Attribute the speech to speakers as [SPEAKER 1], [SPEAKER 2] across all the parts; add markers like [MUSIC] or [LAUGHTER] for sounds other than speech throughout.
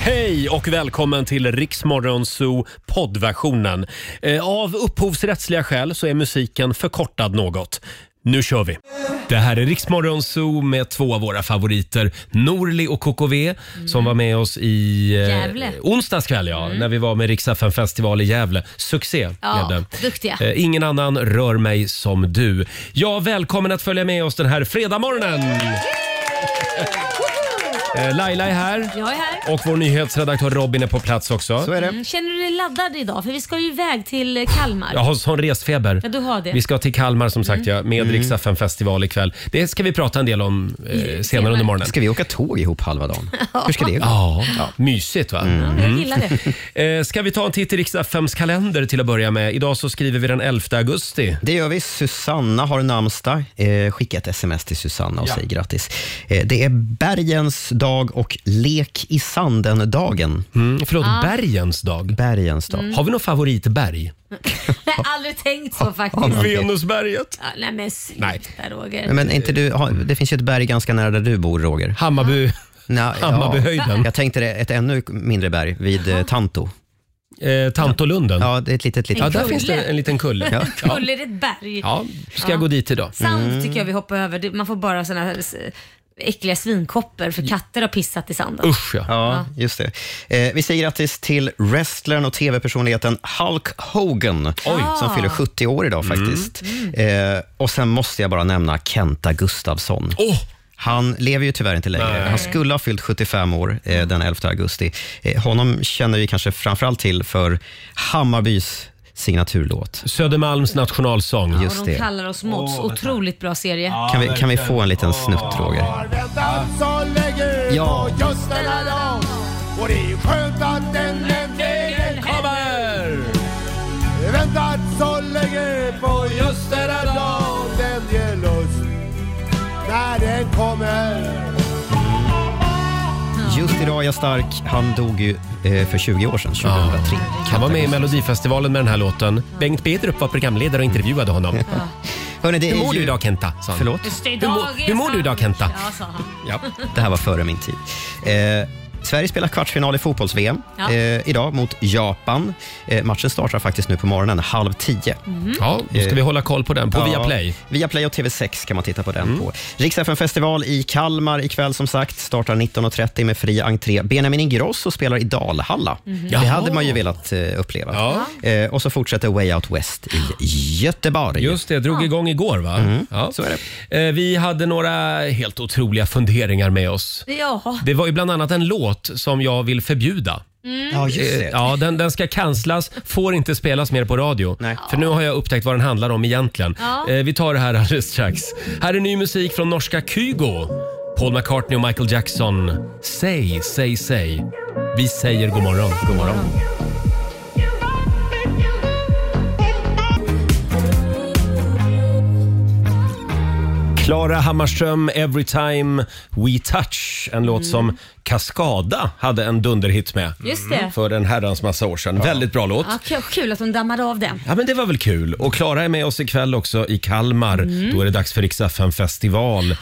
[SPEAKER 1] Hej och välkommen till Riksmorgonzoo poddversionen. Eh, Av upphovsrättsliga skäl så är musiken förkortad något. Nu kör vi! Det här är Riksmorgonzoo med två av våra favoriter, Norli och KKV som var med oss i eh,
[SPEAKER 2] Mm. Gävle. Mm.
[SPEAKER 1] onsdags kväll ja, när vi var med Rix FM festival i Gävle. Succé blev
[SPEAKER 2] Ja,
[SPEAKER 1] det.
[SPEAKER 2] duktiga.
[SPEAKER 1] Eh, Ingen annan rör mig som du. Ja, välkommen att följa med oss den här fredagmorgonen. Eh, Laila är här.
[SPEAKER 2] Jag är här.
[SPEAKER 1] Och vår nyhetsredaktör Robin är på plats
[SPEAKER 3] Så
[SPEAKER 1] också.
[SPEAKER 3] är det.
[SPEAKER 2] Mm, Känner du dig laddad idag? För vi ska ju iväg till eh, Kalmar.
[SPEAKER 1] Jag har sån
[SPEAKER 2] Ja,
[SPEAKER 1] resfeber.
[SPEAKER 2] du har det. Mm.
[SPEAKER 1] Vi ska till Kalmar som sagt ja,
[SPEAKER 3] Mm.
[SPEAKER 1] med Rix FM festival ikväll. Det ska vi prata en del om eh, senare
[SPEAKER 2] senare.
[SPEAKER 1] under morgonen.
[SPEAKER 3] Ska vi åka tåg ihop
[SPEAKER 2] [LAUGHS]
[SPEAKER 3] halva dagen? Hur ska det gå? Mm.
[SPEAKER 1] Ja, mysigt va?
[SPEAKER 2] Ja, jag gillar det.
[SPEAKER 1] [LAUGHS] Eh, ska vi ta en titt i Rix FMs kalender till att börja med? Idag så skriver vi den 11 augusti.
[SPEAKER 3] Det gör vi. Susanna har namnsdag. Eh, skicka ett sms till Susanna och säg grattis. Eh, det är bergens dag och lek i sanden-dagen.
[SPEAKER 1] Mm, förlåt, bergens dag.
[SPEAKER 3] Bergens dag.
[SPEAKER 1] Har vi någon favoritberg?
[SPEAKER 2] [LAUGHS] Jag har aldrig tänkt så faktiskt.
[SPEAKER 1] Venusberget.
[SPEAKER 2] Ja, nej men
[SPEAKER 1] Nej.
[SPEAKER 2] sluta Roger.
[SPEAKER 3] Men är inte du, har- det finns ju ett berg ganska nära där du bor, Roger.
[SPEAKER 1] Mm. Hammarby.
[SPEAKER 3] Nå,
[SPEAKER 1] Hammarbyhöjden.
[SPEAKER 3] Jag tänkte det, ett ännu mindre berg vid eh, Tanto.
[SPEAKER 1] Eh, Tantolunden. Ja.
[SPEAKER 3] Ja, det är ett litet, litet
[SPEAKER 2] Ja,
[SPEAKER 1] där
[SPEAKER 2] Kulle.
[SPEAKER 1] finns det en
[SPEAKER 2] [LAUGHS]
[SPEAKER 1] liten kulle. Ja, ja.
[SPEAKER 2] Kulle är ett berg.
[SPEAKER 1] ska jag gå dit idag.
[SPEAKER 2] Sand
[SPEAKER 3] Mm.
[SPEAKER 2] tycker jag vi hoppar över. Det- Man får bara såna här eh, äckliga svinkoppor för katter har pissat i sanden.
[SPEAKER 1] Usch ja.
[SPEAKER 3] Ja, just det. Eh, vi säger grattis till wrestlern och tv-personligheten Hulk Hogan, som fyller 70 år idag faktiskt. Eh, och sen måste jag bara nämna Kenta Gustafsson.
[SPEAKER 1] Åh!
[SPEAKER 3] Han lever ju tyvärr inte längre. Han skulle ha fyllt 75 år eh, den 11 augusti. Eh, honom känner vi kanske framförallt till för Hammarbys signaturlåt.
[SPEAKER 1] Södermalms nationalsång.
[SPEAKER 3] Just
[SPEAKER 2] och de
[SPEAKER 3] det.
[SPEAKER 2] kallar oss Mods. Otroligt bra serie.
[SPEAKER 3] Kan vi, kan vi få en liten snutt, Roger?
[SPEAKER 4] Väntat så länge på
[SPEAKER 3] Ja.
[SPEAKER 4] just denna dag Och det är skönt att den äntligen kommer Väntat så länge på just denna dag Den ger lust när den kommer
[SPEAKER 3] Just idag är jag stark. Han dog ju eh, för 20 år sedan, 2003.
[SPEAKER 1] Han var med i Melodifestivalen med den här låten. Bengt Bedrup var programledare och intervjuade honom.
[SPEAKER 3] Hörrni, det
[SPEAKER 1] Hur mår
[SPEAKER 3] är
[SPEAKER 1] du
[SPEAKER 3] ju...
[SPEAKER 1] idag Kenta? sa han.
[SPEAKER 3] Förlåt?
[SPEAKER 2] Just det,
[SPEAKER 1] Hur, mår-
[SPEAKER 2] idag är
[SPEAKER 1] hur mår du idag Kenta?
[SPEAKER 2] Ja, sa han.
[SPEAKER 1] Ja.
[SPEAKER 3] Det här var före min tid. Eh, Sverige spelar kvartsfinal i fotbolls-VM
[SPEAKER 2] Ja.
[SPEAKER 3] eh, idag mot Japan. Eh, matchen startar faktiskt nu på morgonen, halv tio. Eh,
[SPEAKER 1] ja, då ska vi hålla koll på den på
[SPEAKER 3] Ja,
[SPEAKER 1] Viaplay. Mm.
[SPEAKER 3] Viaplay och TV6 kan man titta på den på. Rix FM festival i Kalmar ikväll som sagt. Startar 19.30 med fri entré. Benjamin Ingrosso spelar i Dalhalla. Det
[SPEAKER 1] Jaha.
[SPEAKER 3] hade man ju velat eh, uppleva.
[SPEAKER 1] Ja.
[SPEAKER 3] Eh, och så fortsätter Way Out West i Göteborg.
[SPEAKER 1] Just det, drog igång igår va? ja.
[SPEAKER 3] Mm. så är
[SPEAKER 1] Eh, Vi hade några helt otroliga funderingar med oss.
[SPEAKER 2] [LAUGHS] Ja.
[SPEAKER 1] Det var ju bland annat en låt som jag vill förbjuda.
[SPEAKER 2] Mm.
[SPEAKER 5] Mm.
[SPEAKER 3] Ja, just
[SPEAKER 1] Eh, Ja, den, den ska kanslas, får inte spelas mer på radio.
[SPEAKER 3] Nej.
[SPEAKER 1] För nu har jag upptäckt vad den handlar om egentligen.
[SPEAKER 2] Ja.
[SPEAKER 1] Eh, Vi tar det här alldeles strax. Här är ny musik från norska Kygo. Paul McCartney och Michael Jackson. Säg, säg, säg. Vi säger god morgon. God morgon. Klara Hammarström, Every time we touch. En
[SPEAKER 3] Mm.
[SPEAKER 1] låt som Cascada hade en dunderhit med
[SPEAKER 2] Just det.
[SPEAKER 1] Mm, för en herrans massa år sedan. Väldigt bra låt.
[SPEAKER 2] Ja, k- kul att de dammade av den.
[SPEAKER 1] Ja men det var väl kul. Och Klara är med oss ikväll också i Kalmar.
[SPEAKER 2] Mm.
[SPEAKER 1] Då är det dags för Rix FM festival. Eh,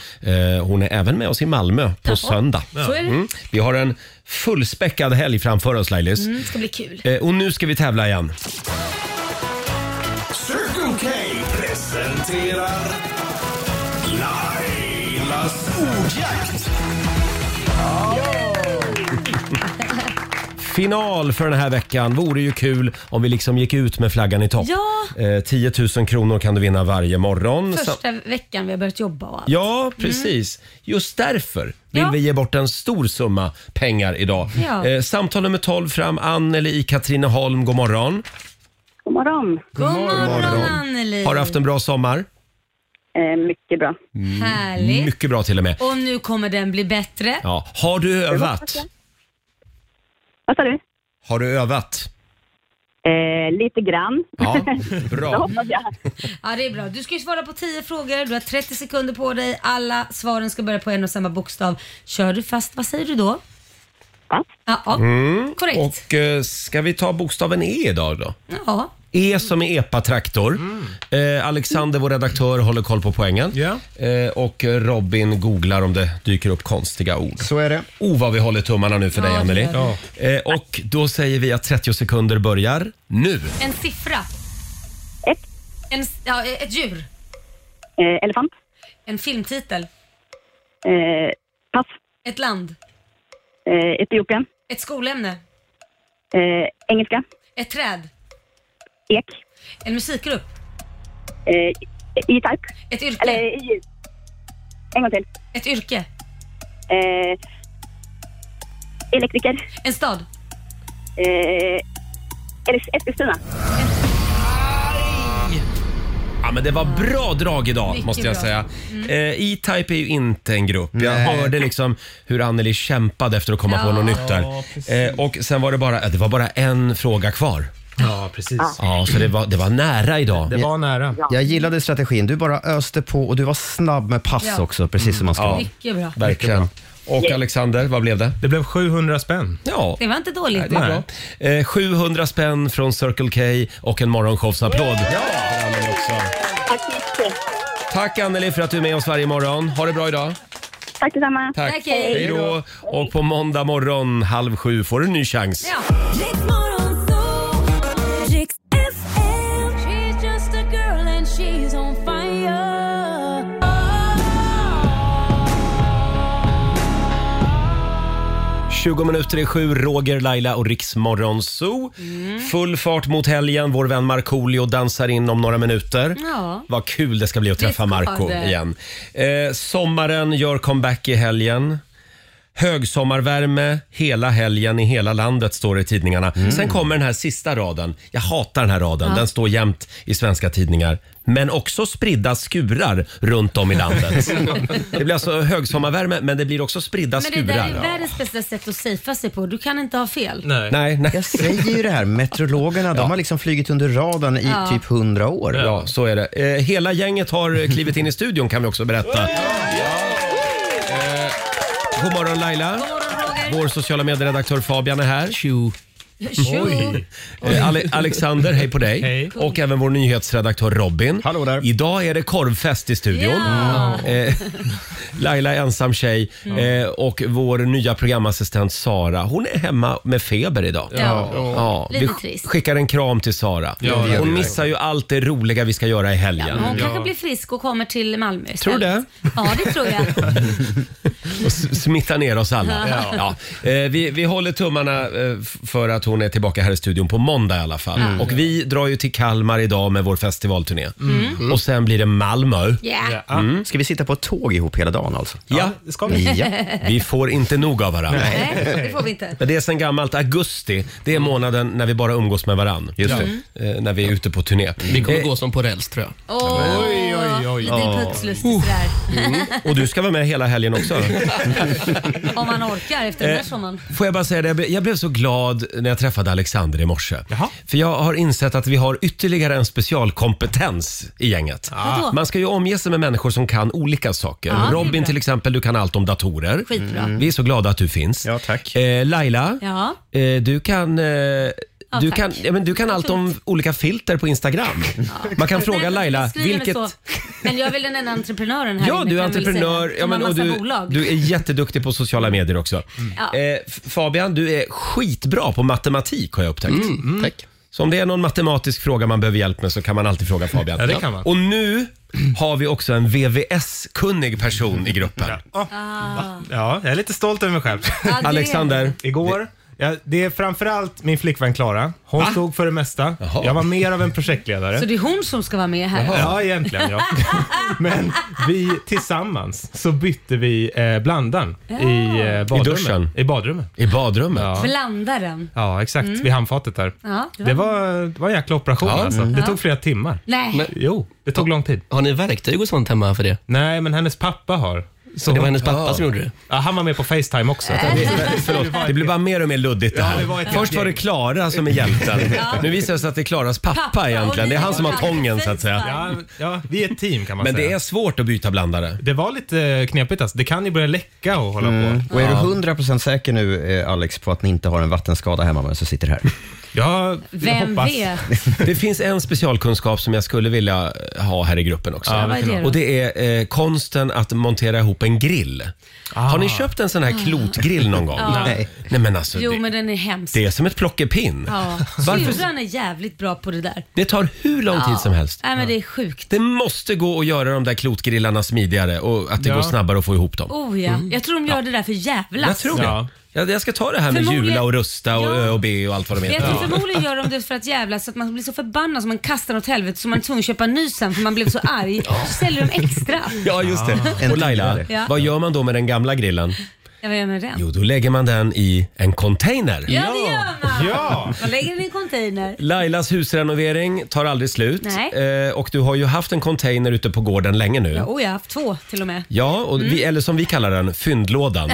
[SPEAKER 1] hon är även med oss i Malmö på söndag. Mm.
[SPEAKER 2] så är det.
[SPEAKER 1] Vi har en fullspäckad helg framför oss Lailis.
[SPEAKER 2] Det ska bli kul.
[SPEAKER 1] Eh, och nu ska vi tävla igen.
[SPEAKER 4] Circle K presenterar Lailas ordjakt
[SPEAKER 1] Final för den här veckan. Vore ju kul om vi liksom gick ut med flaggan i topp.
[SPEAKER 2] Ja.
[SPEAKER 1] Eh, 10 000 kronor kan du vinna varje morgon.
[SPEAKER 3] Mm,
[SPEAKER 1] Sam-
[SPEAKER 2] Första veckan vi har börjat jobba och allt.
[SPEAKER 1] Ja, precis. Just därför vill
[SPEAKER 2] Ja.
[SPEAKER 1] vi ge bort en stor summa pengar idag.
[SPEAKER 2] Ja.
[SPEAKER 1] Eh, samtal nummer 12 fram. Anneli i Katrineholm, god morgon.
[SPEAKER 6] God morgon.
[SPEAKER 2] God morgon Anneli.
[SPEAKER 1] Har du haft en bra sommar? Mm,
[SPEAKER 6] Eh, mycket bra.
[SPEAKER 2] Härligt.
[SPEAKER 1] Mycket bra till och med.
[SPEAKER 2] Och nu kommer den bli bättre.
[SPEAKER 1] Ja. Har du övat?
[SPEAKER 6] Vad sa du?
[SPEAKER 1] Har du övat?
[SPEAKER 6] Eh, lite grann.
[SPEAKER 2] [LAUGHS]
[SPEAKER 1] Ja,
[SPEAKER 6] [LAUGHS] Det
[SPEAKER 1] bra.
[SPEAKER 6] hoppas jag.
[SPEAKER 2] Ja, det är bra. Du ska ju svara på 10 frågor. Du har 30 sekunder på dig. Alla svaren ska börja på en och samma bokstav. Kör du fast, vad säger du då?
[SPEAKER 6] Fast.
[SPEAKER 1] Mm.
[SPEAKER 2] Ja, ja. korrekt.
[SPEAKER 1] Och eh, ska vi ta bokstaven E idag då?
[SPEAKER 2] Ja.
[SPEAKER 1] E som i epatraktor. Eh, Alexander, vår redaktör, håller koll på poängen. Eh, och Robin googlar om det dyker upp konstiga ord.
[SPEAKER 3] Så är det.
[SPEAKER 1] Oh, vad vi håller tummarna nu för
[SPEAKER 2] Ja,
[SPEAKER 1] dig,
[SPEAKER 2] det
[SPEAKER 1] Anneli.
[SPEAKER 2] gör
[SPEAKER 1] Eh, och då säger vi att 30 sekunder börjar nu.
[SPEAKER 2] En siffra.
[SPEAKER 6] Ett.
[SPEAKER 2] En, s- ja, ett djur.
[SPEAKER 6] Eh, elefant.
[SPEAKER 2] En filmtitel.
[SPEAKER 6] Eh, pass.
[SPEAKER 2] Ett land.
[SPEAKER 6] Eh, Etiopien.
[SPEAKER 2] Ett skolämne.
[SPEAKER 6] Eh, engelska.
[SPEAKER 2] Ett träd.
[SPEAKER 6] Ek.
[SPEAKER 2] En musikgrupp.
[SPEAKER 6] Eh, E-Type.
[SPEAKER 2] Ett
[SPEAKER 6] Eller
[SPEAKER 2] yrke.
[SPEAKER 6] i... En gång till.
[SPEAKER 2] Ett yrke.
[SPEAKER 6] Eh, elektriker.
[SPEAKER 2] En stad.
[SPEAKER 6] Eh, Elis- Eskilstuna.
[SPEAKER 1] Ja, men det var bra drag idag,
[SPEAKER 2] Mycket
[SPEAKER 1] måste jag
[SPEAKER 2] bra. Mm.
[SPEAKER 1] säga. Eh, E-Type är ju inte en grupp. Jag
[SPEAKER 3] Nej.
[SPEAKER 1] hörde liksom hur Anneli kämpade efter att komma på
[SPEAKER 2] Ja.
[SPEAKER 1] något nytt där. eh, och sen var det bara, eh, det var bara en fråga kvar.
[SPEAKER 7] Ja, precis.
[SPEAKER 1] Ja, så det var, det var nära idag.
[SPEAKER 7] Det var nära.
[SPEAKER 3] Jag gillade strategin. Du bara öste på och du var snabb med pass
[SPEAKER 2] Mm. Ja.
[SPEAKER 3] också, precis
[SPEAKER 1] Mm.
[SPEAKER 3] som man ska vara.
[SPEAKER 2] Mycket bra.
[SPEAKER 1] Verkligen. Och Alexander, vad blev det?
[SPEAKER 7] Det blev 700 spänn.
[SPEAKER 1] Ja,
[SPEAKER 2] Det var inte dåligt.
[SPEAKER 1] det är bra. Eh, 700 spänn från Circle K och en morgonshowsapplåd. Ja.
[SPEAKER 6] Tack så mycket.
[SPEAKER 1] Tack Anneli för att du är med oss varje morgon. Ha det bra idag.
[SPEAKER 6] Tack detsamma.
[SPEAKER 1] Tack.
[SPEAKER 2] Tack, hej.
[SPEAKER 1] hej då. Och på måndag morgon halv sju får du en ny chans.
[SPEAKER 2] Ja.
[SPEAKER 1] Ja. 20 minuter i sju, Roger, Laila och Riksmorgon Zoo.
[SPEAKER 2] Mm.
[SPEAKER 1] Full fart mot helgen. Vår vän Markoolio dansar in om några minuter.
[SPEAKER 2] Ja.
[SPEAKER 1] Vad kul det ska bli att träffa
[SPEAKER 2] Det ska
[SPEAKER 1] Marco
[SPEAKER 2] det.
[SPEAKER 1] igen. Eh, sommaren gör comeback i helgen. Högsommarvärme hela helgen i hela landet står det i tidningarna.
[SPEAKER 2] Mm.
[SPEAKER 1] Sen kommer den här sista raden. Jag hatar den här raden. Den står jämt i svenska tidningar. Men också spridda skurar runt om
[SPEAKER 2] [LAUGHS]
[SPEAKER 1] i landet. det blir alltså högsommarvärme men det blir också spridda
[SPEAKER 2] Men det
[SPEAKER 1] skurar.
[SPEAKER 2] där är världens bästa sätt att safea sig på. Du kan inte ha fel.
[SPEAKER 7] Nej.
[SPEAKER 1] Nej, nej.
[SPEAKER 3] Jag säger ju det här, meteorologerna de har liksom flugit under radarn i typ hundra år.
[SPEAKER 1] Ja, så är det. Eh, hela gänget har eh, klivit in i studion kan vi också berätta. Eh, god morgon Laila.
[SPEAKER 2] God morgon, Roger.
[SPEAKER 1] Vår sociala medieredaktör Fabian är här.
[SPEAKER 2] Tjo.
[SPEAKER 1] Eh, Ale- Alexander, hej på dig.
[SPEAKER 7] Hej.
[SPEAKER 1] Och även vår nyhetsredaktör Robin.
[SPEAKER 3] Hallå där.
[SPEAKER 1] Idag är det korvfest i studion.
[SPEAKER 2] Ja. Mm.
[SPEAKER 1] Eh, Laila är ensam tjej eh, och vår nya programassistent Sara, hon är hemma med feber idag.
[SPEAKER 2] Ja.
[SPEAKER 1] Ja,
[SPEAKER 2] Lite
[SPEAKER 1] vi sk-
[SPEAKER 2] trist.
[SPEAKER 1] skickar en kram till Sara.
[SPEAKER 7] det gör
[SPEAKER 1] Hon
[SPEAKER 7] vi
[SPEAKER 1] missar ju allt det roliga vi ska göra i helgen.
[SPEAKER 2] Men Hon
[SPEAKER 7] Ja.
[SPEAKER 2] kanske blir frisk och kommer till Malmö istället.
[SPEAKER 1] Tror du det?
[SPEAKER 2] Ja, det tror jag.
[SPEAKER 1] och s- smitta ner oss alla. Ja. Eh, vi, vi håller tummarna eh, f- för att hon är tillbaka här i studion på måndag i alla fall.
[SPEAKER 2] Mm.
[SPEAKER 1] Och vi drar ju till Kalmar idag med vår festivalturné. Och sen blir det Malmö.
[SPEAKER 2] Mm.
[SPEAKER 1] Mm.
[SPEAKER 2] Yeah.
[SPEAKER 7] Ja.
[SPEAKER 3] Ska vi sitta på ett tåg ihop hela dagen alltså?
[SPEAKER 1] Ja,
[SPEAKER 7] Det ska vi.
[SPEAKER 3] Ja.
[SPEAKER 1] vi får inte nog av varandra.
[SPEAKER 2] Nej,
[SPEAKER 1] [LAUGHS]
[SPEAKER 2] det får vi inte.
[SPEAKER 1] Men det är sen gammalt augusti. Det är månaden när vi bara umgås med varann. Just Eh, när vi är ute på turné. Eh,
[SPEAKER 8] Vi kommer gå som på räls tror jag.
[SPEAKER 2] Åh,
[SPEAKER 7] Oj, oj, oj.
[SPEAKER 2] Lite putslustigt sådär.
[SPEAKER 1] Uh. Mm. Och du ska vara med hela helgen också.
[SPEAKER 2] [LAUGHS] Om man orkar efter den här sommaren.
[SPEAKER 1] Eh, Får jag bara säga det, jag blev- jag blev så glad när jag träffade Alexander i morse.
[SPEAKER 7] Jaha.
[SPEAKER 1] För jag har insett att vi har ytterligare en specialkompetens i gänget.
[SPEAKER 2] Vadå?
[SPEAKER 1] Man ska ju omge sig med människor som kan olika saker.
[SPEAKER 2] det är
[SPEAKER 1] Robin
[SPEAKER 2] bra.
[SPEAKER 1] till exempel, du kan allt om datorer.
[SPEAKER 2] Ah, Skitbra. Mm.
[SPEAKER 1] Vi är så glada att du finns.
[SPEAKER 3] Ja, tack.
[SPEAKER 1] Eh, Laila,
[SPEAKER 2] Ja.
[SPEAKER 1] eh, du kan... Eh, du,
[SPEAKER 2] tack.
[SPEAKER 1] kan, ja, men du kan allt om olika filter på Instagram. Man kan fråga
[SPEAKER 2] Nej,
[SPEAKER 1] Laila,
[SPEAKER 2] jag skriver
[SPEAKER 1] vilket...
[SPEAKER 2] Så. Men jag är väl den enda entreprenören här
[SPEAKER 1] Ja,
[SPEAKER 2] inne,
[SPEAKER 1] du är
[SPEAKER 2] kan jag väl säga,
[SPEAKER 1] entreprenör ja,
[SPEAKER 2] som har
[SPEAKER 1] men, och
[SPEAKER 2] massa
[SPEAKER 1] du,
[SPEAKER 2] bolag. Mm.
[SPEAKER 1] du är jätteduktig på sociala medier också.
[SPEAKER 2] Ja.
[SPEAKER 1] Eh, F- Fabian, du är skitbra på matematik har jag upptäckt.
[SPEAKER 7] Mm,
[SPEAKER 8] Tack.
[SPEAKER 1] Så om det är någon matematisk fråga man behöver hjälp med så kan man alltid fråga Fabian.
[SPEAKER 7] Ja, det kan man.
[SPEAKER 1] Och nu har vi också en VVS-kunnig person i gruppen. Ah.
[SPEAKER 7] Ja, jag är lite stolt över mig själv.
[SPEAKER 2] Ja, det-
[SPEAKER 1] Alexander,
[SPEAKER 7] Igår, ja, det är framförallt min flickvän Klara. Hon stod för det mesta.
[SPEAKER 1] Jaha.
[SPEAKER 7] Jag var mer av en projektledare.
[SPEAKER 2] Så det är hon som ska vara med här.
[SPEAKER 7] Ja, egentligen
[SPEAKER 2] [LAUGHS]
[SPEAKER 7] ja. Men vi tillsammans så bytte vi eh, blandaren i, eh, badrummet.
[SPEAKER 1] duschen.
[SPEAKER 7] I badrummet.
[SPEAKER 1] i badrummet.
[SPEAKER 7] Ja.
[SPEAKER 2] Blandaren.
[SPEAKER 7] Ja, exakt. Vid handfatet där.
[SPEAKER 2] Mm. Ja,
[SPEAKER 7] det,
[SPEAKER 2] det var-
[SPEAKER 7] var, det var en jäkla operation
[SPEAKER 1] Ja. Mm.
[SPEAKER 7] alltså. Det tog flera timmar.
[SPEAKER 2] Nej.
[SPEAKER 8] Men-
[SPEAKER 7] Jo, det tog lång tid.
[SPEAKER 8] Har ni verktyg och sånt hemma för det?
[SPEAKER 7] Nej, men hennes pappa har. Så
[SPEAKER 8] Det
[SPEAKER 7] hon-
[SPEAKER 8] var hennes pappa som gjorde det.
[SPEAKER 7] ja, han var med på Facetime också.
[SPEAKER 2] [LAUGHS]
[SPEAKER 1] Förlåt, det blir bara mer och mer luddigt det
[SPEAKER 7] Ja, det var
[SPEAKER 1] här.
[SPEAKER 7] ett
[SPEAKER 1] Först var det Klara som är hjälten. Nu visar det sig att det är Klaras
[SPEAKER 2] Pappa,
[SPEAKER 1] pappa
[SPEAKER 2] och
[SPEAKER 1] egentligen. Det är han som har tången så att säga.
[SPEAKER 7] Ja, ja, vi är ett team kan man
[SPEAKER 1] Men
[SPEAKER 7] säga.
[SPEAKER 1] det är svårt att byta blandare.
[SPEAKER 7] Det var lite knepigt alltså. Det kan ju börja läcka och
[SPEAKER 3] Mm.
[SPEAKER 7] hålla på.
[SPEAKER 1] [LAUGHS]
[SPEAKER 3] Och är du 100% säker nu eh, Alex på att ni inte har en vattenskada hemma men så sitter här?
[SPEAKER 7] Jag
[SPEAKER 2] Vem
[SPEAKER 7] hoppas...
[SPEAKER 2] vet?
[SPEAKER 1] Det finns en specialkunskap som jag skulle vilja ha här i gruppen också.
[SPEAKER 7] Ja, vad
[SPEAKER 2] är det då?
[SPEAKER 1] och det är eh, konsten att montera ihop en grill.
[SPEAKER 7] Ah.
[SPEAKER 1] Har ni köpt en sån här klotgrill någon gång?
[SPEAKER 2] Ah. [LAUGHS] Ja.
[SPEAKER 3] Nej.
[SPEAKER 1] Nej men alltså,
[SPEAKER 2] Jo,
[SPEAKER 1] det,
[SPEAKER 2] men den är hemsk.
[SPEAKER 1] det är som ett plockepinn.
[SPEAKER 2] Ja.
[SPEAKER 1] Varför-
[SPEAKER 2] Syrran är jävligt bra på det där.
[SPEAKER 1] Det tar hur lång tid som helst.
[SPEAKER 2] Nej, men det är sjukt.
[SPEAKER 1] Det måste gå att göra de där klotgrillarna smidigare och att det
[SPEAKER 7] Ja.
[SPEAKER 1] går snabbare att få ihop dem.
[SPEAKER 2] Oh ja. Jag tror de gör det där för jävlas.
[SPEAKER 1] Mm. Jag tror det.
[SPEAKER 7] Ja.
[SPEAKER 1] Jag, jag ska ta det här med
[SPEAKER 2] Förmodligen-
[SPEAKER 1] jula och rusta och
[SPEAKER 2] Ja.
[SPEAKER 1] ö och b och allt vad de
[SPEAKER 2] Jag
[SPEAKER 1] heter.
[SPEAKER 2] tror förmodligen gör de det för att jävlas så att man blir så förbannad så man kastar den åt helvete så man är tvungen att köpa en ny sen för man blev så arg. Så säljer de extra.
[SPEAKER 1] [LAUGHS] Ja, just det. Och Laila,
[SPEAKER 2] Ja.
[SPEAKER 1] vad gör man då med den gamla grillen?
[SPEAKER 2] Jag vet med den.
[SPEAKER 1] Jo, då lägger man den i en container.
[SPEAKER 2] Ja, det gör man.
[SPEAKER 7] Ja!
[SPEAKER 2] Man lägger den i en container.
[SPEAKER 1] Lailas husrenovering tar aldrig slut.
[SPEAKER 2] Nej.
[SPEAKER 1] Eh, och du har ju haft en container ute på gården länge nu.
[SPEAKER 2] Ja, Mm. oh, jag har haft två till och med.
[SPEAKER 1] Ja, och vi, eller som vi kallar
[SPEAKER 2] [LAUGHS]
[SPEAKER 1] den, fyndlådan.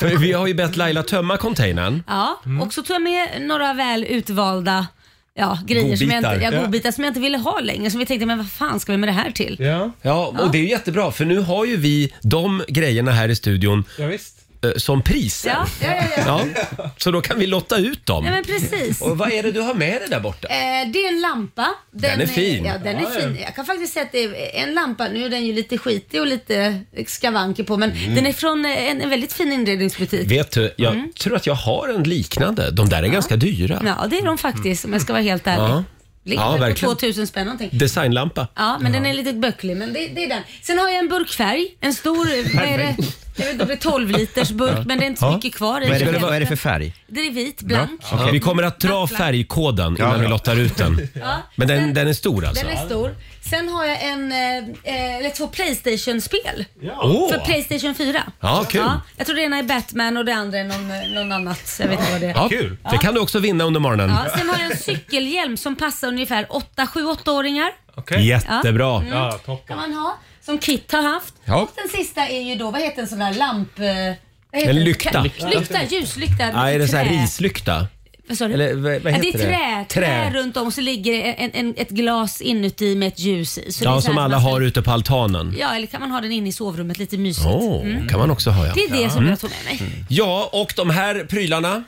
[SPEAKER 1] För vi har ju bett Laila tömma containern.
[SPEAKER 2] Ja, och så tog jag med några väl utvalda ja, grejer som jag, inte,
[SPEAKER 1] Godbitar.
[SPEAKER 2] ja, godbitar som jag inte ville ha längre. Som vi tänkte, men vad fan ska vi med det här till?
[SPEAKER 7] Ja,
[SPEAKER 1] Ja, och det är ju jättebra för nu har ju vi de grejerna här i studion
[SPEAKER 7] ja visst.
[SPEAKER 1] eh, som priser.
[SPEAKER 2] Ja, ja, ja. ja.
[SPEAKER 1] Ja, så då kan vi lotta ut dem.
[SPEAKER 2] Nej men precis.
[SPEAKER 1] Och vad är det du har med dig där borta?
[SPEAKER 2] Eh, det är en lampa.
[SPEAKER 1] Den är fin.
[SPEAKER 2] Ja, den är fin. Jag kan faktiskt säga att det är en lampa. Nu är den ju lite skitig och lite skavanker på, men
[SPEAKER 1] Mm.
[SPEAKER 2] den är från eh, en, en väldigt fin inredningsbutik.
[SPEAKER 1] Vet du, jag tror att jag har en liknande. De där är ganska dyra.
[SPEAKER 2] Mm. Ja, det är de faktiskt om jag ska vara helt ärlig.
[SPEAKER 1] Ja.
[SPEAKER 2] Ligger
[SPEAKER 1] Ja,
[SPEAKER 2] väl
[SPEAKER 1] verkligen.
[SPEAKER 2] på 2000 spänn någonting.
[SPEAKER 1] Designlampa.
[SPEAKER 2] Ja, men den är lite böcklig, men det, det är den. Sen har jag en burkfärg. En stor, vad är det? Jag vet inte om det är 12 liters burk, men det är inte så
[SPEAKER 1] Ja.
[SPEAKER 2] mycket kvar i.
[SPEAKER 3] Vad är, det
[SPEAKER 2] den.
[SPEAKER 3] för, vad är det för färg?
[SPEAKER 2] Den är vit, blank.
[SPEAKER 1] Ja. Vi kommer att dra
[SPEAKER 2] Tack.
[SPEAKER 1] färgkoden
[SPEAKER 3] Ja,
[SPEAKER 1] innan vi
[SPEAKER 3] bra.
[SPEAKER 1] lottar ut den.
[SPEAKER 2] Ja.
[SPEAKER 1] Men den,
[SPEAKER 2] Sen-
[SPEAKER 1] den är stor alltså?
[SPEAKER 2] Den är stor. Sen har jag en, eh, eh, eller två Playstation-spel.
[SPEAKER 1] Åh!
[SPEAKER 2] För Playstation 4.
[SPEAKER 1] Ja, kul.
[SPEAKER 2] jag tror det ena är Batman och det andra är någon, eh, någon annat. Jag vet inte vad det är.
[SPEAKER 1] Ja,
[SPEAKER 7] Kul.
[SPEAKER 1] Det kan du också vinna under morgonen.
[SPEAKER 2] Ja, sen har jag en cykelhjälm som passar ungefär 7-8-åringar.
[SPEAKER 7] Okej.
[SPEAKER 1] Jättebra.
[SPEAKER 7] Ja,
[SPEAKER 2] Kan
[SPEAKER 7] toppen.
[SPEAKER 2] man ha. Som Kit har haft.
[SPEAKER 1] Ja.
[SPEAKER 2] Och den sista är ju då, vad heter en sån där lamp... eh, vad heter
[SPEAKER 1] En
[SPEAKER 2] det?
[SPEAKER 1] lykta.
[SPEAKER 2] Lykta, ljuslykta.
[SPEAKER 1] Nej, är det så här
[SPEAKER 2] Trä.
[SPEAKER 1] rislykta?
[SPEAKER 2] Vad sa du?
[SPEAKER 1] Eller vad- vad
[SPEAKER 2] Ja, det är
[SPEAKER 1] heter det?
[SPEAKER 2] trä,
[SPEAKER 1] Trä.
[SPEAKER 2] trä. runt om och så ligger det en, en, ett glas inuti med ett ljus i. Så det är
[SPEAKER 1] Ja,
[SPEAKER 2] så här
[SPEAKER 1] som
[SPEAKER 2] att
[SPEAKER 1] alla
[SPEAKER 2] man ska-
[SPEAKER 1] har ute på altanen.
[SPEAKER 2] Ja, eller kan man ha den inne i sovrummet, lite mysigt. Mm.
[SPEAKER 1] Åh, kan man också ha ja. Mm.
[SPEAKER 2] Det är det som jag tog med mig.
[SPEAKER 1] Ja, och de här prylarna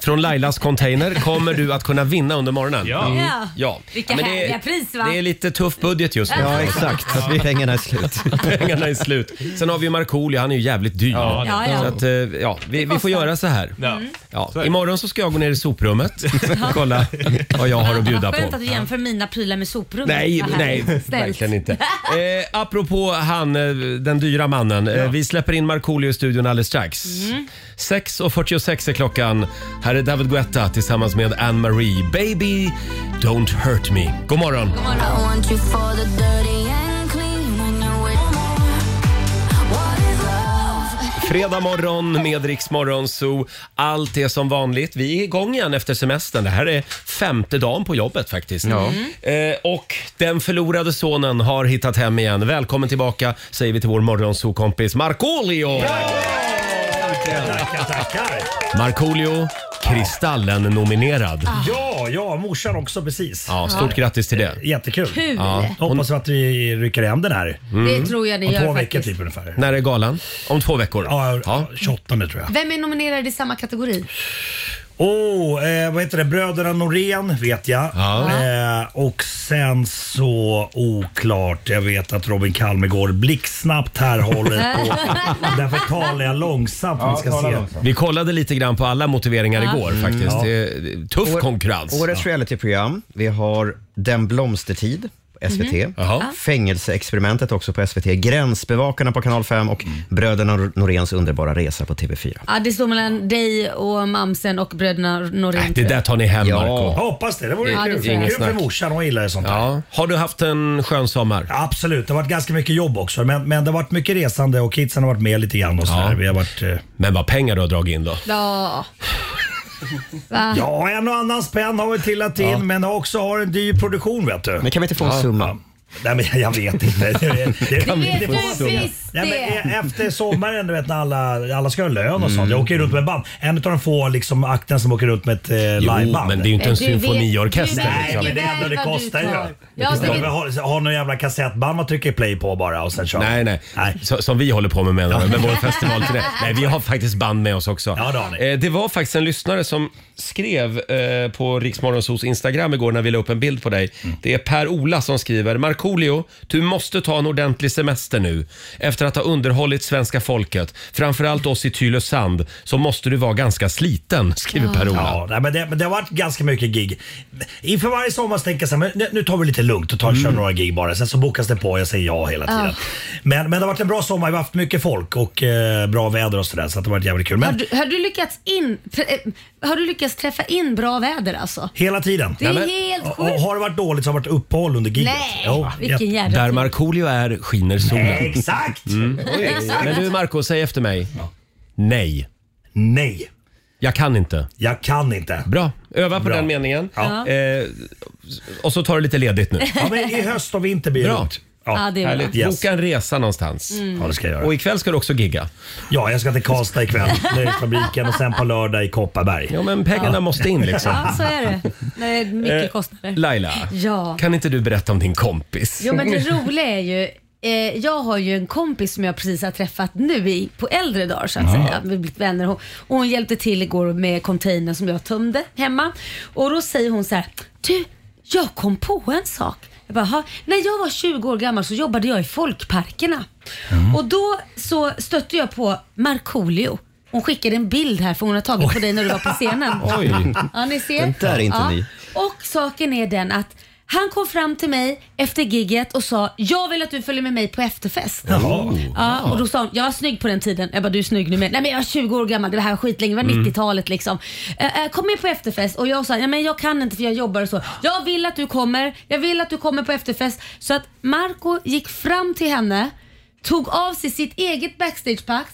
[SPEAKER 1] från Lailas container kommer du att kunna vinna under morgonen.
[SPEAKER 7] Ja.
[SPEAKER 2] Mm. Ja.
[SPEAKER 1] Ja.
[SPEAKER 2] Vilka
[SPEAKER 1] Ja, men det är-
[SPEAKER 2] härliga pris va?
[SPEAKER 1] Det är lite tuff budget just nu.
[SPEAKER 3] Ja, exakt. Så att pengarna är slut.
[SPEAKER 1] [LAUGHS] Pengarna är slut. Sen har vi ju Markoolio, han är ju jävligt dyr.
[SPEAKER 7] Ja,
[SPEAKER 2] Ja,
[SPEAKER 1] Så
[SPEAKER 2] ja.
[SPEAKER 1] att, eh, ja, vi, vi får göra så här.
[SPEAKER 7] Ja.
[SPEAKER 1] Ja, imorgon så ska jag gå ner
[SPEAKER 2] [LAUGHS]
[SPEAKER 1] i soprummet och kolla vad jag har att bjuda
[SPEAKER 2] Skönt
[SPEAKER 1] på.
[SPEAKER 2] att du jämför mina prylar med soprummet.
[SPEAKER 1] Nej,
[SPEAKER 2] Vad
[SPEAKER 1] nej,
[SPEAKER 2] härligt. Snällt.
[SPEAKER 1] verkligen inte. Eh, apropå han, eh, den dyra mannen. Eh, vi släpper in Markoolio i studion alldeles strax. 6.46 är klockan. Här är David Guetta tillsammans med Anne Marie. Baby, don't hurt me. God morgon.
[SPEAKER 2] God morgon.
[SPEAKER 1] Fredag morgon med Rix Morgon Zoo. Allt är som vanligt. Vi är igång igen efter semestern. Det här är femte dagen på jobbet faktiskt. Eh, och den förlorade sonen har hittat hem igen. Välkommen tillbaka säger vi till vår morgonzoo-kompis Markoolio!
[SPEAKER 9] Tackar, tackar.
[SPEAKER 1] Markoolio, Kristallen-nominerad.
[SPEAKER 2] Ah.
[SPEAKER 7] Ah.
[SPEAKER 9] Ja, ja, morsan också precis.
[SPEAKER 1] Ja, stort grattis till det.
[SPEAKER 9] Eh, Jättekul.
[SPEAKER 2] Kul!
[SPEAKER 9] Hoppas att vi rycker hem den här.
[SPEAKER 2] Det tror jag ni
[SPEAKER 9] Om
[SPEAKER 2] gör
[SPEAKER 9] två veckor
[SPEAKER 2] faktiskt.
[SPEAKER 9] typ ungefär.
[SPEAKER 1] Mm. När är galan? Om två veckor?
[SPEAKER 9] Ja, ja, 28 tror jag.
[SPEAKER 2] Vem är nominerad i samma kategori?
[SPEAKER 9] Oh, eh, vad heter det? Bröderna Norén vet jag.
[SPEAKER 1] Ja.
[SPEAKER 9] Eh, och sen så oklart. Jag vet att Robin Kalmegård blixtsnabbt här
[SPEAKER 7] [LAUGHS]
[SPEAKER 9] håller på. Därför talar jag långsamt. om vi ska
[SPEAKER 7] tala
[SPEAKER 9] se.
[SPEAKER 7] långsamt.
[SPEAKER 1] Vi kollade lite grann på alla motiveringar igår
[SPEAKER 9] Mm,
[SPEAKER 1] faktiskt. Det är eh, tuff
[SPEAKER 3] År-
[SPEAKER 1] konkurrens.
[SPEAKER 3] Årets realityprogram. Vi har Den blomstertid på SVT.
[SPEAKER 1] Jaha.
[SPEAKER 3] Fängelseexperimentet också på SVT. Gränsbevakarna på Kanal 5 och
[SPEAKER 1] Mm.
[SPEAKER 3] Bröderna Noréns underbara resa på TV4.
[SPEAKER 2] Ja, det står mellan dig och mamsen och bröderna Norén.
[SPEAKER 1] Nej, Det där tar ni hem,
[SPEAKER 3] Ja.
[SPEAKER 1] Marco.
[SPEAKER 9] Jag hoppas det. Det vore
[SPEAKER 2] Ja, det
[SPEAKER 9] kul.
[SPEAKER 2] tror jag.
[SPEAKER 9] Kul för
[SPEAKER 1] Snack.
[SPEAKER 9] morsan. Hon gillar ju sånt där.
[SPEAKER 1] Ja. Har du haft en skön sommar?
[SPEAKER 9] Absolut, det har varit ganska mycket jobb också. Men, men det har varit mycket resande och kidsen har varit med lite grann och sådär.
[SPEAKER 1] Ja.
[SPEAKER 9] Vi har varit... eh,
[SPEAKER 1] Men vad pengar du har dragit in då.
[SPEAKER 2] Ja.
[SPEAKER 9] Ja, en och annan spänn har vi trillat in men också har en dyr produktion vet du.
[SPEAKER 3] Men kan vi inte få en summa?
[SPEAKER 9] Nej, men jag vet inte.
[SPEAKER 2] [LAUGHS]
[SPEAKER 9] Det, det, det,
[SPEAKER 2] vet du
[SPEAKER 9] får-
[SPEAKER 2] visst
[SPEAKER 9] Nej, men
[SPEAKER 2] det.
[SPEAKER 9] e- efter sommaren, du vet när alla, alla ska ha lön och
[SPEAKER 1] Mm.
[SPEAKER 9] sånt. Jag åker ju runt med band. En av de få liksom, akten som åker runt med ett eh,
[SPEAKER 1] Jo,
[SPEAKER 9] liveband.
[SPEAKER 1] men det är ju inte en
[SPEAKER 2] Du vet-
[SPEAKER 1] symfoniorkester.
[SPEAKER 2] du vet-
[SPEAKER 9] Nej,
[SPEAKER 1] liksom.
[SPEAKER 9] men eh, det är ändå det
[SPEAKER 2] Jävlar, du
[SPEAKER 9] kostar ju.
[SPEAKER 2] tar. Ja,
[SPEAKER 9] Ja,
[SPEAKER 2] du vet-
[SPEAKER 9] har, har någon jävla kassettband man trycker play på bara och sen kör man.
[SPEAKER 1] Nej, nej.
[SPEAKER 9] Nej.
[SPEAKER 1] Så, som vi håller på med menar du, med vår
[SPEAKER 9] [LAUGHS]
[SPEAKER 1] festivalturné. Nej, vi har faktiskt band med oss också.
[SPEAKER 9] Ja, det har ni.
[SPEAKER 1] Eh, det var faktiskt en lyssnare som skrev eh, på Riksmorgonsos Instagram igår när vi la upp en bild på dig.
[SPEAKER 9] Mm.
[SPEAKER 1] Det är Per-Ola som skriver. Markoolio, du måste ta en ordentlig semester nu. Efter att ha underhållit svenska folket, framförallt oss i Tylösand, så måste du vara ganska sliten, skriver Per-Ola.
[SPEAKER 9] Ja, nej, men, det, men det har varit ganska mycket gig. Inför varje sommar så tänker jag så här, men nu- nu tar vi lite lugnt och tar,
[SPEAKER 2] Mm.
[SPEAKER 9] kör några gig bara. Sen så bokas det på, jag säger ja hela tiden. Men, men det har varit en bra sommar, vi har haft mycket folk och eh, bra väder och sådär så att det har varit jävligt kul.
[SPEAKER 2] Har
[SPEAKER 9] Men
[SPEAKER 2] du, har, du lyckats in, eh, har du lyckats träffa in bra väder alltså?
[SPEAKER 9] hela tiden.
[SPEAKER 2] Det är
[SPEAKER 1] men-
[SPEAKER 2] helt
[SPEAKER 9] Och, och
[SPEAKER 2] sjukt.
[SPEAKER 9] har det varit dåligt så har det varit uppehåll under giget.
[SPEAKER 2] Nej,
[SPEAKER 9] Jo,
[SPEAKER 2] vilken
[SPEAKER 9] jätte-
[SPEAKER 2] jädra
[SPEAKER 1] Där
[SPEAKER 2] tid.
[SPEAKER 1] Markoolio är skiner solen.
[SPEAKER 9] Eh,
[SPEAKER 1] Mm.
[SPEAKER 9] Exakt!
[SPEAKER 1] Men du Marco, säg efter mig. Nej,
[SPEAKER 9] Nej,
[SPEAKER 1] jag kan inte.
[SPEAKER 9] jag kan inte.
[SPEAKER 1] Bra, öva på
[SPEAKER 9] Bra.
[SPEAKER 1] den meningen.
[SPEAKER 9] Ja.
[SPEAKER 1] Eh, och så tar du lite ledigt nu.
[SPEAKER 9] Ja, men I höst och vinter blir det
[SPEAKER 1] Bra.
[SPEAKER 9] lugnt.
[SPEAKER 2] Ja, det är bra.
[SPEAKER 1] Härligt.
[SPEAKER 9] Yes. Mm.
[SPEAKER 1] Boka en resa någonstans.
[SPEAKER 9] Ja, det ska jag göra.
[SPEAKER 1] Och ikväll ska du också gigga.
[SPEAKER 9] Ja, jag ska till Karlstad ikväll, Nöjesfabriken och sen på lördag i Kopparberg.
[SPEAKER 1] Ja, men pengarna måste in liksom.
[SPEAKER 2] Ja, så är det. När det är
[SPEAKER 1] Eh,
[SPEAKER 2] mycket kostnader.
[SPEAKER 1] Laila,
[SPEAKER 2] Ja.
[SPEAKER 1] kan inte du berätta om din kompis?
[SPEAKER 2] Jo men det
[SPEAKER 1] [LAUGHS]
[SPEAKER 2] roliga är ju Eh, jag har ju en kompis som jag precis har träffat nu i, på äldre dagar så att säga. Vi har blivit vänner. Hon, och hon hjälpte till igår med containern som jag tömde hemma. Och då säger hon så här, du jag kom på en sak. Jag bara, "Jaha." När jag var 20 år gammal så jobbade jag i folkparkerna. Och då så stötte jag på Markoolio. Hon skickade en bild här för hon har tagit på dig när du var på scenen.
[SPEAKER 1] [LAUGHS] Oj.
[SPEAKER 2] Ja, ni ser.
[SPEAKER 3] Den där är inte
[SPEAKER 2] ja.
[SPEAKER 3] ny.
[SPEAKER 2] Och saken är den att han kom fram till mig efter gigget och sa “Jag vill att du följer med mig på efterfest”. Ja, och då sa hon “Jag var snygg på den tiden”. Jag bara “Du är snygg nu med”. “Nej men jag är 20 år gammal, det här var skitlänge, det var 90-talet liksom”. Eh, eh, “Kom med på efterfest” och jag sa “Nej men jag kan inte för jag jobbar och så”. “Jag vill att du kommer, jag vill att du kommer på efterfest”. Så att Marco gick fram till henne, tog av sig sitt eget backstagepass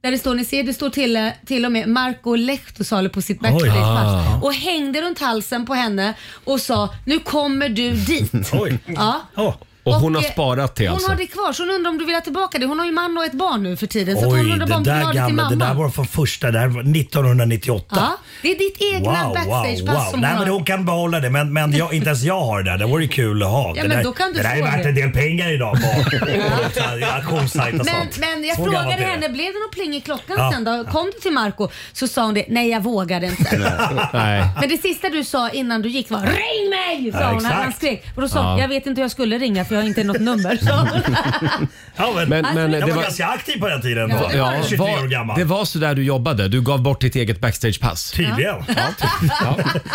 [SPEAKER 2] där det står, ni ser, det står till, eh, till och med Marco Lehtosalo på sitt
[SPEAKER 9] Ah.
[SPEAKER 2] backstagepass och hängde runt halsen på henne och sa nu kommer du dit.
[SPEAKER 9] [LAUGHS] Oj.
[SPEAKER 2] Ja.
[SPEAKER 9] Åh.
[SPEAKER 1] Och hon har
[SPEAKER 2] eh,
[SPEAKER 1] sparat det
[SPEAKER 2] Hon
[SPEAKER 1] alltså?
[SPEAKER 2] har det kvar så hon undrar om du vill ha tillbaka det. Hon har ju man och ett barn nu för tiden. Så att
[SPEAKER 9] Oj,
[SPEAKER 2] hon undrar bara
[SPEAKER 9] det
[SPEAKER 2] om du vill
[SPEAKER 9] där
[SPEAKER 2] ha det till
[SPEAKER 9] gamla, det
[SPEAKER 2] mamma.
[SPEAKER 9] där var från första, det här var 1998.
[SPEAKER 2] ja, det är ditt
[SPEAKER 9] [LAUGHS]
[SPEAKER 2] egna
[SPEAKER 9] Wow, wow,
[SPEAKER 2] backstagepass
[SPEAKER 9] wow.
[SPEAKER 2] som
[SPEAKER 9] Nej,
[SPEAKER 2] hon
[SPEAKER 9] men
[SPEAKER 2] har.
[SPEAKER 9] hon kan behålla det, men, men jag, inte ens jag har det där. Det vore ju kul att ha.
[SPEAKER 2] Ja,
[SPEAKER 9] det
[SPEAKER 2] men
[SPEAKER 9] där,
[SPEAKER 2] då kan du
[SPEAKER 9] det där är
[SPEAKER 2] få
[SPEAKER 9] värt
[SPEAKER 2] det.
[SPEAKER 9] en del pengar idag på på auktionssajt och
[SPEAKER 2] Men,
[SPEAKER 9] sånt.
[SPEAKER 2] men jag
[SPEAKER 9] Så gammalt
[SPEAKER 2] frågade
[SPEAKER 9] är det.
[SPEAKER 2] henne, blev det något pling i klockan
[SPEAKER 9] Ja.
[SPEAKER 2] sen då? Kom du till Marco Så sa hon det, nej jag vågade
[SPEAKER 9] [LAUGHS]
[SPEAKER 2] inte.
[SPEAKER 1] Nej.
[SPEAKER 2] Men det sista du sa innan du gick var Ring mig! Sa
[SPEAKER 9] Ja,
[SPEAKER 2] hon.
[SPEAKER 9] exakt.
[SPEAKER 2] Han skrek. Och då sa hon, jag vet inte hur jag skulle ringa för jag har inte något nummer. [LAUGHS] sa hon.
[SPEAKER 9] [LAUGHS] Ja, men,
[SPEAKER 1] Men,
[SPEAKER 2] Alltså,
[SPEAKER 1] men
[SPEAKER 9] jag
[SPEAKER 1] det
[SPEAKER 9] var,
[SPEAKER 1] var...
[SPEAKER 9] ganska aktiv på den tiden.
[SPEAKER 2] Ja,
[SPEAKER 9] Ja,
[SPEAKER 2] det
[SPEAKER 9] jag
[SPEAKER 2] var
[SPEAKER 9] var
[SPEAKER 2] du.
[SPEAKER 9] 23 år gammal.
[SPEAKER 1] det var så där du jobbade. Du gav bort ditt eget backstagepass.
[SPEAKER 9] Tydligen.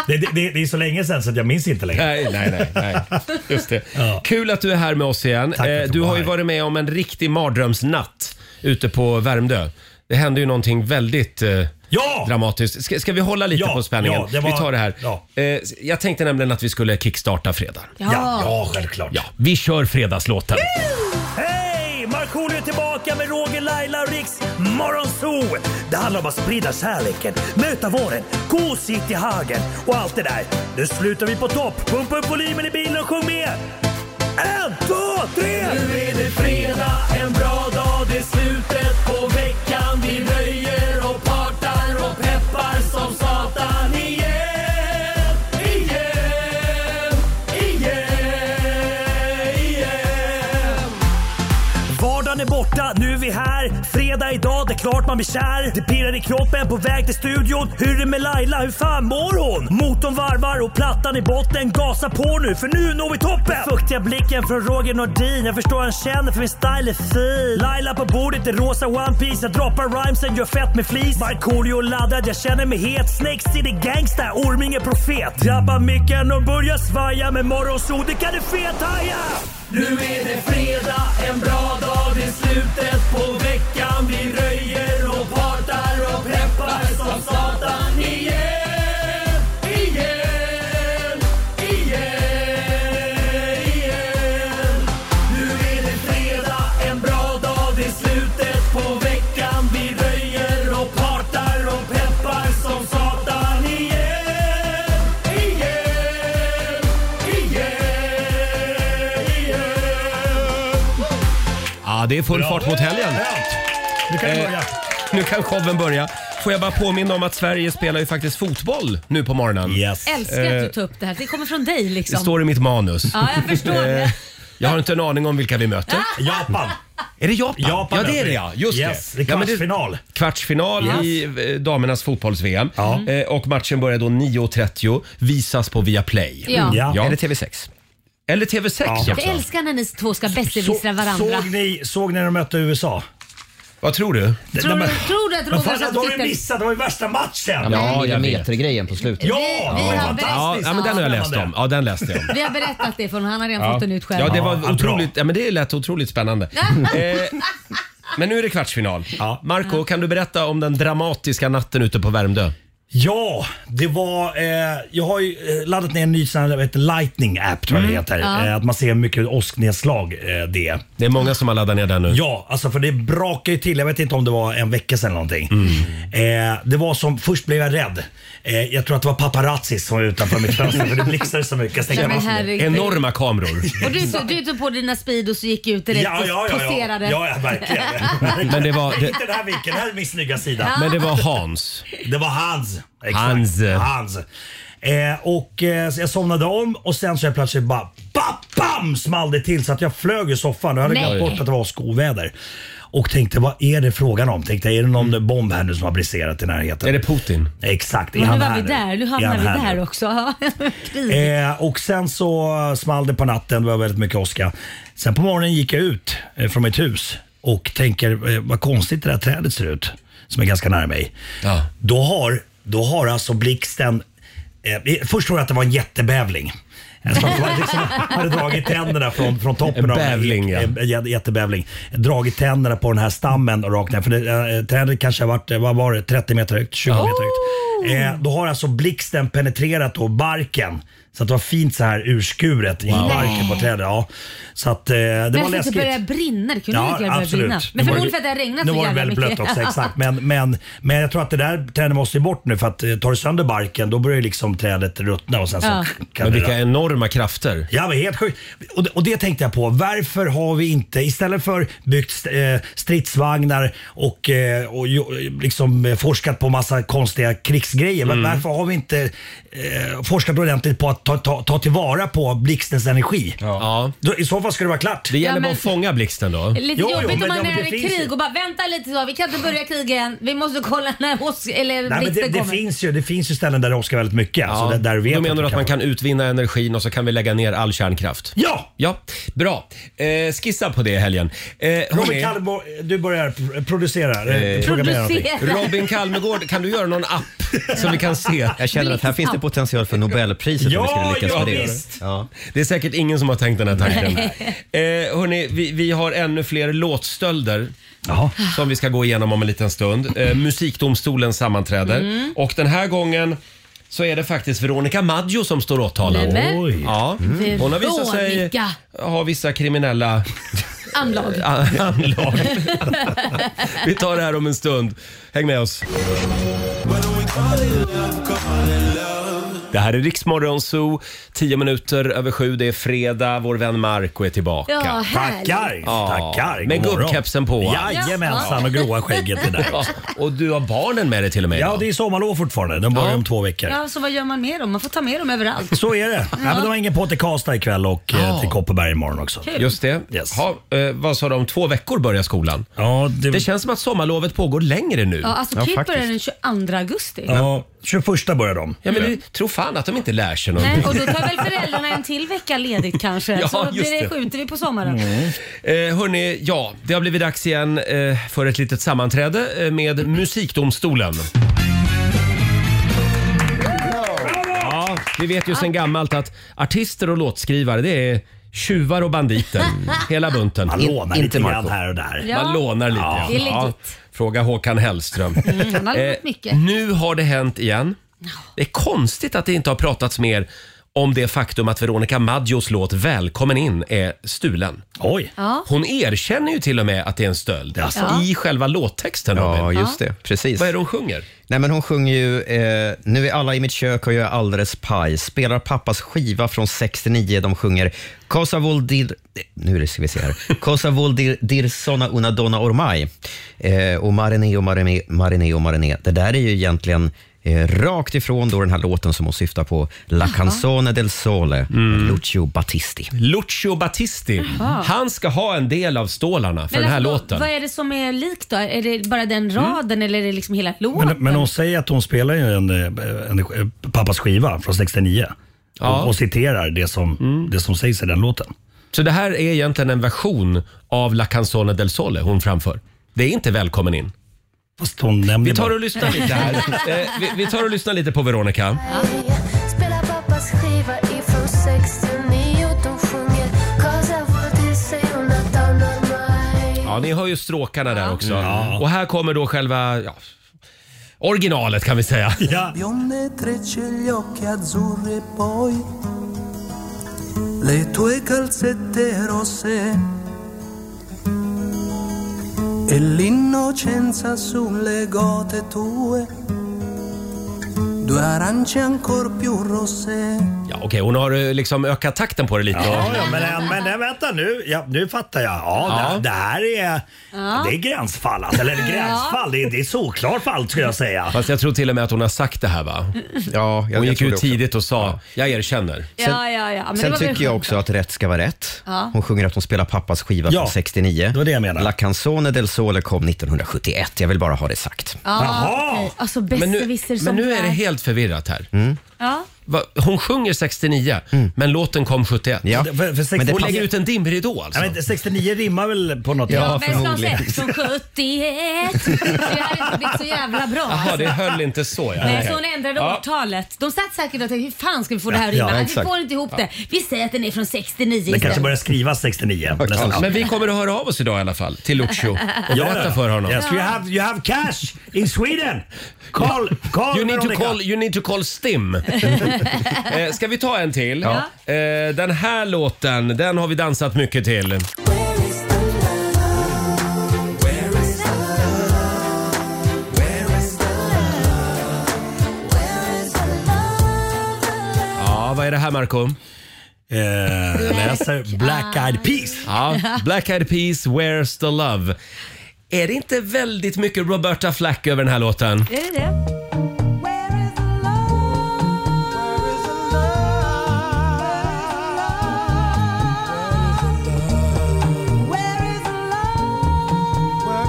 [SPEAKER 9] det, det, det, det är så länge sedan så att jag minns inte längre.
[SPEAKER 1] Nej, nej, nej. nej. Just det.
[SPEAKER 9] Ja.
[SPEAKER 1] Kul att du är här med oss igen.
[SPEAKER 9] Tack för att
[SPEAKER 1] Eh,
[SPEAKER 9] jag
[SPEAKER 1] Du
[SPEAKER 9] var
[SPEAKER 1] har ju
[SPEAKER 9] här.
[SPEAKER 1] varit med om en riktig mardrömsnatt ute på Värmdö. Det hände ju någonting väldigt eh,
[SPEAKER 9] Ja!
[SPEAKER 1] dramatiskt. Ska, ska vi hålla lite
[SPEAKER 9] Ja,
[SPEAKER 1] på spänningen?
[SPEAKER 9] ja, det var-
[SPEAKER 1] Vi tar det här.
[SPEAKER 9] ja.
[SPEAKER 1] Eh, Jag tänkte nämligen att vi skulle kickstarta fredag.
[SPEAKER 9] Ja, ja, självklart.
[SPEAKER 1] Ja, vi kör fredagslåten.
[SPEAKER 9] Hej! Markoolio är tillbaka med Roger, Laila och Riks Morgonzoo! Det handlar om att sprida kärleken, möta våren, gosigt i hagen och allt det där. Nu slutar vi på topp! Pumpa upp volymen i bilen och sjung med! En, två, tre! Nu är det fredag, en bra dag, det är slutet på veckan. Vi röjer och partar och peppar som satan igen, igen, igen, igen. Vardagen är borta, nu är vi här. Fredag idag, det är klart man blir kär. Det pirrar i kroppen på väg till studion. Hur är det med Laila, hur fan mår hon? Motorn varvar och plattan i botten. Gasa på nu, för nu når vi toppen! Den fuktiga blicken från Roger Nordin. Jag förstår han känner för min style är fin. Laila på bordet i rosa One Piece Jag droppar rhymesen, gör fett med flis. Markoolio laddad, jag känner mig het. Snake City gangsta, Orminge profet. Drabbar micken och börjar svaja. Med morgonsol, det kan du fethaja! Nu är det fredag, en bra dag, det är slutet på veckan. Vi röjer och partar och peppar som satan igen, igen, igen, igen. Nu är det fredag, en bra dag, det är slutet på veckan. Vi röjer och partar och peppar som satan igen, igen, igen. Yeah.
[SPEAKER 1] Ja, det är full fart mot helgen.
[SPEAKER 9] Nu kan vi
[SPEAKER 1] Eh,
[SPEAKER 9] börja.
[SPEAKER 1] Nu kan showen börja. Får jag bara påminna om att Sverige spelar ju faktiskt fotboll nu på morgonen.
[SPEAKER 9] Yes.
[SPEAKER 2] Älskar att du tar upp det här. Det kommer från dig
[SPEAKER 1] Eh, Det
[SPEAKER 2] liksom.
[SPEAKER 1] står i mitt manus. Eh,
[SPEAKER 2] Ja, jag förstår det.
[SPEAKER 1] Jag har inte en aning om vilka
[SPEAKER 2] [LAUGHS]
[SPEAKER 1] vi möter.
[SPEAKER 9] Japan.
[SPEAKER 1] Är det Japan?
[SPEAKER 9] Japan
[SPEAKER 1] ja, det är
[SPEAKER 9] möter
[SPEAKER 1] det
[SPEAKER 9] vi.
[SPEAKER 1] ja. Just
[SPEAKER 9] Yes, det är
[SPEAKER 1] Ja, men
[SPEAKER 9] kvartsfinal.
[SPEAKER 1] Kvartsfinal i eh, damernas fotbolls-VM.
[SPEAKER 9] Ja.
[SPEAKER 1] Eh, och matchen börjar då 9.30. Visas på Viaplay.
[SPEAKER 2] Ja. Mm.
[SPEAKER 9] Ja.
[SPEAKER 1] Ja.
[SPEAKER 3] Eller TV6.
[SPEAKER 1] Eller TV6
[SPEAKER 9] Ja.
[SPEAKER 1] också.
[SPEAKER 2] Jag älskar när ni två ska
[SPEAKER 9] Så,
[SPEAKER 2] besserwissra varandra.
[SPEAKER 9] såg, ni, såg ni när de mötte USA?
[SPEAKER 1] Vad tror du?
[SPEAKER 2] Tror du, tror du att
[SPEAKER 9] Men
[SPEAKER 2] Roger
[SPEAKER 9] fan,
[SPEAKER 2] satt
[SPEAKER 9] de
[SPEAKER 2] och
[SPEAKER 9] har ju
[SPEAKER 2] tittade?
[SPEAKER 9] missat. Det var ju värsta matchen.
[SPEAKER 1] men-
[SPEAKER 3] Ja,
[SPEAKER 1] Ja, jag
[SPEAKER 3] jag
[SPEAKER 1] vet.
[SPEAKER 3] meter-grejen på slutet.
[SPEAKER 9] Ja,
[SPEAKER 2] Vi- vi
[SPEAKER 9] det var
[SPEAKER 2] har
[SPEAKER 1] Ja,
[SPEAKER 9] fantastiskt.
[SPEAKER 1] ja, men den har jag läst om. Ja, den läste jag om.
[SPEAKER 2] Vi har berättat det för honom. Han har redan
[SPEAKER 1] Ja.
[SPEAKER 2] fått den ut själv.
[SPEAKER 1] Ja, det var
[SPEAKER 9] Ja, bra.
[SPEAKER 1] otroligt. Ja, men det lät otroligt spännande. eh, men nu är det kvartsfinal.
[SPEAKER 9] Ja.
[SPEAKER 1] Marco, kan du berätta om den dramatiska natten ute på Värmdö?
[SPEAKER 9] Ja, det var... Eh, jag har ju eh, laddat ner en ny sån här, vad heter det, lightning app tror jag
[SPEAKER 2] Mm.
[SPEAKER 9] det heter. Eh, att man ser hur mycket åsknedslag eh, det är.
[SPEAKER 1] Det är många som har laddat ner den nu.
[SPEAKER 9] Ja, alltså för det brakar ju till. Jag vet inte om det var en vecka sedan eller någonting.
[SPEAKER 1] Mm.
[SPEAKER 9] Eh, det var som, först blev jag rädd. Eh, jag tror att det var paparazzis som var utanför mitt fönster för det blixtrade så mycket. Jag stängde
[SPEAKER 2] Nej, men
[SPEAKER 9] fast mig.
[SPEAKER 2] herregud.
[SPEAKER 1] Enorma kameror.
[SPEAKER 2] Och du, så, du tog på dina Speedos och gick ut direkt
[SPEAKER 9] Ja, ja,
[SPEAKER 2] och
[SPEAKER 9] ja, ja.
[SPEAKER 2] poserade.
[SPEAKER 9] ja, ja verkligen.
[SPEAKER 2] [LAUGHS]
[SPEAKER 1] Men det var, det,
[SPEAKER 9] Inte den här vinkeln, det här är min snygga sida.
[SPEAKER 1] men det var Hans.
[SPEAKER 9] Det var hans. Exakt.
[SPEAKER 1] Hans.
[SPEAKER 9] hans. Eh, och eh, så jag somnade om och sen så jag plötsligt bara bam, bam small det till så att jag flög i soffan. Jag hade
[SPEAKER 2] Nej.
[SPEAKER 9] glömt bort att det var åskoväder. Och tänkte vad är det frågan om? Tänkte är det någon bomb här nu som har briserat i närheten?
[SPEAKER 1] Är det Putin?
[SPEAKER 9] Exakt. är
[SPEAKER 2] Men
[SPEAKER 9] han
[SPEAKER 2] nu var
[SPEAKER 9] här
[SPEAKER 2] vi där. Nu
[SPEAKER 9] Är
[SPEAKER 2] hamnar
[SPEAKER 9] han
[SPEAKER 2] vi
[SPEAKER 9] här nu?
[SPEAKER 2] där också. [LAUGHS] Krig.
[SPEAKER 9] Eh, och sen så small det på natten, det var väldigt mycket åska. Sen på morgonen gick jag ut eh, från mitt hus och tänker eh, vad konstigt det där trädet ser ut som är ganska nära mig.
[SPEAKER 1] Ja.
[SPEAKER 9] Då, har, då har alltså blixten, eh, eh, först tror jag att det var en jättebävling. Eh, Som liksom [LAUGHS] hade dragit tänderna från, från toppen
[SPEAKER 1] En
[SPEAKER 9] av
[SPEAKER 1] bävling, ja.
[SPEAKER 9] eh, en jä- jättebävling. Dragit tänderna på den här stammen och rakt ner. För det, eh, trädet kanske har varit, eh, vad var det, 30 meter högt, 20 meter högt. Eh, då har alltså blixten penetrerat då barken. Så att det var fint så här urskuret i barken på trädet. Ja. Så att eh, det var
[SPEAKER 2] Men för att det
[SPEAKER 9] läskigt.
[SPEAKER 2] började brinna. Det kunde lika gärna börja brinna. Men
[SPEAKER 9] Nu var
[SPEAKER 2] förmodligen för att det har regnat
[SPEAKER 9] Nu
[SPEAKER 2] så
[SPEAKER 9] var det
[SPEAKER 2] jävla
[SPEAKER 9] väldigt blött
[SPEAKER 2] mycket. [LAUGHS]
[SPEAKER 9] också, exakt. Men, men, men jag tror att det där trädet måste ju bort nu för att eh, tar du sönder barken då börjar ju liksom trädet ruttna och sen så
[SPEAKER 2] Ja.
[SPEAKER 9] kan
[SPEAKER 1] Men
[SPEAKER 9] det
[SPEAKER 1] vilka enorma krafter.
[SPEAKER 9] Ja, men helt sjukt. Och, det- och det tänkte jag på. Varför har vi inte, istället för byggt st- eh, stridsvagnar och, eh, och ju- liksom eh, forskat på massa konstiga krigsgrejer,
[SPEAKER 1] Mm.
[SPEAKER 9] var- varför har vi inte eh, forskat ordentligt på att ta, ta, ta tillvara på blixtens energi?
[SPEAKER 1] Ja.
[SPEAKER 9] Då, I så fall skulle det vara klart.
[SPEAKER 1] Det gäller
[SPEAKER 2] Ja,
[SPEAKER 1] bara
[SPEAKER 2] men-
[SPEAKER 1] att fånga blixten då.
[SPEAKER 2] Lite
[SPEAKER 9] Jo, jo,
[SPEAKER 2] jobbigt
[SPEAKER 9] men
[SPEAKER 2] om man
[SPEAKER 9] det-
[SPEAKER 2] är
[SPEAKER 9] det
[SPEAKER 2] i
[SPEAKER 9] finns
[SPEAKER 2] krig
[SPEAKER 9] ju-
[SPEAKER 2] och bara vänta lite så, vi kan inte börja kriga än. Vi måste kolla när oss, eller
[SPEAKER 9] Nej, men det,
[SPEAKER 2] blixten
[SPEAKER 9] det,
[SPEAKER 2] kommer.
[SPEAKER 9] finns ju, det finns ju ställen där det åskar väldigt mycket. Så där, där vet
[SPEAKER 1] Då
[SPEAKER 9] jag
[SPEAKER 1] menar du
[SPEAKER 9] vi
[SPEAKER 1] att man kan utvinna energin och så kan vi lägga ner all kärnkraft?
[SPEAKER 9] Ja!
[SPEAKER 1] Ja, bra. Eh, skissa på det i helgen. Eh,
[SPEAKER 9] Robin
[SPEAKER 1] hörni,
[SPEAKER 9] Kallborg, du börjar pr- producera. Eh, fråga mig någonting.
[SPEAKER 2] Producera.
[SPEAKER 1] Robin Kalmegård, kan du göra någon app som vi kan se?
[SPEAKER 3] Jag känner att här finns det potential för Nobelpriset om vi
[SPEAKER 9] Ja,
[SPEAKER 3] skulle lyckas
[SPEAKER 9] ja,
[SPEAKER 3] med det.
[SPEAKER 9] visst.
[SPEAKER 3] Ja.
[SPEAKER 1] Det är säkert ingen som har tänkt den här
[SPEAKER 2] [LAUGHS]
[SPEAKER 1] tanken. Eh, hörni, vi, vi har ännu fler låtstölder
[SPEAKER 9] Jaha.
[SPEAKER 1] som vi ska gå igenom om en liten stund. Eh, musikdomstolen sammanträder
[SPEAKER 2] Mm.
[SPEAKER 1] och den här gången så är det faktiskt Veronica Maggio som står åtalad.
[SPEAKER 2] Nämen.
[SPEAKER 9] Oj.
[SPEAKER 1] Ja, Mm. hon har visat sig
[SPEAKER 2] Veronica.
[SPEAKER 1] ha vissa kriminella
[SPEAKER 2] Anlag.
[SPEAKER 1] Eh,
[SPEAKER 2] [LAUGHS]
[SPEAKER 1] anlag. Vi tar det här om en stund. Häng med oss. Det här är Riksmorgon Zoo, 10 minuter över sju. Det är fredag, vår vän Marco är tillbaka.
[SPEAKER 2] Ja, härligt.
[SPEAKER 9] Tackar, tackar. God
[SPEAKER 1] med
[SPEAKER 9] morgon.
[SPEAKER 1] gubbkepsen på.
[SPEAKER 9] Jajamensan och gråa skägget det
[SPEAKER 2] [LAUGHS]
[SPEAKER 9] där.
[SPEAKER 1] Ja, och du har barnen med dig till och med
[SPEAKER 9] Ja,
[SPEAKER 1] idag.
[SPEAKER 9] det är sommarlov fortfarande. De börjar
[SPEAKER 1] Ja.
[SPEAKER 9] om två veckor.
[SPEAKER 2] Ja, så vad gör man med dem? Man får ta med dem överallt.
[SPEAKER 9] Så är det. Nej, men de har ingen på till Karlstad ikväll och eh,
[SPEAKER 1] Ja.
[SPEAKER 9] till Kopparberg imorgon också.
[SPEAKER 1] Just det.
[SPEAKER 9] Yes.
[SPEAKER 1] Ha, eh, vad sa de? Om två veckor börjar skolan.
[SPEAKER 9] Ja, det,
[SPEAKER 1] Det känns som att sommarlovet pågår längre nu.
[SPEAKER 2] Ja, alltså
[SPEAKER 3] Ja,
[SPEAKER 2] Kid
[SPEAKER 3] faktiskt.
[SPEAKER 2] börjar den 22 augusti.
[SPEAKER 9] ja, 21 börjar de.
[SPEAKER 1] Ja, men du tror fan att de inte lär sig någonting.
[SPEAKER 2] Nej, och då tar väl föräldrarna en till vecka ledigt kanske.
[SPEAKER 1] Ja,
[SPEAKER 2] så
[SPEAKER 1] just
[SPEAKER 2] blir det
[SPEAKER 1] det.
[SPEAKER 2] skjuter vi på sommaren.
[SPEAKER 1] Eh, hörni, ja, det har blivit dags igen eh, för ett litet sammanträde eh, med Musikdomstolen. Ja, vi vet ju sedan gammalt att artister och låtskrivare, det är tjuvar och banditer. Hela bunten.
[SPEAKER 9] Mm. Man lånar
[SPEAKER 3] inte
[SPEAKER 9] lite grann
[SPEAKER 3] Marco.
[SPEAKER 9] här och där.
[SPEAKER 2] Ja.
[SPEAKER 1] Man lånar lite.
[SPEAKER 9] Ja,
[SPEAKER 2] det är legit. Mm,
[SPEAKER 1] Fråga Håkan Hellström. Eh,
[SPEAKER 2] han har lånat mycket.
[SPEAKER 1] nu har det hänt igen. Det är konstigt att det inte har pratats mer om det faktum att Veronica Maggios låt Välkommen in är stulen.
[SPEAKER 9] Oj.
[SPEAKER 2] Ja.
[SPEAKER 1] Hon erkänner ju till och med att det är en stöld
[SPEAKER 2] Jaså?
[SPEAKER 1] i själva låttexten.
[SPEAKER 3] Ja,
[SPEAKER 1] Robin.
[SPEAKER 3] just det. Precis.
[SPEAKER 1] Vad är det hon sjunger?
[SPEAKER 3] Nej, men hon sjunger ju eh, “Nu är alla i mitt kök och jag är alldeles paj”, spelar pappas skiva från 69, de sjunger Cosa vuol dir... Nu ska vi se
[SPEAKER 1] [LAUGHS]
[SPEAKER 3] här. Cosa vuol dir, dir sona una donna ormai? Eh, och Mariné och Mariné, Mariné och Mariné. Det där är ju egentligen eh, rakt ifrån då den här låten som hon syftar på, La canzone del sole, Lucio Battisti.
[SPEAKER 1] Mm. Lucio Battisti. Han ska ha en del av stålarna för den här
[SPEAKER 2] alltså, vad-
[SPEAKER 1] låten.
[SPEAKER 2] Vad är det som är likt då? Är det bara den raden eller är det liksom hela låten?
[SPEAKER 9] Men, men hon säger att hon spelar ju en, eh, en, eh, pappas skiva från 69. Och, och citerar det som, det som sägs i den låten.
[SPEAKER 1] Mm. Så det här är egentligen en version av La Canzone del Sole hon framför. Det är inte välkommen in.
[SPEAKER 9] Fast hon nämner
[SPEAKER 1] Vi tar
[SPEAKER 9] bara-
[SPEAKER 1] och lyssnar
[SPEAKER 9] [LAUGHS]
[SPEAKER 1] lite här. Eh, vi, vi tar och lyssnar lite på Veronica.
[SPEAKER 5] Spelar pappas skiva ifrån 69 De sjunger Casa Vordilse och Nathan
[SPEAKER 1] [LAUGHS]
[SPEAKER 5] Ormai
[SPEAKER 1] Ja, ni hör ju stråkarna där också. Och här kommer då själva ja, originalet kan vi säga.
[SPEAKER 9] Ja.
[SPEAKER 4] Bionde trecce gli occhi azzurri e poi le tue calzette rosse e l'innocenza sulle gote tue, due arance ancor più rosse.
[SPEAKER 1] Ja, Okej, hon har eh, liksom ökat takten på det lite.
[SPEAKER 9] Ja, ja, men, eh, men nej, vänta nu. Ja, nu fattar jag. Ja,
[SPEAKER 1] Ja.
[SPEAKER 9] Det, det här är, det är gränsfall. Alltså, eller gränsfall, det är, det är solklart fall skulle jag säga.
[SPEAKER 1] Fast jag tror till och med att hon har sagt det här va?
[SPEAKER 3] Ja, jag,
[SPEAKER 1] Hon
[SPEAKER 3] jag
[SPEAKER 1] gick
[SPEAKER 3] tror det
[SPEAKER 1] ut
[SPEAKER 3] också.
[SPEAKER 1] tidigt och sa, jag erkänner.
[SPEAKER 2] ja, ja, ja. Men det
[SPEAKER 3] Sen
[SPEAKER 2] var väl
[SPEAKER 3] tycker jag
[SPEAKER 2] skönt
[SPEAKER 3] också
[SPEAKER 2] då.
[SPEAKER 3] att rätt ska vara rätt.
[SPEAKER 2] Ja.
[SPEAKER 3] Hon sjunger att hon spelar pappas skiva
[SPEAKER 9] Ja,
[SPEAKER 3] från 69.
[SPEAKER 9] det var det jag menade.
[SPEAKER 3] La Canzone del Sole kom 1971. Jag vill bara ha det sagt.
[SPEAKER 9] Jaha.
[SPEAKER 2] Ja, okej. Alltså
[SPEAKER 1] Men nu,
[SPEAKER 2] besserwisser som
[SPEAKER 1] men
[SPEAKER 2] du
[SPEAKER 1] nu är det helt förvirrat här.
[SPEAKER 9] Mm.
[SPEAKER 2] Ja.
[SPEAKER 1] Va, hon sjunger 69, men låten kom 71.
[SPEAKER 3] Ja.
[SPEAKER 9] För- för sex-
[SPEAKER 3] Men det
[SPEAKER 1] Hon
[SPEAKER 3] passar-
[SPEAKER 1] lägger ut en dimridå alltså.
[SPEAKER 9] Nej, men 69 rimmar väl på något?
[SPEAKER 2] Ja, men ska
[SPEAKER 3] förmodligen.
[SPEAKER 2] släppt från 71. Så det hade inte blivit så jävla bra.
[SPEAKER 1] Jaha,
[SPEAKER 2] alltså.
[SPEAKER 1] det höll inte så ja.
[SPEAKER 2] Nej,
[SPEAKER 1] Okej.
[SPEAKER 2] så hon ändrade
[SPEAKER 1] Ja.
[SPEAKER 2] årtalet. De satt säkert och tänkte, hur fan ska vi få det här att
[SPEAKER 9] Ja,
[SPEAKER 2] rimma? Nej, vi
[SPEAKER 3] exakt.
[SPEAKER 2] får inte ihop det. Vi säger att den är från 69
[SPEAKER 9] Den
[SPEAKER 2] istället.
[SPEAKER 9] kanske börjar skrivas 69. nästan.
[SPEAKER 1] Men vi kommer att höra av oss idag i alla fall till Lucio och
[SPEAKER 9] Ja,
[SPEAKER 1] berätta
[SPEAKER 9] ja.
[SPEAKER 1] för honom.
[SPEAKER 9] Yes, you have, you have cash in Sweden. Call, call
[SPEAKER 1] You need, to
[SPEAKER 9] Veronica.
[SPEAKER 1] call, you need to
[SPEAKER 9] [LAUGHS]
[SPEAKER 1] call STIM. eh, ska vi ta en till? Eh, den här låten, den har vi dansat mycket till.
[SPEAKER 5] Where is the love? Where is the love? Where is the love? Where is the love?
[SPEAKER 1] Ja, vad är det här Marco?
[SPEAKER 9] Eh, läser Black Eyed Peas.
[SPEAKER 1] Ja, Black Eyed Peas, Where's the Love? Är det inte väldigt mycket Roberta Flack över den här låten?
[SPEAKER 2] Är det det?
[SPEAKER 5] Where is the love? Where is the love?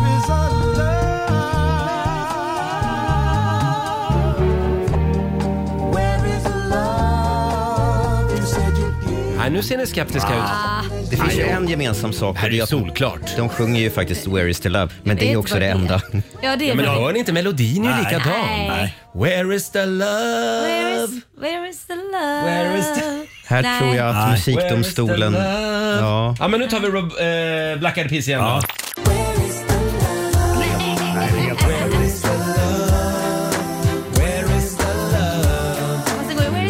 [SPEAKER 1] Nej, nu ser ni skeptiska
[SPEAKER 2] Ah.
[SPEAKER 1] ut.
[SPEAKER 3] Det finns ju en gemensam sak.
[SPEAKER 1] Här är
[SPEAKER 3] och det
[SPEAKER 1] ju
[SPEAKER 3] att de-
[SPEAKER 1] solklart.
[SPEAKER 3] De sjunger ju faktiskt Where is the love, men det är
[SPEAKER 2] inte
[SPEAKER 3] också
[SPEAKER 2] vad
[SPEAKER 3] det enda.
[SPEAKER 2] Ja, det är
[SPEAKER 1] Men
[SPEAKER 2] väl det.
[SPEAKER 1] hör ni inte? Melodin är ju
[SPEAKER 9] Nej.
[SPEAKER 1] likadan.
[SPEAKER 2] Nej.
[SPEAKER 1] Where is the
[SPEAKER 2] Where
[SPEAKER 1] love?
[SPEAKER 2] is, where is the love?
[SPEAKER 1] Where is the-
[SPEAKER 3] Här
[SPEAKER 2] Nej.
[SPEAKER 3] tror jag att
[SPEAKER 9] Nej.
[SPEAKER 3] musikdomstolen...
[SPEAKER 1] Where is the love?
[SPEAKER 3] Ja.
[SPEAKER 1] Ja, men nu tar vi Rob, eh, Black Eyed Peas igen då.
[SPEAKER 5] Where is the love?
[SPEAKER 2] Fast det går ju, Where is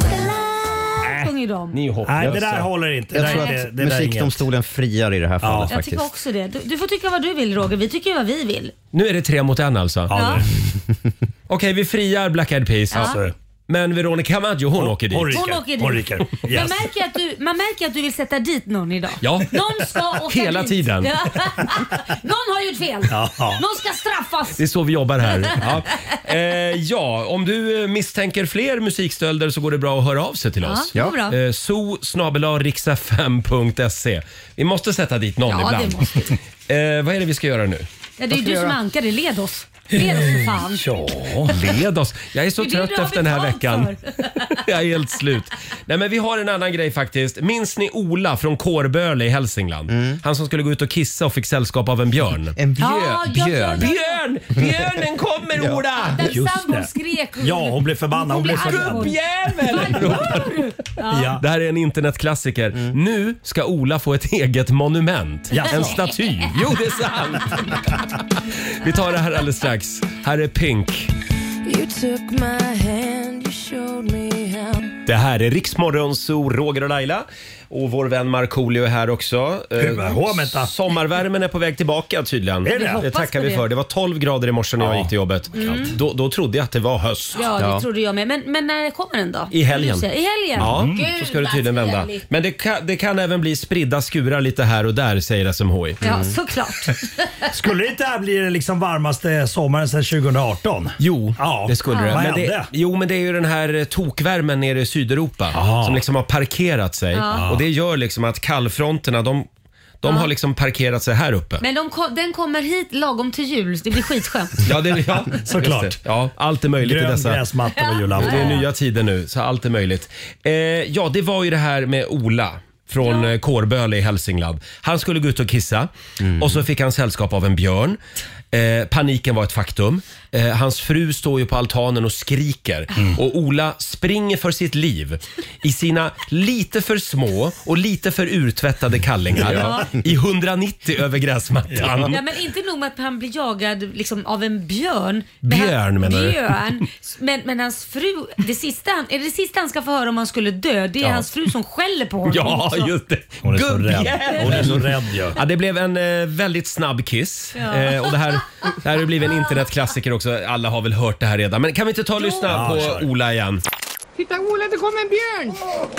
[SPEAKER 2] the love? Sjunger de.
[SPEAKER 1] Ni är hopplösa.
[SPEAKER 9] Nej, det där håller inte.
[SPEAKER 3] Jag
[SPEAKER 9] det
[SPEAKER 3] tror
[SPEAKER 9] där, är-
[SPEAKER 3] att
[SPEAKER 9] det, det där är inget.
[SPEAKER 3] musikdomstolen friar i det här fallet
[SPEAKER 2] Jag tycker
[SPEAKER 3] faktiskt.
[SPEAKER 2] också det. Du, du får tycka vad du vill Roger. Vi tycker ju vad vi vill.
[SPEAKER 1] Nu är det tre mot en alltså.
[SPEAKER 9] Ja,
[SPEAKER 1] Okej, vi friar Black Eyed Peas.
[SPEAKER 9] det-
[SPEAKER 1] Men Veronica Maggio, hon åker dit.
[SPEAKER 9] Hon
[SPEAKER 2] Hon åker dit.
[SPEAKER 9] ryker. Hon ryker.
[SPEAKER 2] Man,
[SPEAKER 9] Yes.
[SPEAKER 2] märker att du, man märker att du vill sätta dit någon idag.
[SPEAKER 1] Ja.
[SPEAKER 2] Någon ska
[SPEAKER 1] [LAUGHS]
[SPEAKER 2] åka
[SPEAKER 1] Hela
[SPEAKER 2] dit.
[SPEAKER 1] tiden.
[SPEAKER 2] Ja. [LAUGHS] någon har gjort fel.
[SPEAKER 9] Ja.
[SPEAKER 2] Någon ska straffas.
[SPEAKER 1] Det är så vi
[SPEAKER 2] [LAUGHS]
[SPEAKER 1] jobbar här. Ja. Eh, ja, om du eh, misstänker fler musikstölder så går det bra att höra av sig till oss.
[SPEAKER 2] Ja, det går bra.
[SPEAKER 1] Eh, so riksfm.se. E. Vi måste sätta dit någon
[SPEAKER 2] Ja,
[SPEAKER 1] ibland.
[SPEAKER 2] det måste vi.
[SPEAKER 1] Eh, vad är det vi ska göra nu?
[SPEAKER 2] Ja, det är ju du som ankade. Led oss. Led oss för fan.
[SPEAKER 1] Ja, led oss. Jag är så
[SPEAKER 2] Det är det
[SPEAKER 1] trött
[SPEAKER 2] du har
[SPEAKER 1] efter den här
[SPEAKER 2] betalt
[SPEAKER 1] veckan.
[SPEAKER 2] för.
[SPEAKER 1] [LAUGHS] Jag är helt slut. Nej, men vi har en annan grej faktiskt. Minns ni Ola från Kårböle i Hälsingland? Han som skulle gå ut och kissa och fick sällskap av en björn.
[SPEAKER 3] Mm. En björn.
[SPEAKER 2] Ja, ja, ja, ja.
[SPEAKER 1] Björn! Björnen kommer Ola!
[SPEAKER 2] Den
[SPEAKER 9] Just
[SPEAKER 2] sambon
[SPEAKER 9] det.
[SPEAKER 2] skrek.
[SPEAKER 9] Ja, hon blev förbannad. Hon blev
[SPEAKER 2] Hon blev
[SPEAKER 9] förbannad.
[SPEAKER 2] arg.
[SPEAKER 1] Gubbjävel!
[SPEAKER 9] Ja.
[SPEAKER 1] Det här är en internetklassiker.
[SPEAKER 3] Mm.
[SPEAKER 1] Nu ska Ola få ett eget monument.
[SPEAKER 9] Jaså?
[SPEAKER 1] En staty. Jo, det är sant! Vi tar det här alldeles strax. Här är Pink.
[SPEAKER 5] You took my hand, you showed me how
[SPEAKER 1] Det här är Riksmorgon, Zoo, Roger och Laila. Och vår vän Markoolio är här också. Eh,
[SPEAKER 9] Huvudhåmenta.
[SPEAKER 1] Sommarvärmen är på väg tillbaka tydligen.
[SPEAKER 9] Är det? Vi
[SPEAKER 1] det
[SPEAKER 2] hoppas
[SPEAKER 1] tackar
[SPEAKER 2] på
[SPEAKER 1] vi
[SPEAKER 2] det.
[SPEAKER 1] för. Det var 12 grader i morse när jag
[SPEAKER 9] Ja. Mm.
[SPEAKER 1] gick till jobbet. Då, då trodde jag att det var höst.
[SPEAKER 2] Ja, det
[SPEAKER 3] Ja.
[SPEAKER 2] trodde jag med. Men, men när kommer den då?
[SPEAKER 1] I helgen.
[SPEAKER 2] Du säger, I helgen? Mm.
[SPEAKER 1] Ja, så ska det
[SPEAKER 2] vad
[SPEAKER 1] tydligen vända.
[SPEAKER 2] härligt.
[SPEAKER 1] Men det kan, det kan även bli spridda skurar lite här och där säger SMHI.
[SPEAKER 2] Ja, såklart.
[SPEAKER 1] [LAUGHS]
[SPEAKER 9] Skulle det inte här bli den liksom varmaste sommaren sedan 2018?
[SPEAKER 1] Jo,
[SPEAKER 9] Ja.
[SPEAKER 1] det skulle det.
[SPEAKER 9] Vad
[SPEAKER 1] Men det.
[SPEAKER 9] hände?
[SPEAKER 1] Jo, men det är ju den här eh, tokvärmen nere i Sydeuropa som liksom har parkerat sig. Och det gör liksom att kallfronterna, de, de har liksom parkerat sig här uppe.
[SPEAKER 2] Men de, ko- den kommer hit lagom till jul. Det blir skitskönt.
[SPEAKER 1] Ja, det, [LAUGHS] ja
[SPEAKER 9] Såklart.
[SPEAKER 1] just det. Ja, allt är möjligt i
[SPEAKER 9] Grön
[SPEAKER 1] dessa...
[SPEAKER 9] gräsmatta på julafton.
[SPEAKER 1] Det är nya tider nu, så allt är möjligt. Eh, ja, det var ju det här med Ola från ja. Kårböle i Hälsingland. Han skulle gå ut och kissa och så fick han sällskap av en björn. Eh, paniken var ett faktum. Eh, hans fru står ju på altanen och skriker och Ola springer för sitt liv i sina lite för små och lite för urtvättade kallingar i 190 över gräsmattan.
[SPEAKER 2] Ja, men inte nog med att han blir jagad liksom, av en björn.
[SPEAKER 1] Björn, menar du?
[SPEAKER 2] du? Björn. Men, men hans fru, det sista, han, är det sista han ska få höra om han skulle dö, det är
[SPEAKER 1] Ja.
[SPEAKER 2] hans fru som skäller på honom.
[SPEAKER 1] Ja, just det.
[SPEAKER 9] Hon är så rädd.
[SPEAKER 1] Gubbjävel!
[SPEAKER 9] Hon är så rädd ju.
[SPEAKER 1] Ja, det blev en eh, väldigt snabb kiss. Eh, och det här, det här har blivit en internetklassiker också. Alla har väl hört det här redan. Men kan vi inte ta och lyssna
[SPEAKER 9] Ja,
[SPEAKER 1] på
[SPEAKER 9] kör.
[SPEAKER 1] Ola igen?
[SPEAKER 10] Titta Ola, det kommer en björn!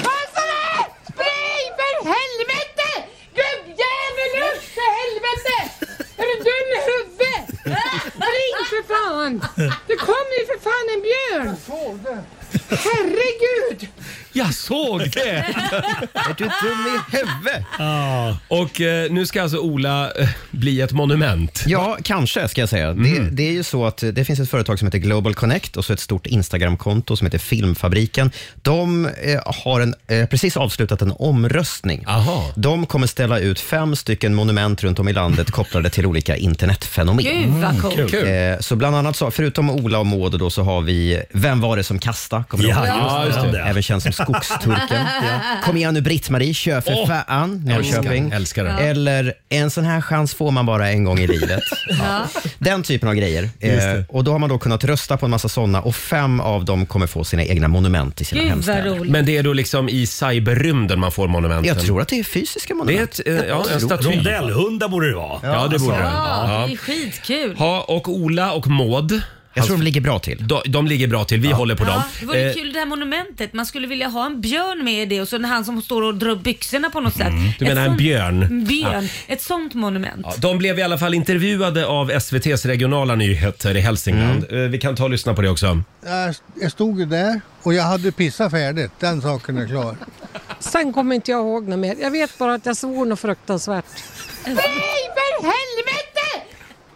[SPEAKER 10] Passa dig! Spring för helvete! Gubbjävel, upp för helvete! Är du dum i huvudet? Spring för fan! Det kommer ju för fan en björn! Herregud!
[SPEAKER 1] Jag såg det!
[SPEAKER 3] Är du dum i huvudet?
[SPEAKER 1] Och eh, nu ska alltså Ola eh, bli ett monument. Mm.
[SPEAKER 3] Ja, kanske ska jag säga. Det, det är ju så att eh, det finns ett företag som heter Global Connect och så ett stort Instagramkonto som heter Filmfabriken. De eh, har en, eh, precis avslutat en omröstning.
[SPEAKER 1] Aha.
[SPEAKER 3] De kommer ställa ut fem stycken monument runt om
[SPEAKER 1] [LAUGHS]
[SPEAKER 3] i landet kopplade till olika internetfenomen.
[SPEAKER 2] Gud vad coolt.
[SPEAKER 1] Mm, Kul.
[SPEAKER 3] Eh, Så bland annat, så, förutom Ola och Maud, då, så har vi Vem var det som kastade? Kommer du ihåg?
[SPEAKER 1] Ja, just det. [LAUGHS]
[SPEAKER 3] Även känd som skogsturken. Kom igen nu Britt-Marie, kör för
[SPEAKER 1] Åh,
[SPEAKER 3] fan Norrköping.
[SPEAKER 1] älskar, älskar den.
[SPEAKER 3] Eller en sån här chans får man bara en gång
[SPEAKER 1] [LAUGHS]
[SPEAKER 3] i livet. Ja. Den typen av grejer. Eh, och Då har man då kunnat rösta på en massa såna och fem av dem kommer få sina egna monument i sina
[SPEAKER 2] Gud vad
[SPEAKER 3] hemstäder.
[SPEAKER 2] roligt.
[SPEAKER 1] Men det är då liksom i cyberrymden man får monumenten?
[SPEAKER 3] Jag tror att det är
[SPEAKER 1] det
[SPEAKER 3] fysiska
[SPEAKER 1] är
[SPEAKER 3] monument.
[SPEAKER 1] ett, eh, ja, en staty.
[SPEAKER 9] Rondellhundar borde det vara.
[SPEAKER 1] Ja, det borde det.
[SPEAKER 2] Ja,
[SPEAKER 1] Ja.
[SPEAKER 2] det är skitkul.
[SPEAKER 1] Ha, och Ola och Maud,
[SPEAKER 3] Jag tror de ligger bra till.
[SPEAKER 1] de, de ligger bra till. Vi håller på dem.
[SPEAKER 2] Ja, det vore
[SPEAKER 1] Eh,
[SPEAKER 2] kul det här monumentet. Man skulle vilja ha en björn med i det och så han som står och drar upp byxorna på något sätt.
[SPEAKER 1] Mm. Du menar
[SPEAKER 2] Ett
[SPEAKER 1] en
[SPEAKER 2] sånt-
[SPEAKER 1] björn?
[SPEAKER 2] En björn. Ett sånt monument.
[SPEAKER 1] Ja, de blev i alla fall intervjuade av SVTs regionala nyheter i Hälsingland. Eh, Vi kan ta och lyssna på det också.
[SPEAKER 4] Jag- Jag stod ju där och jag hade pissat färdigt. Den saken är klar.
[SPEAKER 10] Sen kommer inte jag ihåg något mer. Jag vet bara att jag svor något fruktansvärt. Spring för helvete!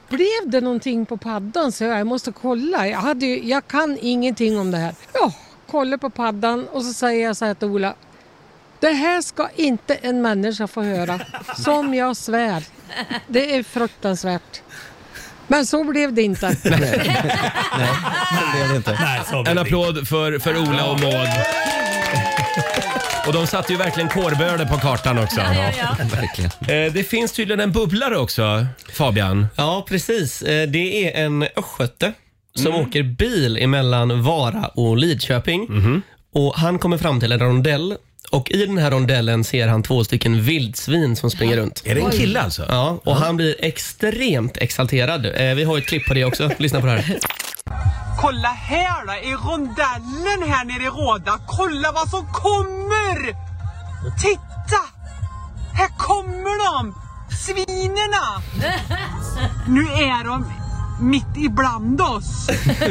[SPEAKER 10] Blev det någonting på paddan så jag måste kolla. Jag, hade ju, jag kan ingenting om det här. Ja, kollar på paddan och så säger jag så här till Ola. Det här ska inte en människa få höra. Som jag svär. Det är fruktansvärt. Men så blev det inte.
[SPEAKER 3] Det är det inte.
[SPEAKER 9] Nej, så
[SPEAKER 1] En applåd för, för Ola och Maud. Och de satte ju verkligen kårböler på kartan också.
[SPEAKER 2] Ja, ja.
[SPEAKER 3] Verkligen.
[SPEAKER 1] Eh, Det finns tydligen en bubblare också, Fabian.
[SPEAKER 8] Ja, precis. Eh, Det är en östgöte som
[SPEAKER 1] Mm.
[SPEAKER 8] åker bil emellan Vara och Lidköping.
[SPEAKER 1] Mhm.
[SPEAKER 8] Och han kommer fram till en rondell och i den här rondellen ser han två stycken vildsvin som springer runt.
[SPEAKER 1] Är det en kille alltså?
[SPEAKER 8] Ja, och han blir extremt exalterad. Eh, Vi har ju ett klipp på det också. Lyssna på det här.
[SPEAKER 10] Kolla här då, i rondellen här nere i Råda. Kolla vad som kommer! Titta! Här kommer de! Svinerna! Nu är de mitt ibland oss.
[SPEAKER 1] [LAUGHS]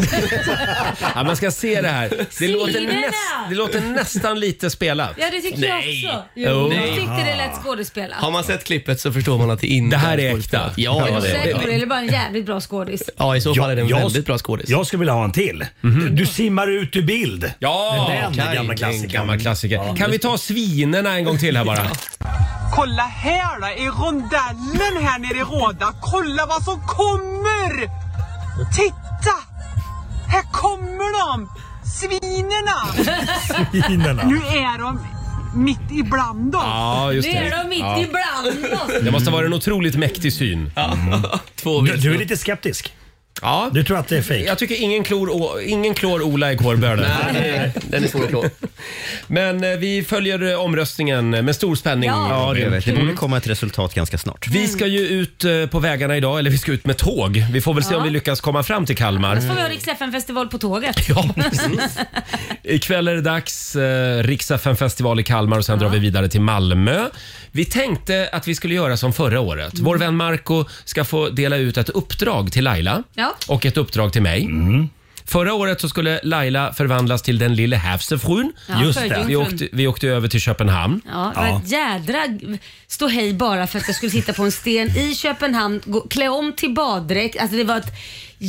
[SPEAKER 1] Ja, man ska se det här. Det låter,
[SPEAKER 2] Sidorna!
[SPEAKER 1] näst, det låter nästan lite spelat.
[SPEAKER 2] Ja, det tyckte
[SPEAKER 1] Nej. Oh.
[SPEAKER 2] jag också.
[SPEAKER 1] Jo.
[SPEAKER 2] Jo, jag tyckte det lät skådespelat.
[SPEAKER 8] Har man sett klippet så förstår man att det inte
[SPEAKER 1] Det här är
[SPEAKER 8] skådespelat.
[SPEAKER 1] äkta.
[SPEAKER 8] Ja, ja,
[SPEAKER 2] Är du
[SPEAKER 8] det,
[SPEAKER 2] säker på det?
[SPEAKER 8] det,
[SPEAKER 2] Eller bara en jävligt bra skådis?
[SPEAKER 8] ja, i så fall är det en
[SPEAKER 9] Jag-
[SPEAKER 8] väldigt bra skådis. Mhm.
[SPEAKER 9] Jag skulle vilja ha en till. Du, du simmar ut ur bild.
[SPEAKER 1] Ja,
[SPEAKER 9] Den
[SPEAKER 1] okej.
[SPEAKER 9] gamla klassikern.
[SPEAKER 1] Den gamla klassiker. Kan vi ta svinerna en gång till här bara?
[SPEAKER 10] Kolla här då, i rondellen här nere i Råda. Kolla vad som kommer! Titta! Här kommer de! Svinerna!
[SPEAKER 9] Finerna.
[SPEAKER 10] Nu är de mitt ibland oss.
[SPEAKER 1] Ja, just
[SPEAKER 2] Nu är
[SPEAKER 1] det.
[SPEAKER 2] de mitt ibland oss.
[SPEAKER 1] Det måste ha varit en otroligt mäktig syn. Mm.
[SPEAKER 8] Två
[SPEAKER 9] Du, du är
[SPEAKER 8] vildsvin.
[SPEAKER 9] lite skeptisk.
[SPEAKER 1] Ja.
[SPEAKER 9] Du tror att det är fejk?
[SPEAKER 1] Jag tycker ingen klor, å- ingen klor Ola i kårbölen.
[SPEAKER 8] Nej, den är svår att klå.
[SPEAKER 1] [LAUGHS] Men eh, vi följer eh, omröstningen med stor spänning.
[SPEAKER 2] Ja.
[SPEAKER 3] Ja, det, det
[SPEAKER 1] Mm.
[SPEAKER 3] borde komma ett resultat ganska snart.
[SPEAKER 1] Vi ska ju ut eh, på vägarna idag, eller vi ska ut med tåg. Vi får väl se
[SPEAKER 2] Ja.
[SPEAKER 1] om vi lyckas komma fram till Kalmar.
[SPEAKER 2] Så får vi ha Rix festival på tåget.
[SPEAKER 1] Ja, precis. Ikväll är det dags. Eh, Riksdagen festival i Kalmar och sen drar vi vidare till Malmö. Vi tänkte att vi skulle göra som förra året. Vår
[SPEAKER 9] Mm.
[SPEAKER 1] vän Marco ska få dela ut ett uppdrag till Laila
[SPEAKER 2] Ja.
[SPEAKER 1] och ett uppdrag till mig.
[SPEAKER 9] Mm.
[SPEAKER 1] Förra året så skulle Laila förvandlas till den lille havsefrun.
[SPEAKER 2] Ja, Just det.
[SPEAKER 1] Vi
[SPEAKER 2] förjungfrun.
[SPEAKER 1] åkte, vi åkte över till Köpenhamn.
[SPEAKER 2] Ja, det var ett jädra ståhej bara för att jag skulle sitta på en sten i Köpenhamn, gå, klä om till baddräkt. Alltså det var ett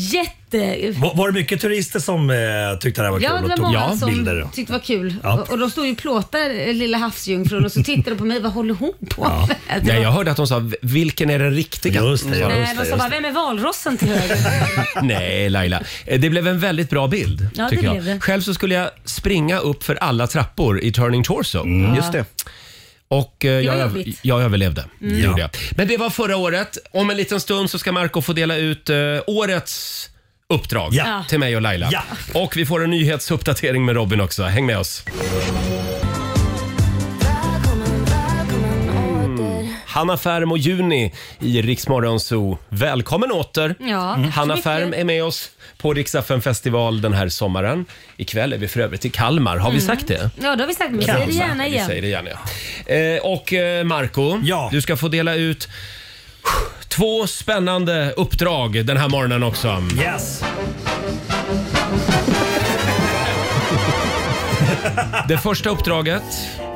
[SPEAKER 2] jätte...
[SPEAKER 9] Var, var det mycket turister som eh, tyckte det här var
[SPEAKER 2] Ja,
[SPEAKER 9] kul
[SPEAKER 2] det var
[SPEAKER 9] och tog
[SPEAKER 2] många
[SPEAKER 9] ja,
[SPEAKER 2] som
[SPEAKER 9] bilder? och-
[SPEAKER 2] tyckte det var kul.
[SPEAKER 9] Ja.
[SPEAKER 2] Och, och de stod ju och plåtade eh, lilla havsjungfrun och så tittade de på mig. Vad håller hon på med? Det
[SPEAKER 1] Nej,
[SPEAKER 2] var-
[SPEAKER 1] jag hörde att de sa “Vilken är den riktiga?” Mm.
[SPEAKER 9] Just det, ja.
[SPEAKER 2] Nej,
[SPEAKER 9] Just
[SPEAKER 2] de sa
[SPEAKER 9] det, just
[SPEAKER 2] bara,
[SPEAKER 9] det.
[SPEAKER 2] vem är valrossen till höger?
[SPEAKER 1] [LAUGHS] Nej, Laila. Eh, Det blev en väldigt bra bild.
[SPEAKER 2] Ja, det
[SPEAKER 1] tycker jag.
[SPEAKER 2] blev det.
[SPEAKER 1] Själv så skulle jag springa upp för alla trappor i Turning Torso.
[SPEAKER 3] Mm, Just det.
[SPEAKER 1] Och eh, jag, öv-
[SPEAKER 2] jobbigt. Mm.
[SPEAKER 1] jag överlevde. Det Gjorde
[SPEAKER 9] Ja.
[SPEAKER 1] jag. Men det var förra året. Om en liten stund så ska Marco få dela ut eh, årets uppdrag
[SPEAKER 9] Ja.
[SPEAKER 1] till mig och Laila.
[SPEAKER 9] Ja.
[SPEAKER 1] Och vi får en nyhetsuppdatering med Robin också. Häng med oss. Hanna Färm och Juni i Riksmorgon Zoo. Välkommen åter!
[SPEAKER 2] Ja, Mm. tack så
[SPEAKER 1] Hanna
[SPEAKER 2] mycket.
[SPEAKER 1] Färm är med oss på Riksdagen festival den här sommaren. Ikväll är vi för övrigt i Kalmar. Har vi sagt det?
[SPEAKER 2] Ja, då har vi sagt, men Mm. vi säger det gärna
[SPEAKER 1] Vi säger
[SPEAKER 2] igen.
[SPEAKER 1] det gärna, ja. eh, Och eh, Marco,
[SPEAKER 9] Ja.
[SPEAKER 1] du ska få dela ut två spännande uppdrag den här morgonen också.
[SPEAKER 9] Yes!
[SPEAKER 1] Det första uppdraget...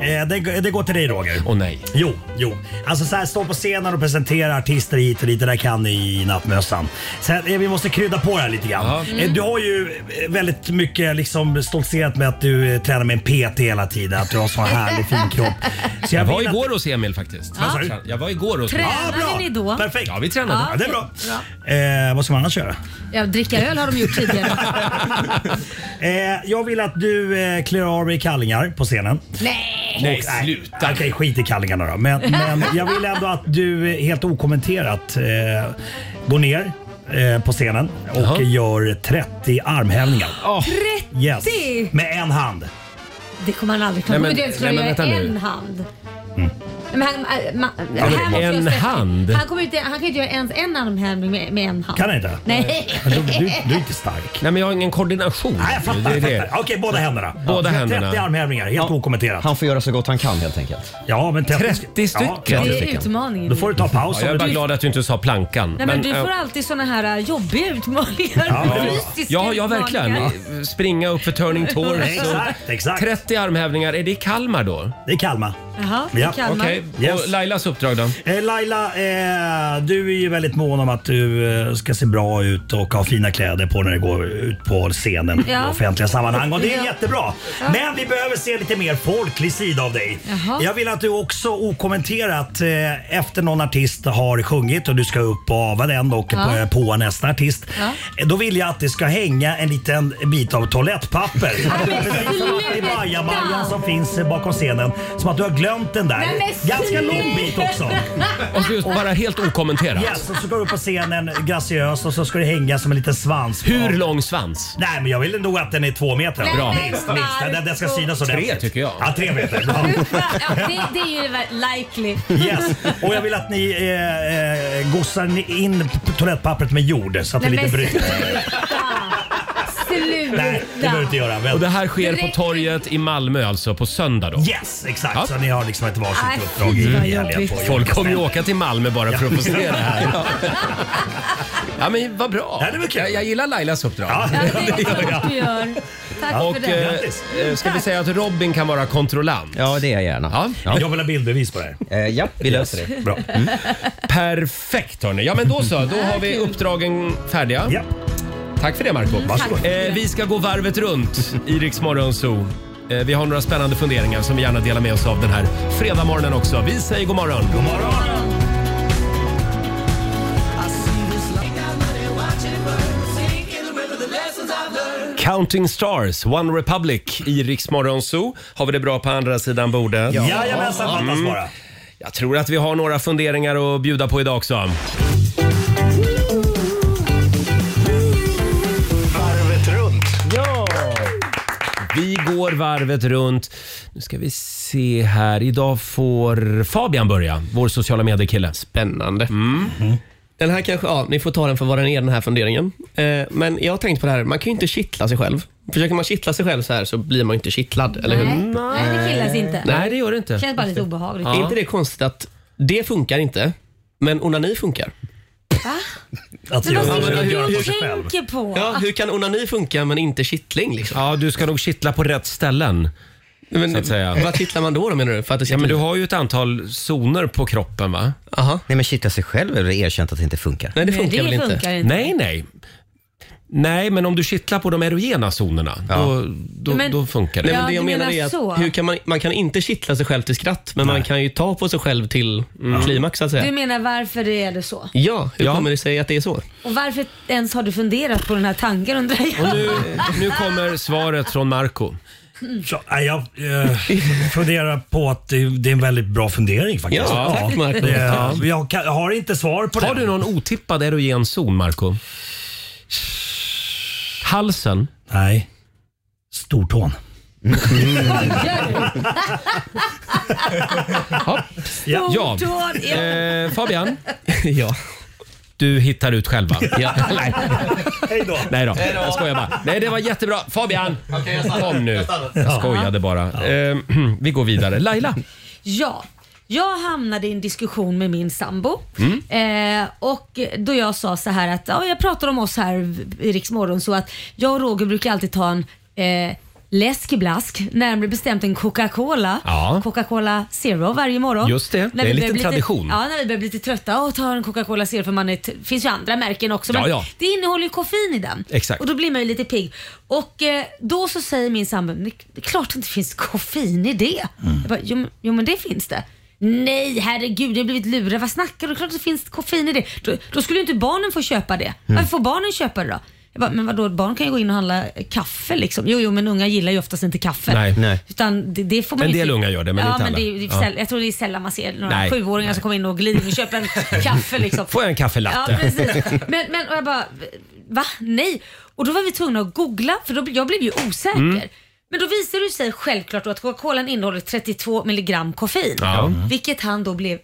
[SPEAKER 9] Eh, det, det går till dig Roger.
[SPEAKER 1] Åh nej.
[SPEAKER 9] Jo, jo. Alltså så här, stå på scenen och presentera artister hit och dit. Det där kan ni i nattmössan. Sen, eh, vi måste krydda på det här lite
[SPEAKER 1] Ja.
[SPEAKER 9] grann. Eh, Du har ju eh, väldigt mycket liksom stoltserat med att du eh, tränar med en PT hela tiden. Att du har så härlig fin kropp. Så
[SPEAKER 1] Jag var
[SPEAKER 9] vill att-
[SPEAKER 1] igår hos Emil faktiskt.
[SPEAKER 9] Vad sa du?
[SPEAKER 1] Jag var igår hos
[SPEAKER 2] Trä-
[SPEAKER 9] Ja,
[SPEAKER 2] Tränade
[SPEAKER 9] bra.
[SPEAKER 2] ni då?
[SPEAKER 9] Perfekt.
[SPEAKER 1] Ja, vi tränade.
[SPEAKER 9] Ja, det är bra. Eh, vad ska man annars göra?
[SPEAKER 2] Ja, dricka öl har de gjort
[SPEAKER 9] [LAUGHS]
[SPEAKER 2] tidigare.
[SPEAKER 9] Eh, jag vill att du eh, klär av dig kallingar på scenen.
[SPEAKER 2] Nej!
[SPEAKER 1] Nej,
[SPEAKER 9] Och- nej,
[SPEAKER 1] sluta.
[SPEAKER 9] Okej, skit i kallingarna då. Men,
[SPEAKER 1] [LAUGHS]
[SPEAKER 9] men jag vill ändå att du eh, helt okommenterat eh, går ner eh, på scenen och
[SPEAKER 1] Jaha.
[SPEAKER 9] gör 30 armhävningar.
[SPEAKER 2] 30!
[SPEAKER 9] Yes. Med en hand.
[SPEAKER 2] Det kommer han aldrig klara.
[SPEAKER 1] Nej, men-
[SPEAKER 2] Men, men, skulle
[SPEAKER 1] nej, men
[SPEAKER 2] göra
[SPEAKER 1] vänta nu.
[SPEAKER 2] en hand. Nej, Men han, äh, ma,
[SPEAKER 1] men
[SPEAKER 2] han måste
[SPEAKER 1] en
[SPEAKER 2] göra stretching.
[SPEAKER 1] hand?
[SPEAKER 2] Han, kommer inte, han kan inte göra ens en armhävning med, med en hand.
[SPEAKER 9] Kan jag inte?
[SPEAKER 2] Nej.
[SPEAKER 9] Du, du, du är inte stark.
[SPEAKER 1] Nej, men jag har ingen koordination.
[SPEAKER 9] Nej, jag fattar.
[SPEAKER 1] oh, Det är
[SPEAKER 9] jag
[SPEAKER 1] det.
[SPEAKER 9] fattar. Okej, båda händerna.
[SPEAKER 1] Båda
[SPEAKER 9] 30
[SPEAKER 1] händerna.
[SPEAKER 9] armhävningar, helt okommenterat.
[SPEAKER 3] Han får göra så gott han kan helt enkelt.
[SPEAKER 9] Ja, men 30,
[SPEAKER 1] 30 stycken.
[SPEAKER 9] Ja,
[SPEAKER 2] Det
[SPEAKER 9] ja.
[SPEAKER 2] är
[SPEAKER 3] stycken.
[SPEAKER 2] utmaningen.
[SPEAKER 9] Då får du ta paus.
[SPEAKER 1] Ja, jag är
[SPEAKER 9] om
[SPEAKER 1] bara
[SPEAKER 9] du-
[SPEAKER 1] glad att du inte sa plankan.
[SPEAKER 2] Nej, men, du
[SPEAKER 1] eh,
[SPEAKER 2] får alltid såna här äh, jobbiga utmaningar.
[SPEAKER 9] Ja.
[SPEAKER 2] Fysiska
[SPEAKER 1] Ja, ja verkligen.
[SPEAKER 2] utmaningar.
[SPEAKER 1] Springa upp
[SPEAKER 9] [LAUGHS]
[SPEAKER 1] för Turning Torso.
[SPEAKER 9] Exakt, exakt.
[SPEAKER 1] 30 armhävningar. Är det i Kalmar då?
[SPEAKER 9] Det är Kalmar.
[SPEAKER 2] Jaha,
[SPEAKER 9] Ja,
[SPEAKER 2] ja. Kalmar.
[SPEAKER 1] Okej.
[SPEAKER 9] Yes.
[SPEAKER 1] Och Lailas uppdrag då?
[SPEAKER 9] Eh, Laila, eh, du är ju väldigt mån om att du eh, ska se bra ut och ha fina kläder på när du går ut på scenen
[SPEAKER 2] Ja.
[SPEAKER 9] i offentliga sammanhang. Och det är
[SPEAKER 2] Ja.
[SPEAKER 9] jättebra. Men vi behöver se lite mer folklig sida av dig.
[SPEAKER 2] Jaha.
[SPEAKER 9] Jag vill att du också okommenterat eh, efter någon artist har sjungit och du ska upp och ava den och
[SPEAKER 2] Ja.
[SPEAKER 9] på, på nästa artist.
[SPEAKER 2] Ja.
[SPEAKER 9] Eh, Då vill jag att det ska hänga en liten bit av toalettpapper.
[SPEAKER 2] men
[SPEAKER 9] Precis som i
[SPEAKER 2] sluta!
[SPEAKER 9] bajamajan som finns eh, bakom scenen. Som att du har glömt den där.
[SPEAKER 2] Nej, men
[SPEAKER 9] Ganska lång
[SPEAKER 2] sluta!
[SPEAKER 9] bit också.
[SPEAKER 1] Och så just bara helt okommenterat.
[SPEAKER 9] Yes, och så går du upp på scenen graciöst och så ska det hänga som en liten svans.
[SPEAKER 1] Hur lång svans?
[SPEAKER 9] Nej, men jag vill nog att den är två meter.
[SPEAKER 1] Bra.
[SPEAKER 9] Minst, minst. Den, den ska synas ordentligt.
[SPEAKER 1] tycker jag.
[SPEAKER 9] Ja, tre meter. Bra.
[SPEAKER 2] Ja, det, det är ju väl likely.
[SPEAKER 9] Yes. Och jag vill att ni eh, eh, gossar ni in p- toalettpappret med jord så att det är lite bryter.
[SPEAKER 2] sluta!
[SPEAKER 9] Nej, det behöver du inte göra.
[SPEAKER 1] Och
[SPEAKER 9] Väl.
[SPEAKER 1] det här sker på torget i Malmö alltså på söndag då?
[SPEAKER 9] Yes, exakt.
[SPEAKER 1] Ja.
[SPEAKER 9] Så ni har liksom ett
[SPEAKER 2] Nej,
[SPEAKER 9] varsitt uppdrag
[SPEAKER 2] Äh, fy,
[SPEAKER 9] i
[SPEAKER 2] vad
[SPEAKER 9] helgen.
[SPEAKER 2] jobbigt.
[SPEAKER 9] på olika
[SPEAKER 1] Folk kommer ju
[SPEAKER 9] ställen.
[SPEAKER 1] åka till Malmö bara för att få se
[SPEAKER 9] [LAUGHS]
[SPEAKER 1] det här. Ja men vad bra.
[SPEAKER 9] Ja, det var kul.
[SPEAKER 1] Jag, jag gillar Lailas uppdrag.
[SPEAKER 9] Ja.
[SPEAKER 2] Ja, det är klart du gör. Tack
[SPEAKER 1] Och
[SPEAKER 2] för det.
[SPEAKER 1] eh,
[SPEAKER 9] Grattis.
[SPEAKER 1] eh, ska vi säga att Robin kan vara kontrollant?
[SPEAKER 3] Ja, det är jag gärna.
[SPEAKER 1] Ja.
[SPEAKER 9] Jag vill ha bildbevis på det här.
[SPEAKER 3] Eh, ja, vi löser det.
[SPEAKER 9] Bra. Mm.
[SPEAKER 1] Perfekt hörni. Ja men då så, då
[SPEAKER 2] Mm.
[SPEAKER 1] har vi uppdragen färdiga.
[SPEAKER 9] Ja.
[SPEAKER 1] Tack för det Marco.
[SPEAKER 9] Varsågod.
[SPEAKER 1] Eh, vi ska gå varvet runt i Rix Morgon Zoo. Eh, vi har några spännande funderingar som vi gärna delar med oss av den här fredagmorgonen också. Vi säger god morgon.
[SPEAKER 9] God morgon.
[SPEAKER 1] Counting Stars, One Republic i Rix Morgon Zoo. Har vi det bra på andra sidan bordet?
[SPEAKER 9] Jajamensan,
[SPEAKER 8] Mm.
[SPEAKER 9] fattas bara.
[SPEAKER 1] Jag tror att vi har några funderingar att bjuda på idag också. Vi går varvet runt. Nu ska vi se här. Idag får Fabian börja, vår sociala medier-kille.
[SPEAKER 8] Spännande. Mm.
[SPEAKER 9] Mm.
[SPEAKER 8] Den här kanske, ja, ni får ta den för vad den är den här funderingen. Eh, men jag har tänkt på det här, man kan ju inte kittla sig själv. Försöker man kittla sig själv så här så blir man ju inte kittlad, eller hur?
[SPEAKER 2] Nej, nej det killas inte.
[SPEAKER 8] Nej, det gör det inte.
[SPEAKER 2] Känns bara lite obehagligt.
[SPEAKER 8] Är inte det konstigt att det funkar inte, men onani funkar?
[SPEAKER 9] Att
[SPEAKER 2] Men vad
[SPEAKER 9] göra,
[SPEAKER 2] sitter
[SPEAKER 9] att
[SPEAKER 2] du
[SPEAKER 9] göra på
[SPEAKER 2] och
[SPEAKER 9] sig själv.
[SPEAKER 2] tänker på?
[SPEAKER 8] Ja, hur kan onani funka men inte kittling? Liksom?
[SPEAKER 1] Ja, du ska nog kittla på rätt ställen.
[SPEAKER 8] Men,
[SPEAKER 1] Så att säga.
[SPEAKER 8] Vad kittlar man då, då menar du? För att det ska
[SPEAKER 1] Ja, men du
[SPEAKER 8] bli-
[SPEAKER 1] har ju ett antal zoner på kroppen, va?
[SPEAKER 8] Aha.
[SPEAKER 3] Nej, men kittla sig själv är väl erkänt att det inte funkar?
[SPEAKER 8] Nej, det
[SPEAKER 2] Nej,
[SPEAKER 8] funkar väl
[SPEAKER 2] det
[SPEAKER 8] inte?
[SPEAKER 2] funkar inte.
[SPEAKER 1] Nej, nej. Nej, men om du kittlar på de erogena zonerna, då, då,
[SPEAKER 2] Men-
[SPEAKER 1] då funkar det.
[SPEAKER 8] Nej,
[SPEAKER 2] Ja,
[SPEAKER 8] men det jag
[SPEAKER 2] du
[SPEAKER 8] menar
[SPEAKER 2] menar
[SPEAKER 8] är
[SPEAKER 2] så.
[SPEAKER 8] att hur kan man, man kan inte kittla sig själv till skratt, men man kan ju ta på sig själv till mm, klimax så att
[SPEAKER 2] Du
[SPEAKER 8] säga.
[SPEAKER 2] menar varför är det så?
[SPEAKER 8] Ja, hur
[SPEAKER 1] Ja.
[SPEAKER 8] kommer det sig att det är så?
[SPEAKER 2] Och varför ens har du funderat på den här tanken undrar jag?
[SPEAKER 1] Nu, Eh, nu kommer svaret från Marco.
[SPEAKER 9] Så, nej, jag eh, funderar på att det, det är en väldigt bra fundering faktiskt.
[SPEAKER 8] Ja, tack, Marco.
[SPEAKER 9] Det- jag, kan, jag har inte svar på
[SPEAKER 1] Har
[SPEAKER 9] det.
[SPEAKER 1] du någon otippad erogen zon, Marco? Halsen?
[SPEAKER 9] Nej. Stortån.
[SPEAKER 5] Mm.
[SPEAKER 1] Ja.
[SPEAKER 2] Tån är-
[SPEAKER 1] Eh, Fabian,
[SPEAKER 8] [LAUGHS] ja.
[SPEAKER 1] du hittar ut själva. [LAUGHS]
[SPEAKER 8] ja. Nej.
[SPEAKER 9] Hej då.
[SPEAKER 1] Nej då, jag skojar bara. Nej, det var jättebra. Fabian, kom nu. Jag skojade bara. Eh, [CLEARS THROAT] vi går vidare. Laila?
[SPEAKER 2] Ja, jag hamnade i en diskussion med min sambo
[SPEAKER 1] Mm?
[SPEAKER 2] eh, och då jag sa så här att, ja, jag pratar om oss här i Rix Morgon, så att jag och Roger brukar alltid ta en eh, läskeblask, närmare bestämt en Coca-Cola,
[SPEAKER 1] Ja.
[SPEAKER 2] Coca-Cola Zero varje morgon.
[SPEAKER 1] Just det, det är
[SPEAKER 2] vi
[SPEAKER 1] en
[SPEAKER 2] börjar
[SPEAKER 1] liten
[SPEAKER 2] bli lite-
[SPEAKER 1] tradition.
[SPEAKER 2] Ja, när vi börjar bli lite trötta, och ta en Coca-Cola Zero för man är, det finns ju andra märken också.
[SPEAKER 1] Ja,
[SPEAKER 2] men
[SPEAKER 1] ja.
[SPEAKER 2] Det innehåller ju koffein i den
[SPEAKER 1] Exakt.
[SPEAKER 2] och då blir man ju lite pigg. Och eh, då så säger min sambo, "Men det är klart att det finns koffein i det.
[SPEAKER 1] Mm.
[SPEAKER 2] Jag bara, jo, men- jo men det finns det. Nej herregud, jag har blivit lurad. Vad snackar du? Klart att det finns koffein i det. Då, då skulle ju inte barnen få köpa det.
[SPEAKER 1] Mm.
[SPEAKER 2] Varför får barnen köpa det då? Jag bara, men vadå, barn kan ju gå in och handla eh, kaffe liksom. Jo, jo men unga gillar ju oftast inte kaffe.
[SPEAKER 1] Nej.
[SPEAKER 3] Nej.
[SPEAKER 2] Utan det, det får man
[SPEAKER 1] En
[SPEAKER 2] ju
[SPEAKER 1] del
[SPEAKER 2] inte-
[SPEAKER 1] unga gör det, men
[SPEAKER 2] ja,
[SPEAKER 1] inte
[SPEAKER 2] men
[SPEAKER 1] alla.
[SPEAKER 2] det är ju
[SPEAKER 1] Ja.
[SPEAKER 2] säll- Jag tror det är sällan man ser några
[SPEAKER 1] Nej.
[SPEAKER 2] sjuåringar som kommer in och glider in och köper en
[SPEAKER 1] [LAUGHS]
[SPEAKER 2] kaffe liksom.
[SPEAKER 1] Får jag en kaffelatte?
[SPEAKER 2] Ja, precis.
[SPEAKER 1] [LAUGHS]
[SPEAKER 2] Men, men och jag bara, va? Nej. Och då var vi tvungna att googla för då, jag blev ju osäker.
[SPEAKER 1] Mm.
[SPEAKER 2] Men då visade det sig självklart då att Coca-Colan innehåller 32 milligram koffein.
[SPEAKER 1] Ja.
[SPEAKER 2] Vilket han då blev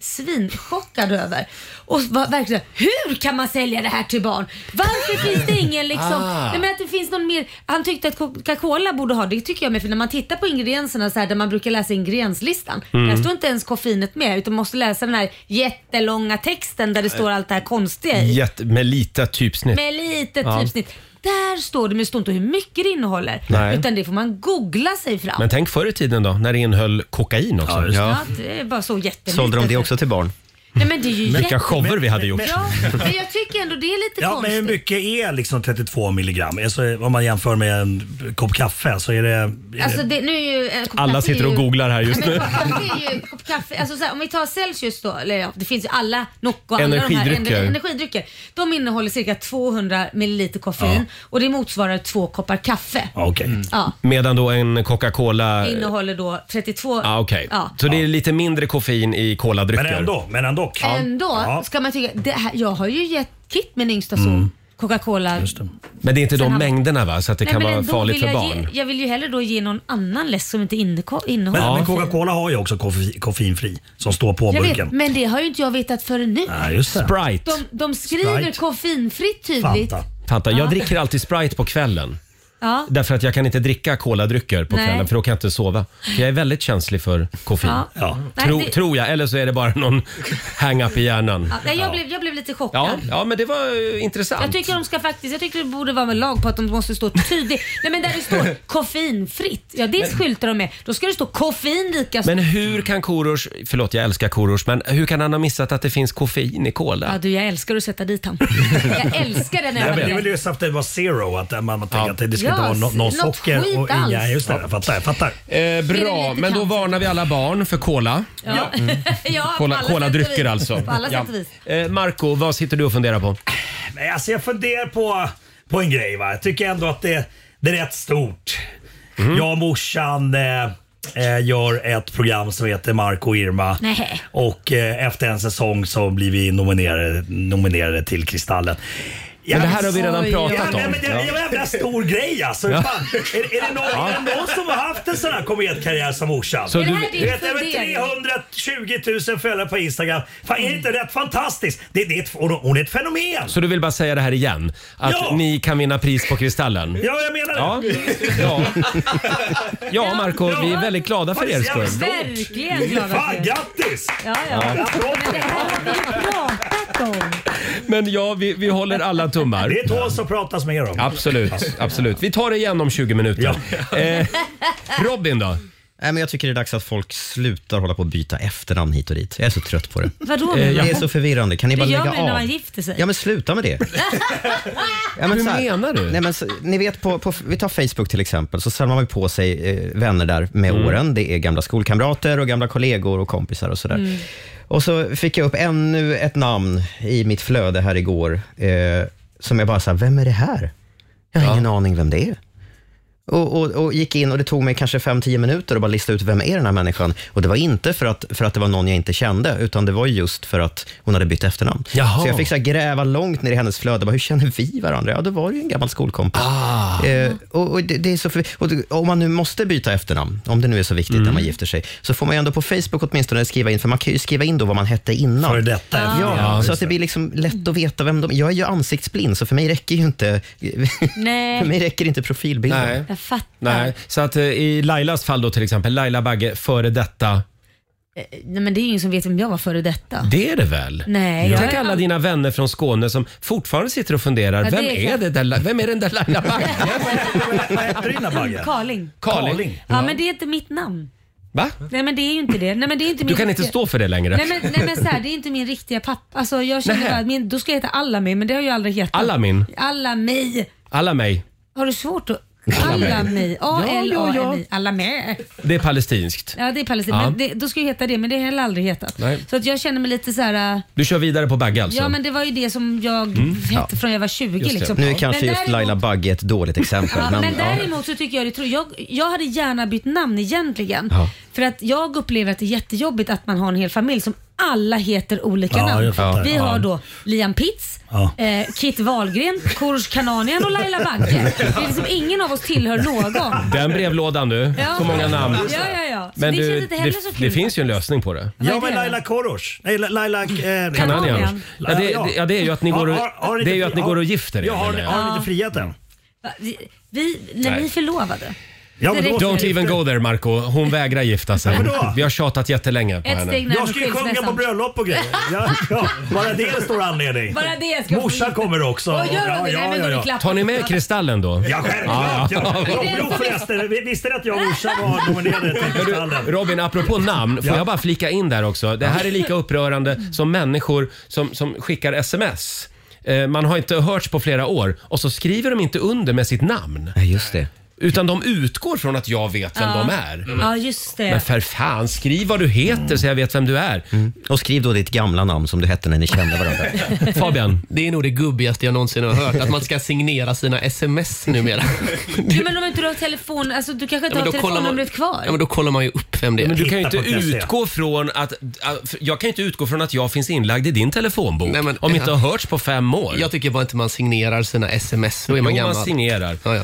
[SPEAKER 2] svinchockad över. Och var verkligen hur kan man sälja det här till barn? Varför finns det ingen liksom?
[SPEAKER 1] Ah.
[SPEAKER 2] Nej, men att det finns någon mer. Han tyckte att Coca-Cola borde ha, det tycker jag med, för när man tittar på ingredienserna så här, där man brukar läsa ingredienslistan,
[SPEAKER 1] Mm.
[SPEAKER 2] där står inte ens koffeinet med utan man måste läsa den här jättelånga texten där det står allt det här konstiga i.
[SPEAKER 1] Jätte, med lite typsnitt.
[SPEAKER 2] Med lite typsnitt. Där står det, men det står inte hur mycket det innehåller.
[SPEAKER 1] Nej.
[SPEAKER 2] Utan det får man googla sig fram.
[SPEAKER 1] Men tänk förr i tiden då, när det innehöll kokain också.
[SPEAKER 2] ja,
[SPEAKER 3] Ja.
[SPEAKER 2] det är bara så jättelite.
[SPEAKER 3] Sålde de det också till barn?
[SPEAKER 2] Nej, men det är ju jätte...
[SPEAKER 1] Vilka shower vi hade gjort.
[SPEAKER 2] Ja, men jag tycker ändå det är lite
[SPEAKER 9] Ja, men
[SPEAKER 2] konstigt.
[SPEAKER 9] hur mycket är liksom 32 milligram? Alltså, om man jämför med en kopp kaffe så är det... Är det-
[SPEAKER 2] Alltså det, nu är ju, en kopp
[SPEAKER 1] Alla
[SPEAKER 2] kaffe
[SPEAKER 1] sitter
[SPEAKER 2] är
[SPEAKER 1] och
[SPEAKER 2] ju-
[SPEAKER 1] googlar här just
[SPEAKER 2] Ja, men
[SPEAKER 1] nu.
[SPEAKER 2] kopp Kaffe är ju, kopp kaffe, alltså så här, om vi tar Celsius då, eller ja, det finns ju alla Nocco och alla de
[SPEAKER 1] Energidrycker.
[SPEAKER 2] här ener- energidrycker. De innehåller cirka 200 milliliter koffein och det motsvarar två koppar kaffe.
[SPEAKER 9] Ja, Okej.
[SPEAKER 2] Mm. Ja,
[SPEAKER 1] Medan då en Coca-Cola...
[SPEAKER 2] innehåller då 32.
[SPEAKER 1] Ah, okej.
[SPEAKER 2] ja.
[SPEAKER 1] Så det är lite mindre koffein i
[SPEAKER 9] Men
[SPEAKER 1] koladrycker.
[SPEAKER 9] ändå. Men ändå.
[SPEAKER 2] Ändå
[SPEAKER 9] Ja. Mm.
[SPEAKER 2] ska man tycka, det här, jag har ju gett Kit min yngsta son Coca-Cola.
[SPEAKER 9] Just det.
[SPEAKER 1] Men det är inte de
[SPEAKER 2] han-
[SPEAKER 1] mängderna va? Så att det
[SPEAKER 2] Nej,
[SPEAKER 1] kan
[SPEAKER 2] men
[SPEAKER 1] vara
[SPEAKER 2] ändå
[SPEAKER 1] farligt
[SPEAKER 2] vill
[SPEAKER 1] för
[SPEAKER 2] jag
[SPEAKER 1] barn.
[SPEAKER 2] Ge, jag vill ju hellre då ge någon annan läsk som inte inne-
[SPEAKER 9] Men,
[SPEAKER 2] innehåller koffein.
[SPEAKER 9] men Coca-Cola har ju också koffe- koffeinfri som står på
[SPEAKER 2] Jag
[SPEAKER 9] burken.
[SPEAKER 2] vet, men det har ju inte jag vetat förrän nu.
[SPEAKER 9] Nej, just det.
[SPEAKER 1] Sprite.
[SPEAKER 2] De, de skriver
[SPEAKER 9] Sprite.
[SPEAKER 2] koffeinfritt tydligt.
[SPEAKER 9] Fanta.
[SPEAKER 1] Fanta, jag dricker alltid Sprite på kvällen.
[SPEAKER 2] Ja.
[SPEAKER 1] Därför att jag kan inte dricka koladrycker på
[SPEAKER 2] Nej.
[SPEAKER 1] kvällen för då kan jag inte sova. För jag är väldigt känslig för koffein.
[SPEAKER 2] Ja.
[SPEAKER 9] Ja.
[SPEAKER 2] Nej,
[SPEAKER 1] Tro,
[SPEAKER 2] det-
[SPEAKER 1] Tror jag, eller så är det bara någon hang-up i hjärnan.
[SPEAKER 2] Ja, nej, jag, blev, jag blev lite chockad.
[SPEAKER 1] Ja, ja men det var eh, intressant.
[SPEAKER 2] Jag tycker de ska faktiskt, jag tycker det borde vara med lag på att de måste stå tydligt. Nej men där det
[SPEAKER 9] [LAUGHS]
[SPEAKER 2] står koffeinfritt, ja det skyltar de med. Då ska det stå koffein lika
[SPEAKER 1] Men hur kan Korosh, förlåt jag älskar Korosh, men hur kan han ha missat att det finns koffein i
[SPEAKER 2] Ja,
[SPEAKER 1] cola?
[SPEAKER 2] du, jag älskar att sätta dit han.
[SPEAKER 1] [LAUGHS]
[SPEAKER 2] Jag älskar den
[SPEAKER 9] Nej, men det är
[SPEAKER 2] ögonen.
[SPEAKER 9] väl just att det var zero, att man, man tänker
[SPEAKER 1] Ja.
[SPEAKER 9] att det ska
[SPEAKER 2] Ja,
[SPEAKER 9] inte vara no, någon
[SPEAKER 2] något skit
[SPEAKER 9] socker och inga...
[SPEAKER 2] alls.
[SPEAKER 9] Just det, jag fattar. Jag fattar.
[SPEAKER 1] Eh,
[SPEAKER 2] Det är
[SPEAKER 1] bra,
[SPEAKER 2] lite
[SPEAKER 1] men då
[SPEAKER 2] kanske.
[SPEAKER 1] varnar vi alla barn för cola.
[SPEAKER 2] Ja. Ja, på alla
[SPEAKER 1] Cola,
[SPEAKER 2] sätt och
[SPEAKER 1] koladrycker
[SPEAKER 2] vis.
[SPEAKER 1] alltså.
[SPEAKER 2] På alla sätt och vis.
[SPEAKER 1] Ja. Eh, Marco, vad sitter du och funderar på?
[SPEAKER 9] Nej, alltså jag funderar på, på en grej. Va? Jag tycker ändå att det, det är rätt stort.
[SPEAKER 1] Mm.
[SPEAKER 9] Jag och morsan eh, eh, gör ett program som heter Marco och Irma.
[SPEAKER 2] Nej.
[SPEAKER 9] Och eh, efter en säsong så blir vi nominerade, nominerade till Kristallen.
[SPEAKER 1] Men det här har vi redan
[SPEAKER 9] Oj,
[SPEAKER 1] pratat
[SPEAKER 9] ja,
[SPEAKER 1] om.
[SPEAKER 9] Nej, men det är en
[SPEAKER 1] Ja.
[SPEAKER 9] jävla stor grej alltså.
[SPEAKER 1] Ja.
[SPEAKER 9] Fan, är, är, det någon,
[SPEAKER 1] Ja.
[SPEAKER 9] är det någon som har haft en sån här kometkarriär som morsan?
[SPEAKER 1] Så Är det
[SPEAKER 9] du
[SPEAKER 1] här du- din
[SPEAKER 9] vet, över
[SPEAKER 1] fundering?
[SPEAKER 9] 320 000 följare på Instagram. Fan, är det inte rätt fantastiskt? Det, det är ett, hon, hon är ett fenomen.
[SPEAKER 1] Så du vill bara säga det här igen? Att
[SPEAKER 9] Ja.
[SPEAKER 1] ni kan vinna pris på Kristallen?
[SPEAKER 9] Ja, jag menar det.
[SPEAKER 1] Ja, ja. ja Marco, vi är väldigt glada för er skull.
[SPEAKER 2] Verkligen glada för
[SPEAKER 9] Fan,
[SPEAKER 2] er.
[SPEAKER 9] grattis!
[SPEAKER 2] Ja, ja.
[SPEAKER 1] Ja.
[SPEAKER 2] Men det här har vi ju pratat om.
[SPEAKER 1] Men ja, vi, vi håller alla tummar.
[SPEAKER 9] Det är ett hål som pratas mer om.
[SPEAKER 1] Absolut, absolut. Vi tar det igen om 20 minuter. [LAUGHS] Eh, Robin då?
[SPEAKER 3] Nej, men jag tycker det är dags att folk slutar hålla på att byta efternamn hit och dit. Jag är så trött på det.
[SPEAKER 2] Vadå, menar
[SPEAKER 3] Eh,
[SPEAKER 2] du?
[SPEAKER 3] Det är så förvirrande. Kan ni bara
[SPEAKER 2] Det gör
[SPEAKER 3] lägga
[SPEAKER 2] man ju när man
[SPEAKER 3] av?
[SPEAKER 2] gifter sig.
[SPEAKER 3] Ja, men sluta med det. Ja,
[SPEAKER 1] Hur
[SPEAKER 3] så här-
[SPEAKER 1] menar du?
[SPEAKER 3] Nej, men, så, ni vet på, på, vi tar Facebook till exempel, så samlar man ju på sig eh, vänner där med
[SPEAKER 1] Mm.
[SPEAKER 3] åren. Det är gamla skolkamrater och gamla kollegor och kompisar och sådär.
[SPEAKER 5] Mm.
[SPEAKER 3] Och så fick jag upp ännu ett namn i mitt flöde här igår, eh, som jag bara sa, vem är det här? Jag har ingen aning vem det är. Och, och, och gick in och det tog mig kanske 5-10 minuter att bara lista ut vem är den här människan. Och det var inte för att, för att det var någon jag inte kände, utan det var just för att hon hade bytt efternamn.
[SPEAKER 1] Jaha.
[SPEAKER 3] Så jag fick så här gräva långt ner i hennes flöde. Bara, hur känner vi varandra? Ja, då var det ju en gammal skolkompis.
[SPEAKER 2] Ah.
[SPEAKER 1] Ah.
[SPEAKER 3] Eh, och, och det, det är så för, och det, om man nu måste byta efternamn, om det nu är så viktigt
[SPEAKER 1] Mm.
[SPEAKER 3] när man gifter sig, så får man ju ändå på Facebook åtminstone skriva in, för man kan ju skriva in då vad man hette innan.
[SPEAKER 9] Före detta efternamn.
[SPEAKER 3] Ja,
[SPEAKER 9] Ja,
[SPEAKER 3] så
[SPEAKER 9] just
[SPEAKER 3] att det blir liksom lätt att veta vem de Jag är ju ansiktsblind, så för mig räcker ju inte, [LAUGHS] för mig
[SPEAKER 2] Nej,
[SPEAKER 3] räcker inte profilbilden.
[SPEAKER 1] Nej.
[SPEAKER 2] jag fattar.
[SPEAKER 1] Nej, så att eh, i Lailas fall då till exempel, Laila Bagge, före detta,
[SPEAKER 2] Eh, Nej, men det är ju ingen som vet vem jag var före detta.
[SPEAKER 1] det är det väl?
[SPEAKER 2] Nej, jag
[SPEAKER 1] Tänk
[SPEAKER 2] är
[SPEAKER 1] alla dina vänner från Skåne som fortfarande sitter och funderar.
[SPEAKER 2] Ja, det
[SPEAKER 1] vem,
[SPEAKER 2] är
[SPEAKER 1] är
[SPEAKER 2] klart.
[SPEAKER 1] det där, vem är den
[SPEAKER 2] [LAUGHS]
[SPEAKER 1] där Laila Bagge?
[SPEAKER 9] Vad heter dina baggar?
[SPEAKER 2] Karling.
[SPEAKER 1] Karling.
[SPEAKER 2] Ja, men det är inte mitt namn.
[SPEAKER 1] Va?
[SPEAKER 2] Nej, men det är ju inte det. Nej, men det är inte
[SPEAKER 1] Du
[SPEAKER 2] min
[SPEAKER 1] kan inte
[SPEAKER 2] riktiga-
[SPEAKER 1] stå för det längre.
[SPEAKER 2] Nej men, nej, men så här, det är inte min riktiga pappa. Alltså, jag känner
[SPEAKER 1] Nähä.
[SPEAKER 2] bara, att min, då ska jag heta Alamin, men det har jag aldrig hetat.
[SPEAKER 1] Alamin?
[SPEAKER 2] Alami.
[SPEAKER 1] Alla mig.
[SPEAKER 2] Har du svårt att...
[SPEAKER 1] Alami.
[SPEAKER 2] Alami.
[SPEAKER 1] Ja, ja,
[SPEAKER 2] A-L-A-M-I.
[SPEAKER 1] ja.
[SPEAKER 2] Alami.
[SPEAKER 1] Det är palestinskt.
[SPEAKER 2] Ja, det är Palestina.
[SPEAKER 1] Ja.
[SPEAKER 2] Men det, då ska jag heta det, men det har jag heller aldrig hetat.
[SPEAKER 1] Nej.
[SPEAKER 2] Så att jag känner mig lite så här. äh,
[SPEAKER 1] Du kör vidare på Bagge alltså?
[SPEAKER 2] Ja, men det var ju det som jag hette
[SPEAKER 3] Ja.
[SPEAKER 2] från jag var 20
[SPEAKER 3] Just det.
[SPEAKER 2] liksom.
[SPEAKER 3] Nu är kanske
[SPEAKER 2] men
[SPEAKER 3] just Laila Bagge ett dåligt exempel.
[SPEAKER 2] Ja, men,
[SPEAKER 3] men,
[SPEAKER 2] däremot så tycker jag det tror jag, jag hade gärna bytt namn egentligen.
[SPEAKER 3] Ja.
[SPEAKER 2] För att jag upplever att det är jättejobbigt att man har en hel familj som alla heter olika
[SPEAKER 9] Ja,
[SPEAKER 2] namn.
[SPEAKER 9] jag fattar.
[SPEAKER 2] Vi
[SPEAKER 9] Ja.
[SPEAKER 2] har då Liam Pitts,
[SPEAKER 9] Ja.
[SPEAKER 2] eh, Kit Wahlgren, Korosh Kananian och Laila
[SPEAKER 1] [LAUGHS]
[SPEAKER 2] Bagge. Det är liksom ingen av oss tillhör någon.
[SPEAKER 1] Den brevlådan du,
[SPEAKER 2] Ja.
[SPEAKER 1] så många namn.
[SPEAKER 2] Ja, ja, ja. Så
[SPEAKER 1] Men
[SPEAKER 2] det
[SPEAKER 1] du,
[SPEAKER 2] känns inte heller
[SPEAKER 1] det,
[SPEAKER 2] så kul.
[SPEAKER 1] det finns ju en lösning på det.
[SPEAKER 9] Ja, men Laila Korosh. Nej, Laila... Eh,
[SPEAKER 1] Kananian. Ja, det,
[SPEAKER 9] Ja.
[SPEAKER 1] det- ja, det är ju att ni
[SPEAKER 9] Har-
[SPEAKER 1] går och,
[SPEAKER 9] har- har ni
[SPEAKER 1] det är ju
[SPEAKER 9] inte-
[SPEAKER 1] att ni
[SPEAKER 9] har-
[SPEAKER 1] går och gifter er.
[SPEAKER 9] Ja, har,
[SPEAKER 1] menar
[SPEAKER 9] ni-
[SPEAKER 1] jag.
[SPEAKER 9] har ni inte friat än?
[SPEAKER 2] Va? Vi, vi, när
[SPEAKER 1] Nej.
[SPEAKER 2] vi är förlovade.
[SPEAKER 9] Ja, men
[SPEAKER 2] Det
[SPEAKER 9] då-
[SPEAKER 2] räcker.
[SPEAKER 1] Don't even go there Marco. Hon vägrar gifta sig.
[SPEAKER 9] Ja, vadå?
[SPEAKER 1] Vi har tjatat jättelänge på
[SPEAKER 2] Ett
[SPEAKER 1] henne.
[SPEAKER 2] steg närmare
[SPEAKER 9] Jag ska ju sjunga på
[SPEAKER 2] skilsmässan.
[SPEAKER 9] bröllop och grejer. Ja, ja, bara det är en
[SPEAKER 2] [LAUGHS]
[SPEAKER 9] stor anledning.
[SPEAKER 2] Bara det ska
[SPEAKER 9] Morsan kommer också.
[SPEAKER 2] Åh, gör hon det? Nej, men då är det klart.
[SPEAKER 1] Tar ni med Kristallen då?
[SPEAKER 9] Ja, självklart. Ja,
[SPEAKER 1] Ja,
[SPEAKER 9] Jag tror förresten, vi- visste ni att jag och morsan var nominerade till
[SPEAKER 2] [LAUGHS]
[SPEAKER 9] Kristallen?
[SPEAKER 1] Robin, apropå namn, får
[SPEAKER 9] Ja.
[SPEAKER 1] jag bara flika in där också. Det här är lika upprörande som människor som, som skickar sms. Eh, Man har inte hörts på flera år och så skriver de inte under med sitt namn.
[SPEAKER 3] ja, just det.
[SPEAKER 1] Utan de utgår från att jag vet vem
[SPEAKER 2] Ja.
[SPEAKER 1] de är.
[SPEAKER 2] Ja, just det.
[SPEAKER 1] Men för fan, skriv vad du heter så jag vet vem du är.
[SPEAKER 3] Mm. Och skriv då ditt gamla namn som du hette när ni kände varandra.
[SPEAKER 1] [LAUGHS] Fabian,
[SPEAKER 8] Det är nog det gubbigaste jag någonsin har hört, att man ska signera sina sms numera.
[SPEAKER 1] [LAUGHS]
[SPEAKER 2] Jo, men om inte du har telefon, alltså, du kanske inte har telefonnumret kvar.
[SPEAKER 8] ja, men då kollar man ju upp vem det är.
[SPEAKER 1] men du kan ju inte
[SPEAKER 9] Hitta på ett
[SPEAKER 1] utgå från att, att- jag kan ju inte utgå från att jag finns inlagd i din telefonbok
[SPEAKER 8] Nej, men-
[SPEAKER 1] om vi inte har hörts på fem år.
[SPEAKER 8] Jag tycker bara inte man signerar sina sms, då är man
[SPEAKER 1] Jo,
[SPEAKER 8] gammal.
[SPEAKER 1] man signerar.
[SPEAKER 8] ja, ja.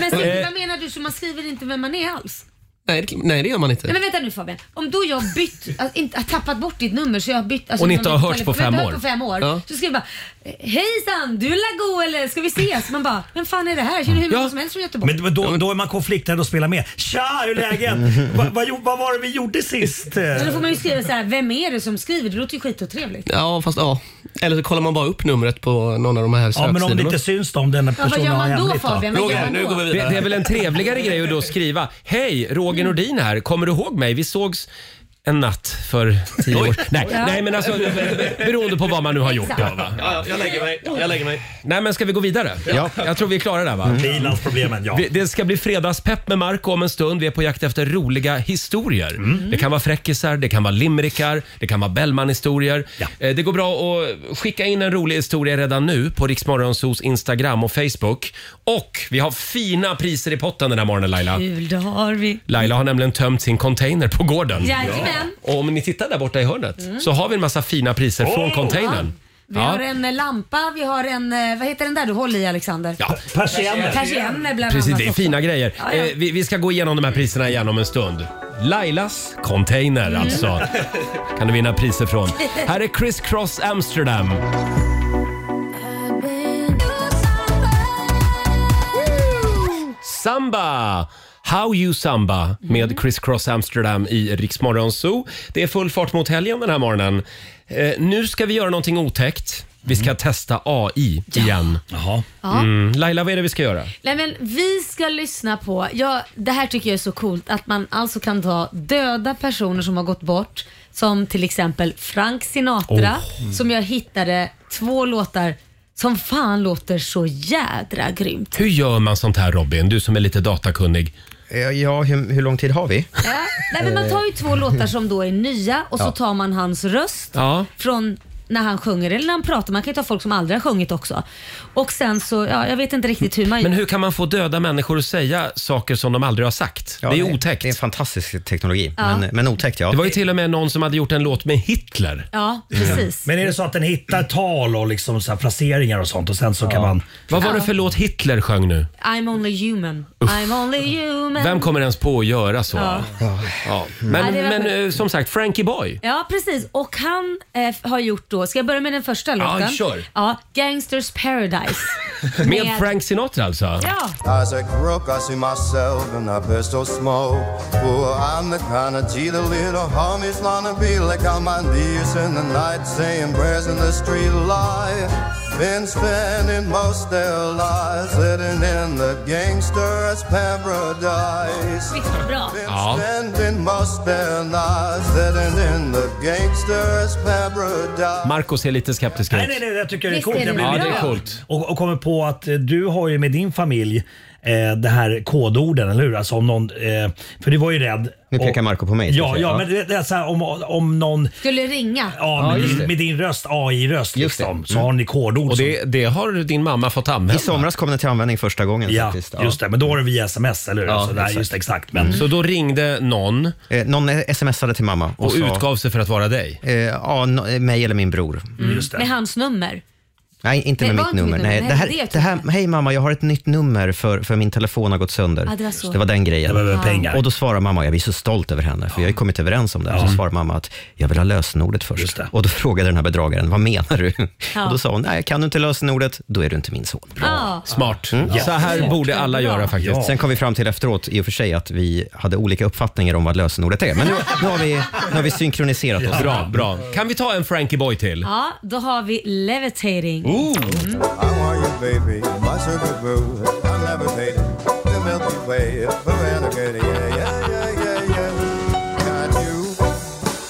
[SPEAKER 2] men,
[SPEAKER 1] Eh.
[SPEAKER 2] sen, vad menar du? Så man skriver inte vem man är alls?
[SPEAKER 1] Typ.
[SPEAKER 8] nej, det- nej, det gör man inte.
[SPEAKER 2] Nej, men vänta nu Fabian. Om då jag bytt, alltså, inte, har tappat bort ditt nummer så jag har bytt... Alltså,
[SPEAKER 1] Och ni
[SPEAKER 2] man
[SPEAKER 1] inte
[SPEAKER 2] byter
[SPEAKER 1] har hörts på
[SPEAKER 2] telefon-
[SPEAKER 1] fem
[SPEAKER 2] vi har
[SPEAKER 1] år.
[SPEAKER 2] hört på fem år.
[SPEAKER 8] Ja.
[SPEAKER 2] Så skriver jag bara “Hejsan, du är go eller ska vi ses?” Man bara “Vem fan är det här? Känner hur många
[SPEAKER 1] Ja.
[SPEAKER 2] som helst från Göteborg?”
[SPEAKER 9] Men, men då, då är man konflikträdd och spelar med. Tja, hur är läget? Va, vad gjorde- vad var det vi gjorde sist?
[SPEAKER 2] Så då får man ju skriva så här, vem är det som skriver? Det låter ju skitotrevligt.
[SPEAKER 8] Ja, fast ja. Eller så kollar man bara upp numret på någon av de här
[SPEAKER 9] Ja, men om det
[SPEAKER 8] söksidorna.
[SPEAKER 9] inte syns då, om den
[SPEAKER 2] Ja, vad
[SPEAKER 9] personen
[SPEAKER 2] gör
[SPEAKER 9] har
[SPEAKER 2] man då
[SPEAKER 9] hemligt då?
[SPEAKER 2] Fabian? Vad gör
[SPEAKER 8] Roger,
[SPEAKER 2] man
[SPEAKER 8] nu
[SPEAKER 2] då?
[SPEAKER 8] går vi
[SPEAKER 1] Det,
[SPEAKER 8] vidare.
[SPEAKER 1] det är väl en trevligare grej att då skriva “Hej, Roger Nordin här. Kommer du ihåg mig? Vi sågs en natt för tio år Nej,
[SPEAKER 2] Ja.
[SPEAKER 1] nej men alltså beroende på vad man nu har gjort. Då, va?
[SPEAKER 8] Ja, ja, jag lägger mig. Jag lägger mig.
[SPEAKER 1] Nej men ska vi gå vidare?
[SPEAKER 3] Ja.
[SPEAKER 1] Jag tror vi är klara där va?
[SPEAKER 9] Frilansproblemen, ja.
[SPEAKER 1] Vi- Det ska bli fredagspepp med Marco om en stund. Vi är på jakt efter roliga historier. Det kan vara fräckisar, det kan vara limrikar, det kan vara Bellman-historier.
[SPEAKER 9] Ja.
[SPEAKER 1] Eh, Det går bra att skicka in en rolig historia redan nu på Riksmorgonsos Instagram och Facebook. Och vi har fina priser i potten den här morgonen Laila.
[SPEAKER 2] Kul, då har vi.
[SPEAKER 1] Laila har nämligen tömt sin container på gården.
[SPEAKER 2] Jajamän. Mm.
[SPEAKER 1] Och om ni tittar där borta i hörnet så har vi en massa fina priser från
[SPEAKER 9] Oh!
[SPEAKER 1] containern.
[SPEAKER 2] Vi
[SPEAKER 1] Ja.
[SPEAKER 2] har en eh, lampa, vi har en, eh, vad heter den där du håller i Alexander?
[SPEAKER 1] Ja.
[SPEAKER 2] Persienner. Persienner bland
[SPEAKER 1] Precis,
[SPEAKER 2] annat
[SPEAKER 1] det är
[SPEAKER 2] också.
[SPEAKER 1] fina grejer.
[SPEAKER 2] Ja, ja.
[SPEAKER 1] Eh, vi, vi ska gå igenom de här priserna igen om en stund. Lailas container
[SPEAKER 2] Mm.
[SPEAKER 1] alltså. Kan du vinna priser från. Här är Criss Cross Amsterdam. Samba! How You Samba med Criss Cross Amsterdam i Riksmorgon Zoo. Det är full fart mot helgen den här morgonen. Eh, nu ska vi göra någonting otäckt. Vi ska testa AI igen.
[SPEAKER 2] Ja.
[SPEAKER 1] Mm. Laila, vad är det vi ska göra?
[SPEAKER 2] Nej, men vi ska lyssna på, ja, det här tycker jag är så coolt, att man alltså kan ta döda personer som har gått bort, som till exempel Frank Sinatra,
[SPEAKER 5] Oh.
[SPEAKER 2] som jag hittade två låtar som fan låter så jädra grymt.
[SPEAKER 1] Hur gör man sånt här Robin? Du som är lite datakunnig.
[SPEAKER 3] Eh, Ja, hur, hur lång tid har vi?
[SPEAKER 2] Nej, men man tar ju två låtar som då är nya och så
[SPEAKER 3] Ja.
[SPEAKER 2] tar man hans röst
[SPEAKER 1] Ja.
[SPEAKER 2] från när han sjunger eller när han pratar. Man kan ju ta folk som aldrig har sjungit också. Och sen så, ja, jag vet inte riktigt hur man
[SPEAKER 1] Men
[SPEAKER 2] gör.
[SPEAKER 1] hur kan man få döda människor att säga saker som de aldrig har sagt? det är otäckt. Det är en
[SPEAKER 3] fantastisk teknologi,
[SPEAKER 2] Ja. men- men
[SPEAKER 3] otäckt ja.
[SPEAKER 1] Det var ju till och med någon som hade gjort en låt med Hitler.
[SPEAKER 2] Ja, precis.
[SPEAKER 9] Mm. Men är det så att den hittar tal och liksom så här placeringar och sånt och sen så kan man...
[SPEAKER 1] Vad var det
[SPEAKER 2] Ja.
[SPEAKER 1] för låt Hitler sjöng nu?
[SPEAKER 2] I'm only human. I'm only human.
[SPEAKER 1] Vem kommer ens på att göra så?
[SPEAKER 2] Ja.
[SPEAKER 1] Ja. Men,
[SPEAKER 2] Ja, det var-
[SPEAKER 1] men eh, som sagt, Frankie Boy.
[SPEAKER 2] Ja, precis. Och han eh, har gjort då, ska jag börja med den första
[SPEAKER 1] Ja,
[SPEAKER 2] låten?
[SPEAKER 1] kör.
[SPEAKER 2] Ja, Gangsters Paradise.
[SPEAKER 1] Med Frank Sinatra alltså?
[SPEAKER 2] Ja.
[SPEAKER 11] As a crook, I see myself in a pistol smoke. Well, I'm the kind of cheater little homies wanna be like on my knees in the night, saying prayers in the street light. Been spending most their lives living in the gangster's paradise. Been
[SPEAKER 5] Ja.
[SPEAKER 11] spending most their lives living in the gangster's paradise.
[SPEAKER 1] Marco ser lite skeptisk ut.
[SPEAKER 9] Nej, nej, nej, jag tycker det är
[SPEAKER 11] Visst
[SPEAKER 9] coolt.
[SPEAKER 11] är det
[SPEAKER 9] Jag blir
[SPEAKER 11] bra.
[SPEAKER 9] lite
[SPEAKER 11] Ja, det är
[SPEAKER 9] glad.
[SPEAKER 1] coolt.
[SPEAKER 9] Och, och kommer på att eh, du har ju med din familj eh, det här kodorden, eller hur? Alltså om någon... Eh, för du var ju rädd.
[SPEAKER 3] Nu pekar
[SPEAKER 9] och,
[SPEAKER 3] Marco på mig. ska jag
[SPEAKER 9] Ja,
[SPEAKER 3] säga.
[SPEAKER 9] ja, men det det är så här, om, om någon...
[SPEAKER 2] Skulle ringa.
[SPEAKER 9] Ja, med, din, med din röst, AI-röst liksom, så har ni kodord.
[SPEAKER 1] Och det, det har din mamma fått använda.
[SPEAKER 3] I somras kom den till användning första gången.
[SPEAKER 9] Ja,
[SPEAKER 3] faktiskt.
[SPEAKER 9] just det. Men då var det via sms, eller hur?
[SPEAKER 3] Ja,
[SPEAKER 9] så där,
[SPEAKER 3] exakt.
[SPEAKER 9] Just det, exakt. Men,
[SPEAKER 1] Mm.
[SPEAKER 2] Mm.
[SPEAKER 1] Så då ringde någon?
[SPEAKER 3] Eh, någon smsade till mamma.
[SPEAKER 1] Och utgav sig för att vara dig? Mm.
[SPEAKER 3] Eh, ja, no, mig eller min bror.
[SPEAKER 2] Med hans nummer.
[SPEAKER 3] Nej, inte
[SPEAKER 2] Nej,
[SPEAKER 3] med
[SPEAKER 2] var
[SPEAKER 3] mitt
[SPEAKER 2] inte
[SPEAKER 3] nummer.
[SPEAKER 2] mitt
[SPEAKER 3] Nej,
[SPEAKER 2] nummer.
[SPEAKER 3] det här,
[SPEAKER 2] Nej, det typ-
[SPEAKER 3] det här, hej mamma, jag har ett nytt nummer för, för min telefon har gått sönder.
[SPEAKER 2] Ja, det var så.
[SPEAKER 3] den grejen.
[SPEAKER 2] behöver Ja. pengar.
[SPEAKER 3] Och då svarar mamma, jag blir så stolt över henne, för vi har ju kommit överens om det. här. Så svarar mamma att jag vill ha lösenordet först. Och då frågade den här bedragaren, vad menar du?
[SPEAKER 2] Ja.
[SPEAKER 3] Och då sa hon, nej, kan du inte lösenordet, då är du inte min son.
[SPEAKER 2] Ja.
[SPEAKER 1] Smart. Mm. Så här borde alla göra faktiskt.
[SPEAKER 3] Sen kom vi fram till efteråt, i och för sig, att vi hade olika uppfattningar om vad lösenordet är. Men nu, nu, har, vi, nu har vi synkroniserat oss.
[SPEAKER 1] Bra, bra. Kan vi ta en Frankie Boy till?
[SPEAKER 2] Ja, då har vi Levitating. Mm.
[SPEAKER 11] I want you, baby, my sugar boo. I'm levitating, the Milky Way, Veronica, yeah, yeah, yeah, yeah, yeah. Got you,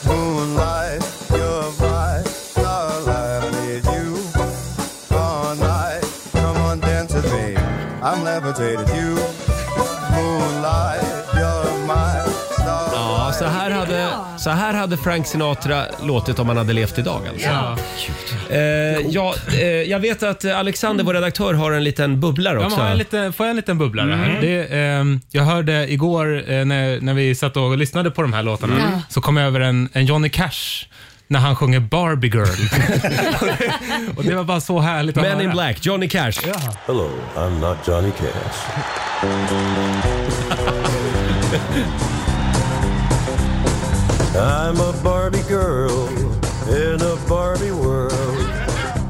[SPEAKER 11] moonlight, you're my starlight. I need you all night. Come on, dance with me. I'm levitating, you, moonlight, you're my starlight.
[SPEAKER 1] Ja, så här, hade, så här hade Frank Sinatra låtit om han hade levt idag alltså.
[SPEAKER 5] Ja.
[SPEAKER 1] Eh, ja, eh, jag vet att eh, Alexander, vår redaktör, har en liten bubblare
[SPEAKER 7] Ja,
[SPEAKER 1] också.
[SPEAKER 7] men har jag lite, får jag en liten bubblare här?
[SPEAKER 1] Mm.
[SPEAKER 7] Det, ehm, jag hörde igår eh, när, när vi satt och lyssnade på de här låtarna,
[SPEAKER 1] Mm. Ja.
[SPEAKER 7] så kom jag över en, en Johnny Cash när han sjunger Barbie
[SPEAKER 1] [LAUGHS]
[SPEAKER 7] Girl. och det var bara så härligt att
[SPEAKER 12] Men
[SPEAKER 7] höra.
[SPEAKER 12] in
[SPEAKER 1] Black, Johnny Cash.
[SPEAKER 12] Hello, I'm not Johnny Cash. I'm a Barbie girl in a Barbie world.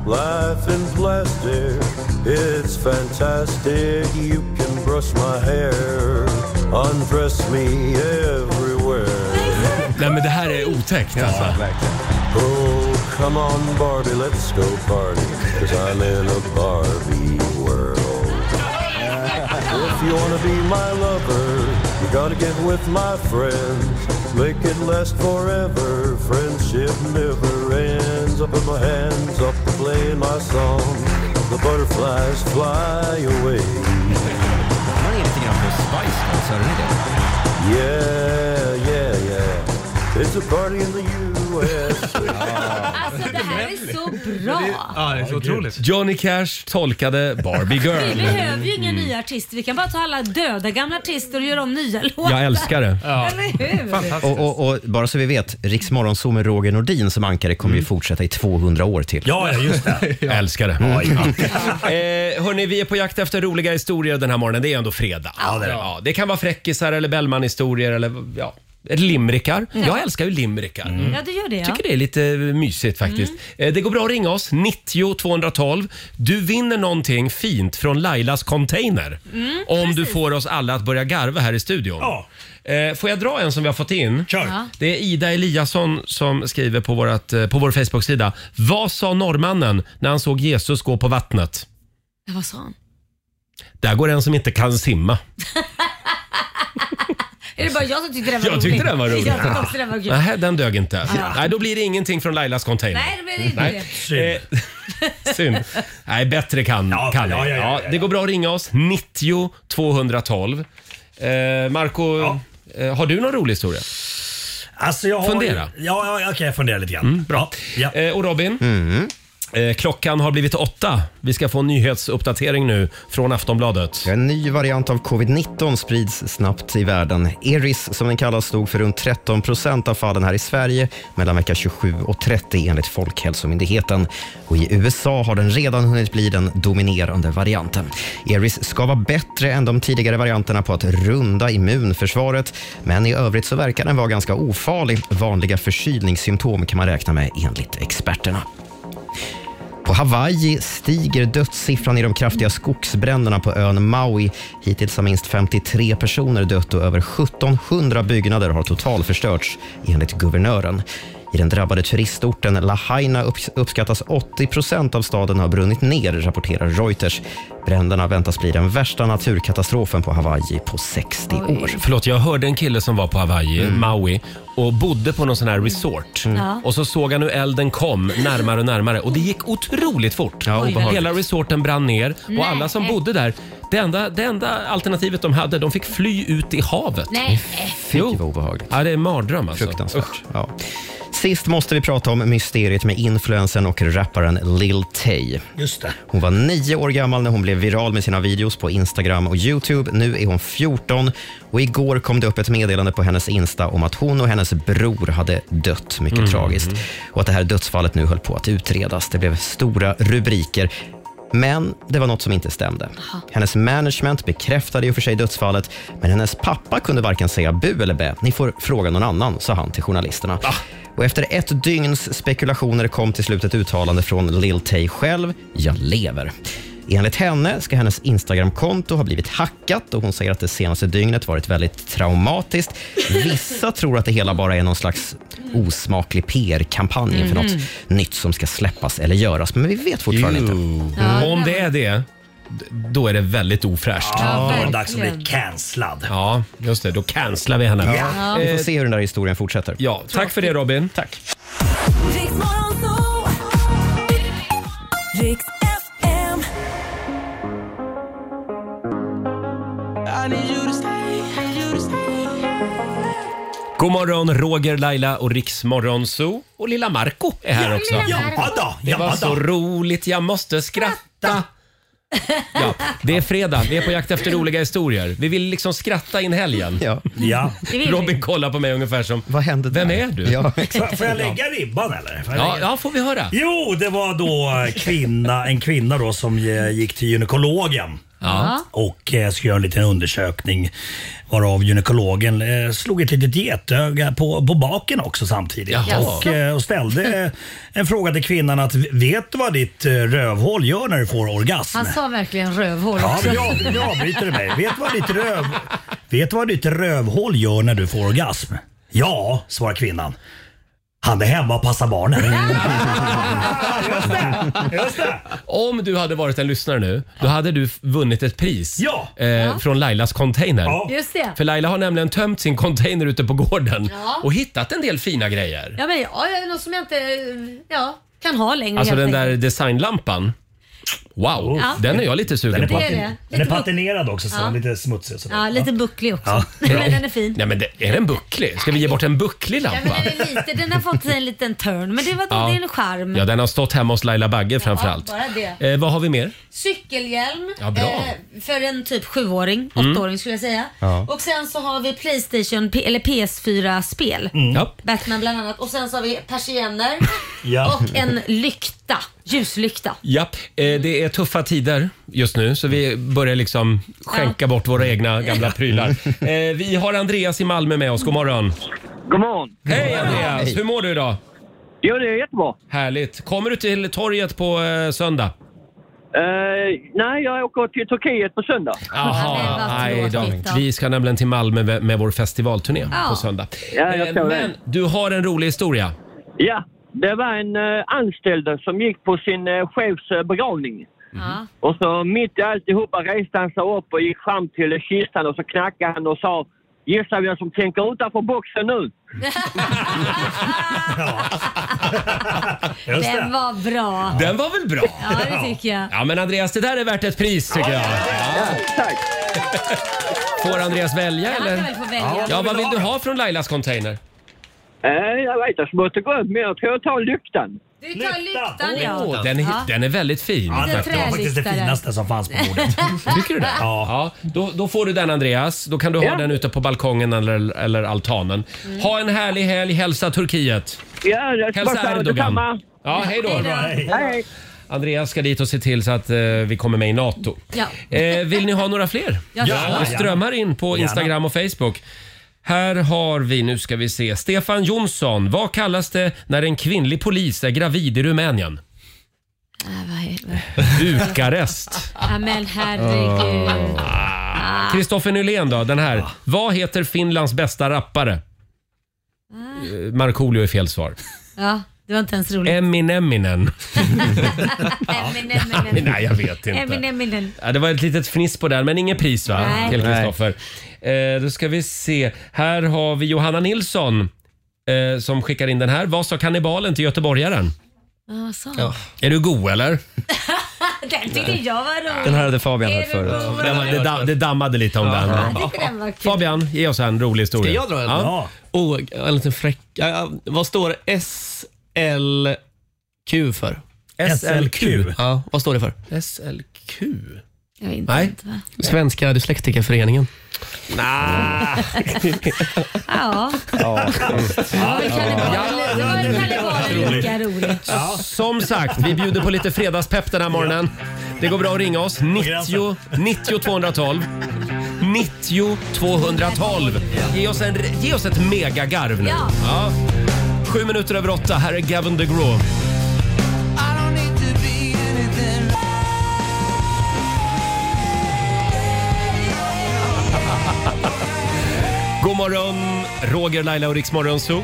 [SPEAKER 12] Life in plastic, it's fantastic. You can brush my hair, undress me everywhere.
[SPEAKER 1] Nej, men det här är otäckt alltså.
[SPEAKER 12] Oh, come on, Barbie, let's go party, cause I'm in a Barbie world. [LAUGHS] If you wanna be my lover, you gotta get with my friends. Make it last forever, friendship never ends. Up in my hands, up to playing my song, the butterflies fly away.
[SPEAKER 3] Man är lite grann på Spice Girls, hörde ni det?
[SPEAKER 12] Yeah, yeah, yeah. It's a party in the U.S.
[SPEAKER 5] Ah.
[SPEAKER 2] Alltså det här är så bra.
[SPEAKER 7] Ja, det är så otroligt.
[SPEAKER 1] Johnny Cash tolkade
[SPEAKER 7] [LAUGHS]
[SPEAKER 1] Barbie
[SPEAKER 2] Vi
[SPEAKER 1] Girl. Mm.
[SPEAKER 2] behöver ju inga nya artister. Vi kan bara ta alla döda gamla artister och göra om nya låtar.
[SPEAKER 3] Jag älskar det.
[SPEAKER 2] Ja. [LAUGHS] Eller hur?
[SPEAKER 3] Och, och, och bara så vi vet, Riks Morgonzoo med Roger Nordin som ankare kommer ju fortsätta i 200 år till.
[SPEAKER 1] Mm. Ja, ja, just
[SPEAKER 3] [LAUGHS]
[SPEAKER 1] det. Jag älskar det.
[SPEAKER 3] Mm.
[SPEAKER 1] [LAUGHS] eh, hörni, vi är på jakt efter roliga historier den här morgonen. Det är ändå fredag. Ja, det, kan vara fräckisar eller Bellman-historier eller ja, limrikar.
[SPEAKER 2] Ja.
[SPEAKER 1] Jag älskar ju limrikar.
[SPEAKER 2] Mm. Ja, du gör det ja.
[SPEAKER 1] Jag Mm. tycker det är lite mysigt faktiskt.
[SPEAKER 2] Mm.
[SPEAKER 1] Eh, Det går bra att ringa oss, 90 212. Du vinner någonting fint från Lailas container.
[SPEAKER 2] Mm,
[SPEAKER 1] om du
[SPEAKER 2] precis.
[SPEAKER 1] får oss alla att börja garva här i studion.
[SPEAKER 2] Ja.
[SPEAKER 1] Eh, Får jag dra en som vi har fått in?
[SPEAKER 2] Kör. Ja.
[SPEAKER 1] Det är Ida Eliasson som skriver på, vårat, eh, på vår Facebook-sida. Vad sa norrmannen när han såg Jesus gå på vattnet?
[SPEAKER 2] Ja, Vad sa han?
[SPEAKER 1] Där går en som inte kan simma.
[SPEAKER 2] Är det bara jag som tyckte den var
[SPEAKER 1] Jag
[SPEAKER 2] rolig?
[SPEAKER 1] tyckte den var
[SPEAKER 2] [LAUGHS]
[SPEAKER 1] rolig.
[SPEAKER 2] Jag tyckte också den var kul.
[SPEAKER 1] Nej, den dög inte.
[SPEAKER 2] Ja.
[SPEAKER 1] Nej, då blir det ingenting från Lailas container.
[SPEAKER 2] Nej, det blir inte
[SPEAKER 1] Nej. Eh, [LAUGHS] Synd. Nej, bättre kan ja, Kalle. Ja,
[SPEAKER 9] ja, ja, ja,
[SPEAKER 1] det går bra att ringa oss. 90 212. Eh, Marco, eh, har du någon rolig historia?
[SPEAKER 9] Alltså jag har...
[SPEAKER 1] Fundera. Mm.
[SPEAKER 9] Ja, ja, jag kan fundera lite grann.
[SPEAKER 1] bra. Eh, och Robin?
[SPEAKER 3] Mm.
[SPEAKER 1] Eh, klockan har blivit åtta. Vi ska få en nyhetsuppdatering nu från Aftonbladet.
[SPEAKER 3] En ny variant av covid-19 sprids snabbt i världen. Eris, som den kallas, stod för runt 13 procent av fallen här i Sverige mellan vecka 27 och 30 enligt Folkhälsomyndigheten. Och I USA har den redan hunnit bli den dominerande varianten. Eris ska vara bättre än de tidigare varianterna på att runda immunförsvaret, men i övrigt så verkar den vara ganska ofarlig. Vanliga förkylningssymptom kan man räkna med enligt experterna. På Hawaii stiger dödssiffran i de kraftiga skogsbränderna på ön Maui. Hittills har minst 53 personer dött och över 1700 byggnader har totalförstörts, enligt guvernören. I den drabbade turistorten Lahaina upp, uppskattas 80 procent av staden ha brunnit ner, rapporterar Reuters. Bränderna väntas bli den värsta naturkatastrofen på Hawaii på 60 år.
[SPEAKER 1] Oh, Förlåt, jag hörde en kille som var på Hawaii,
[SPEAKER 3] Mm.
[SPEAKER 1] Maui, och bodde på någon sån här resort.
[SPEAKER 3] Ja.
[SPEAKER 1] Och så såg han hur elden kom närmare och närmare och det gick otroligt fort.
[SPEAKER 3] Ja, obehagligt.
[SPEAKER 1] Hela resorten brann ner
[SPEAKER 2] Nej.
[SPEAKER 1] och alla som bodde där, det enda, det enda alternativet de hade, de fick fly ut i havet.
[SPEAKER 2] Nej.
[SPEAKER 3] Fy vad obehagligt.
[SPEAKER 1] Ja, det är en mardröm alltså.
[SPEAKER 3] Fruktansvärt. Ja. Sist måste vi prata om mysteriet med influensen och rapparen Lil Tay.
[SPEAKER 9] Just det.
[SPEAKER 3] Hon var nio år gammal när hon blev viral med sina videos på Instagram och Youtube. Nu är hon 14 och igår kom det upp ett meddelande på hennes Insta om att hon och hennes bror hade dött. Mycket
[SPEAKER 13] Mm.
[SPEAKER 3] tragiskt. Och att det här dödsfallet nu höll på att utredas. Det blev stora rubriker. Men det var något som inte stämde. Hennes management bekräftade i och för sig dödsfallet, men hennes pappa kunde varken säga bu eller bä. Ni får fråga någon annan, sa han till journalisterna.
[SPEAKER 13] Ah.
[SPEAKER 3] Och efter ett dygns spekulationer kom till slut ett uttalande från Lil Tay själv. Jag lever. Enligt henne ska hennes Instagramkonto ha blivit hackat och hon säger att det senaste dygnet varit väldigt traumatiskt.
[SPEAKER 13] [LAUGHS]
[SPEAKER 3] Vissa tror att det hela bara är någon slags osmaklig PR-kampanj inför
[SPEAKER 1] Mhm.
[SPEAKER 2] Mm.
[SPEAKER 3] något nytt som ska släppas eller göras, men vi vet fortfarande inte.
[SPEAKER 1] Ja, det Om det är det, d- då är det väldigt ofräscht.
[SPEAKER 3] Ja, verkligen.
[SPEAKER 9] dags att bli cancellad.
[SPEAKER 1] Ja, just det. Då cancelar vi henne.
[SPEAKER 3] Ja. Vi får se hur den där historien fortsätter.
[SPEAKER 1] Ja, tack för det Robin.
[SPEAKER 3] Tack.
[SPEAKER 5] Riks FM. I need you to stay, need you to stay.
[SPEAKER 1] God morgon, Roger, Laila och Riksmorgon Zoo. Och lilla Marco är här
[SPEAKER 5] Ja,
[SPEAKER 1] också.
[SPEAKER 5] lilla Marco. Ja, då,
[SPEAKER 1] det
[SPEAKER 5] ja,
[SPEAKER 1] var
[SPEAKER 5] då.
[SPEAKER 1] så roligt, jag måste skratta. Ja, det är fredag, vi är på jakt efter roliga historier. Vi vill liksom skratta in helgen.
[SPEAKER 3] Ja.
[SPEAKER 9] Ja.
[SPEAKER 2] Det vill vi.
[SPEAKER 1] Robin kollar på mig ungefär som,
[SPEAKER 3] Vad hände
[SPEAKER 1] vem är du? [LAUGHS]
[SPEAKER 3] Ja,
[SPEAKER 9] Får, får jag lägga ribban eller? Får jag
[SPEAKER 1] Ja,
[SPEAKER 9] lägga-
[SPEAKER 1] ja, får vi höra.
[SPEAKER 9] Jo, det var då kvinna, en kvinna då som eh, gick till gynekologen.
[SPEAKER 1] Ja.
[SPEAKER 9] Och eh, skulle göra en liten undersökning varav gynekologen eh, slog ett litet getöga på, på baken också samtidigt.
[SPEAKER 5] Jaha.
[SPEAKER 9] Och, eh, och ställde eh, en fråga till kvinnan att vet du vad ditt eh, rövhål gör när du får orgasm?
[SPEAKER 2] Han sa verkligen rövhål
[SPEAKER 9] Ja,
[SPEAKER 2] också.
[SPEAKER 9] men jag, jag avbryter dig. Vet du
[SPEAKER 2] [LAUGHS]
[SPEAKER 9] vad ditt röv... Vet du vad ditt rövhål gör när du får orgasm? Ja, svarar kvinnan. Han är hemma och passar barnen.
[SPEAKER 1] Om du hade varit en lyssnare nu, då hade du f- vunnit ett pris eh, från Lailas container.
[SPEAKER 2] Just det.
[SPEAKER 1] För Laila har nämligen tömt sin container ute på gården
[SPEAKER 2] Ja.
[SPEAKER 1] och hittat en del fina grejer.
[SPEAKER 2] Ja, men ja, något som jag inte ja, kan ha längre
[SPEAKER 1] Alltså
[SPEAKER 2] helt
[SPEAKER 1] den där
[SPEAKER 2] enkelt.
[SPEAKER 1] designlampan. Wow,
[SPEAKER 2] Ja.
[SPEAKER 1] den är jag lite sugen
[SPEAKER 9] Oh. Den är
[SPEAKER 1] på.
[SPEAKER 2] Det är det.
[SPEAKER 9] Den är
[SPEAKER 2] Lite
[SPEAKER 9] patinerad också, så
[SPEAKER 2] Ja.
[SPEAKER 9] den är lite smutsig. och sådär.
[SPEAKER 2] Ja, lite bucklig också.
[SPEAKER 9] Ja.
[SPEAKER 2] [LAUGHS] Men den är fin.
[SPEAKER 1] Nej, men det, är den bucklig? Ska vi ge bort en bucklig
[SPEAKER 2] Ja, men
[SPEAKER 1] lampa?
[SPEAKER 2] den, är lite, den har fått sig en liten turn, men det, var,
[SPEAKER 1] Ja.
[SPEAKER 2] det är en charm.
[SPEAKER 1] Ja, den har stått hemma hos Laila Bagge framförallt.
[SPEAKER 2] bara det.
[SPEAKER 1] Eh, vad har vi mer?
[SPEAKER 2] Cykelhjälm
[SPEAKER 1] Ja, bra.
[SPEAKER 2] eh, för en typ sjuåring,
[SPEAKER 1] Mm.
[SPEAKER 2] åttaåring skulle jag säga.
[SPEAKER 1] Ja.
[SPEAKER 2] Och sen så har vi Playstation P- eller PS4-spel.
[SPEAKER 1] Ja.
[SPEAKER 2] Batman bland annat. Och sen så har vi persienner
[SPEAKER 1] [LAUGHS] Ja.
[SPEAKER 2] och en lykta,
[SPEAKER 1] [LAUGHS]
[SPEAKER 2] ljuslykta.
[SPEAKER 1] Japp, eh, det är tuffa tider just nu så vi börjar liksom skänka bort våra egna gamla prylar. Eh, vi har Andreas i Malmö med oss, god morgon.
[SPEAKER 13] God morgon.
[SPEAKER 1] Hej Andreas,
[SPEAKER 13] Hej.
[SPEAKER 1] hur mår du idag?
[SPEAKER 13] Jo, det är jättebra.
[SPEAKER 1] Härligt. Kommer du till torget på eh, söndag?
[SPEAKER 13] Eh, nej, jag åker till Turkiet på söndag.
[SPEAKER 1] Jaha, aj då. Vi ska nämligen till Malmö med, med vår festivalturné
[SPEAKER 13] Ja.
[SPEAKER 1] på söndag.
[SPEAKER 13] Ja, jag
[SPEAKER 1] Eh,
[SPEAKER 13] tror det.
[SPEAKER 1] Men du har en rolig historia.
[SPEAKER 13] Ja, det var en eh, anställd som gick på sin eh, chefs eh, begravning.
[SPEAKER 2] Ja.
[SPEAKER 13] Och så mitt i alltihopa reste han sig upp och gick fram till eh, kistan och så knackade han och sa Gissa vem som tänker utanför boxen nu?
[SPEAKER 2] [LAUGHS]
[SPEAKER 1] Just
[SPEAKER 2] Den var bra.
[SPEAKER 1] Den var väl bra?
[SPEAKER 2] Ja, det tycker jag.
[SPEAKER 1] Ja men Andreas, det där är värt ett pris tycker jag.
[SPEAKER 13] Tack.
[SPEAKER 1] Får Andreas välja
[SPEAKER 2] Ja, han
[SPEAKER 1] eller?
[SPEAKER 2] kan väl få välja.
[SPEAKER 1] Ja, vad vill du ha från Lailas container?
[SPEAKER 13] Eh, jag vet, jag måste gå upp men jag tror jag tar lyktan.
[SPEAKER 2] Du tar lyktan
[SPEAKER 1] Åh,
[SPEAKER 2] ja.
[SPEAKER 1] den, är,
[SPEAKER 2] ja.
[SPEAKER 1] den är väldigt fin.
[SPEAKER 2] Ja, det var
[SPEAKER 1] faktiskt.
[SPEAKER 2] faktiskt det Trälyktare. finaste
[SPEAKER 9] som fanns på
[SPEAKER 2] bordet.
[SPEAKER 1] [LAUGHS] Tycker du det? Ja. då, då får du den Andreas. Då kan du ha
[SPEAKER 13] Ja.
[SPEAKER 1] den ute på balkongen eller, eller altanen.
[SPEAKER 2] Mm.
[SPEAKER 1] Ha en härlig helg. Hälsa Turkiet.
[SPEAKER 13] Ja, jag ska bara
[SPEAKER 1] Hälsa
[SPEAKER 13] säga
[SPEAKER 1] Erdogan.
[SPEAKER 13] detsamma.
[SPEAKER 1] Ja, hej då.
[SPEAKER 13] Hej. Hej.
[SPEAKER 1] Andreas ska dit och se till så att eh, vi kommer med i NATO.
[SPEAKER 2] Ja.
[SPEAKER 1] Eh, vill ni ha några fler?
[SPEAKER 2] Ja,
[SPEAKER 1] Det
[SPEAKER 2] gärna.
[SPEAKER 1] strömmar in på
[SPEAKER 2] Gärna.
[SPEAKER 1] Instagram och Facebook. Här har vi, nu ska vi se, Stefan Jonsson. Vad kallas det när en kvinnlig polis är gravid
[SPEAKER 2] [LAUGHS]
[SPEAKER 1] i Rumänien?
[SPEAKER 2] Ah, vad är det?
[SPEAKER 1] Bukarest. Ah.
[SPEAKER 2] Ja, men herregud.
[SPEAKER 1] Kristoffer Nylén då, den här. Vad heter Finlands bästa rappare? Eh, Markoolio är fel svar.
[SPEAKER 2] Ja, Ah. det var inte ens roligt. [LAUGHS]
[SPEAKER 1] Emineminen.
[SPEAKER 2] Eminem,
[SPEAKER 1] [LAUGHS] Nej, jag vet inte.
[SPEAKER 2] Eminem, Eminem.
[SPEAKER 1] Ja, det var ett litet fniss på den, men inget pris va?
[SPEAKER 2] Nej.
[SPEAKER 1] Till
[SPEAKER 2] Nej.
[SPEAKER 1] Kristoffer. Eh, då ska vi se. Här har vi Johanna Nilsson eh, som skickar in den här. Vad sa kannibalen till göteborgaren?
[SPEAKER 2] Ja, vad sa han?
[SPEAKER 1] Är du god eller?
[SPEAKER 2] [LAUGHS] Den tyckte jag var rolig. Är du rolig?
[SPEAKER 1] Det, dam- det dammade lite om den.
[SPEAKER 2] Ja, jag tyckte den var kul.
[SPEAKER 1] [LAUGHS] Fabian, ge oss en rolig
[SPEAKER 8] Ska
[SPEAKER 1] historia.
[SPEAKER 8] jag dra en?
[SPEAKER 1] Ja.
[SPEAKER 8] Oh, en liten fräck. Ja, ja, vad står SLQ för?
[SPEAKER 1] SLQ?
[SPEAKER 8] Ja, vad står det för?
[SPEAKER 1] SLQ?
[SPEAKER 2] Jag vet
[SPEAKER 8] Nej.
[SPEAKER 2] inte. va?
[SPEAKER 8] Svenska dyslektikerföreningen.
[SPEAKER 2] Ja.
[SPEAKER 8] Ja.
[SPEAKER 2] Ja, det kan det vara. Det var en kannibal lika
[SPEAKER 1] Mm.
[SPEAKER 2] rolig.
[SPEAKER 1] Som sagt, vi bjuder på lite fredagspepp den här morgonen. Det går bra att ringa oss. 90 90 212. 90 212. Ge oss, en, ge oss ett megagarv nu.
[SPEAKER 5] Ja.
[SPEAKER 1] Ja. Sju minuter över åtta. Här är Gavin DeGraw.
[SPEAKER 5] I don't need to be anything.
[SPEAKER 1] God morgon, Roger, Laila och Riksmorgon Zoo.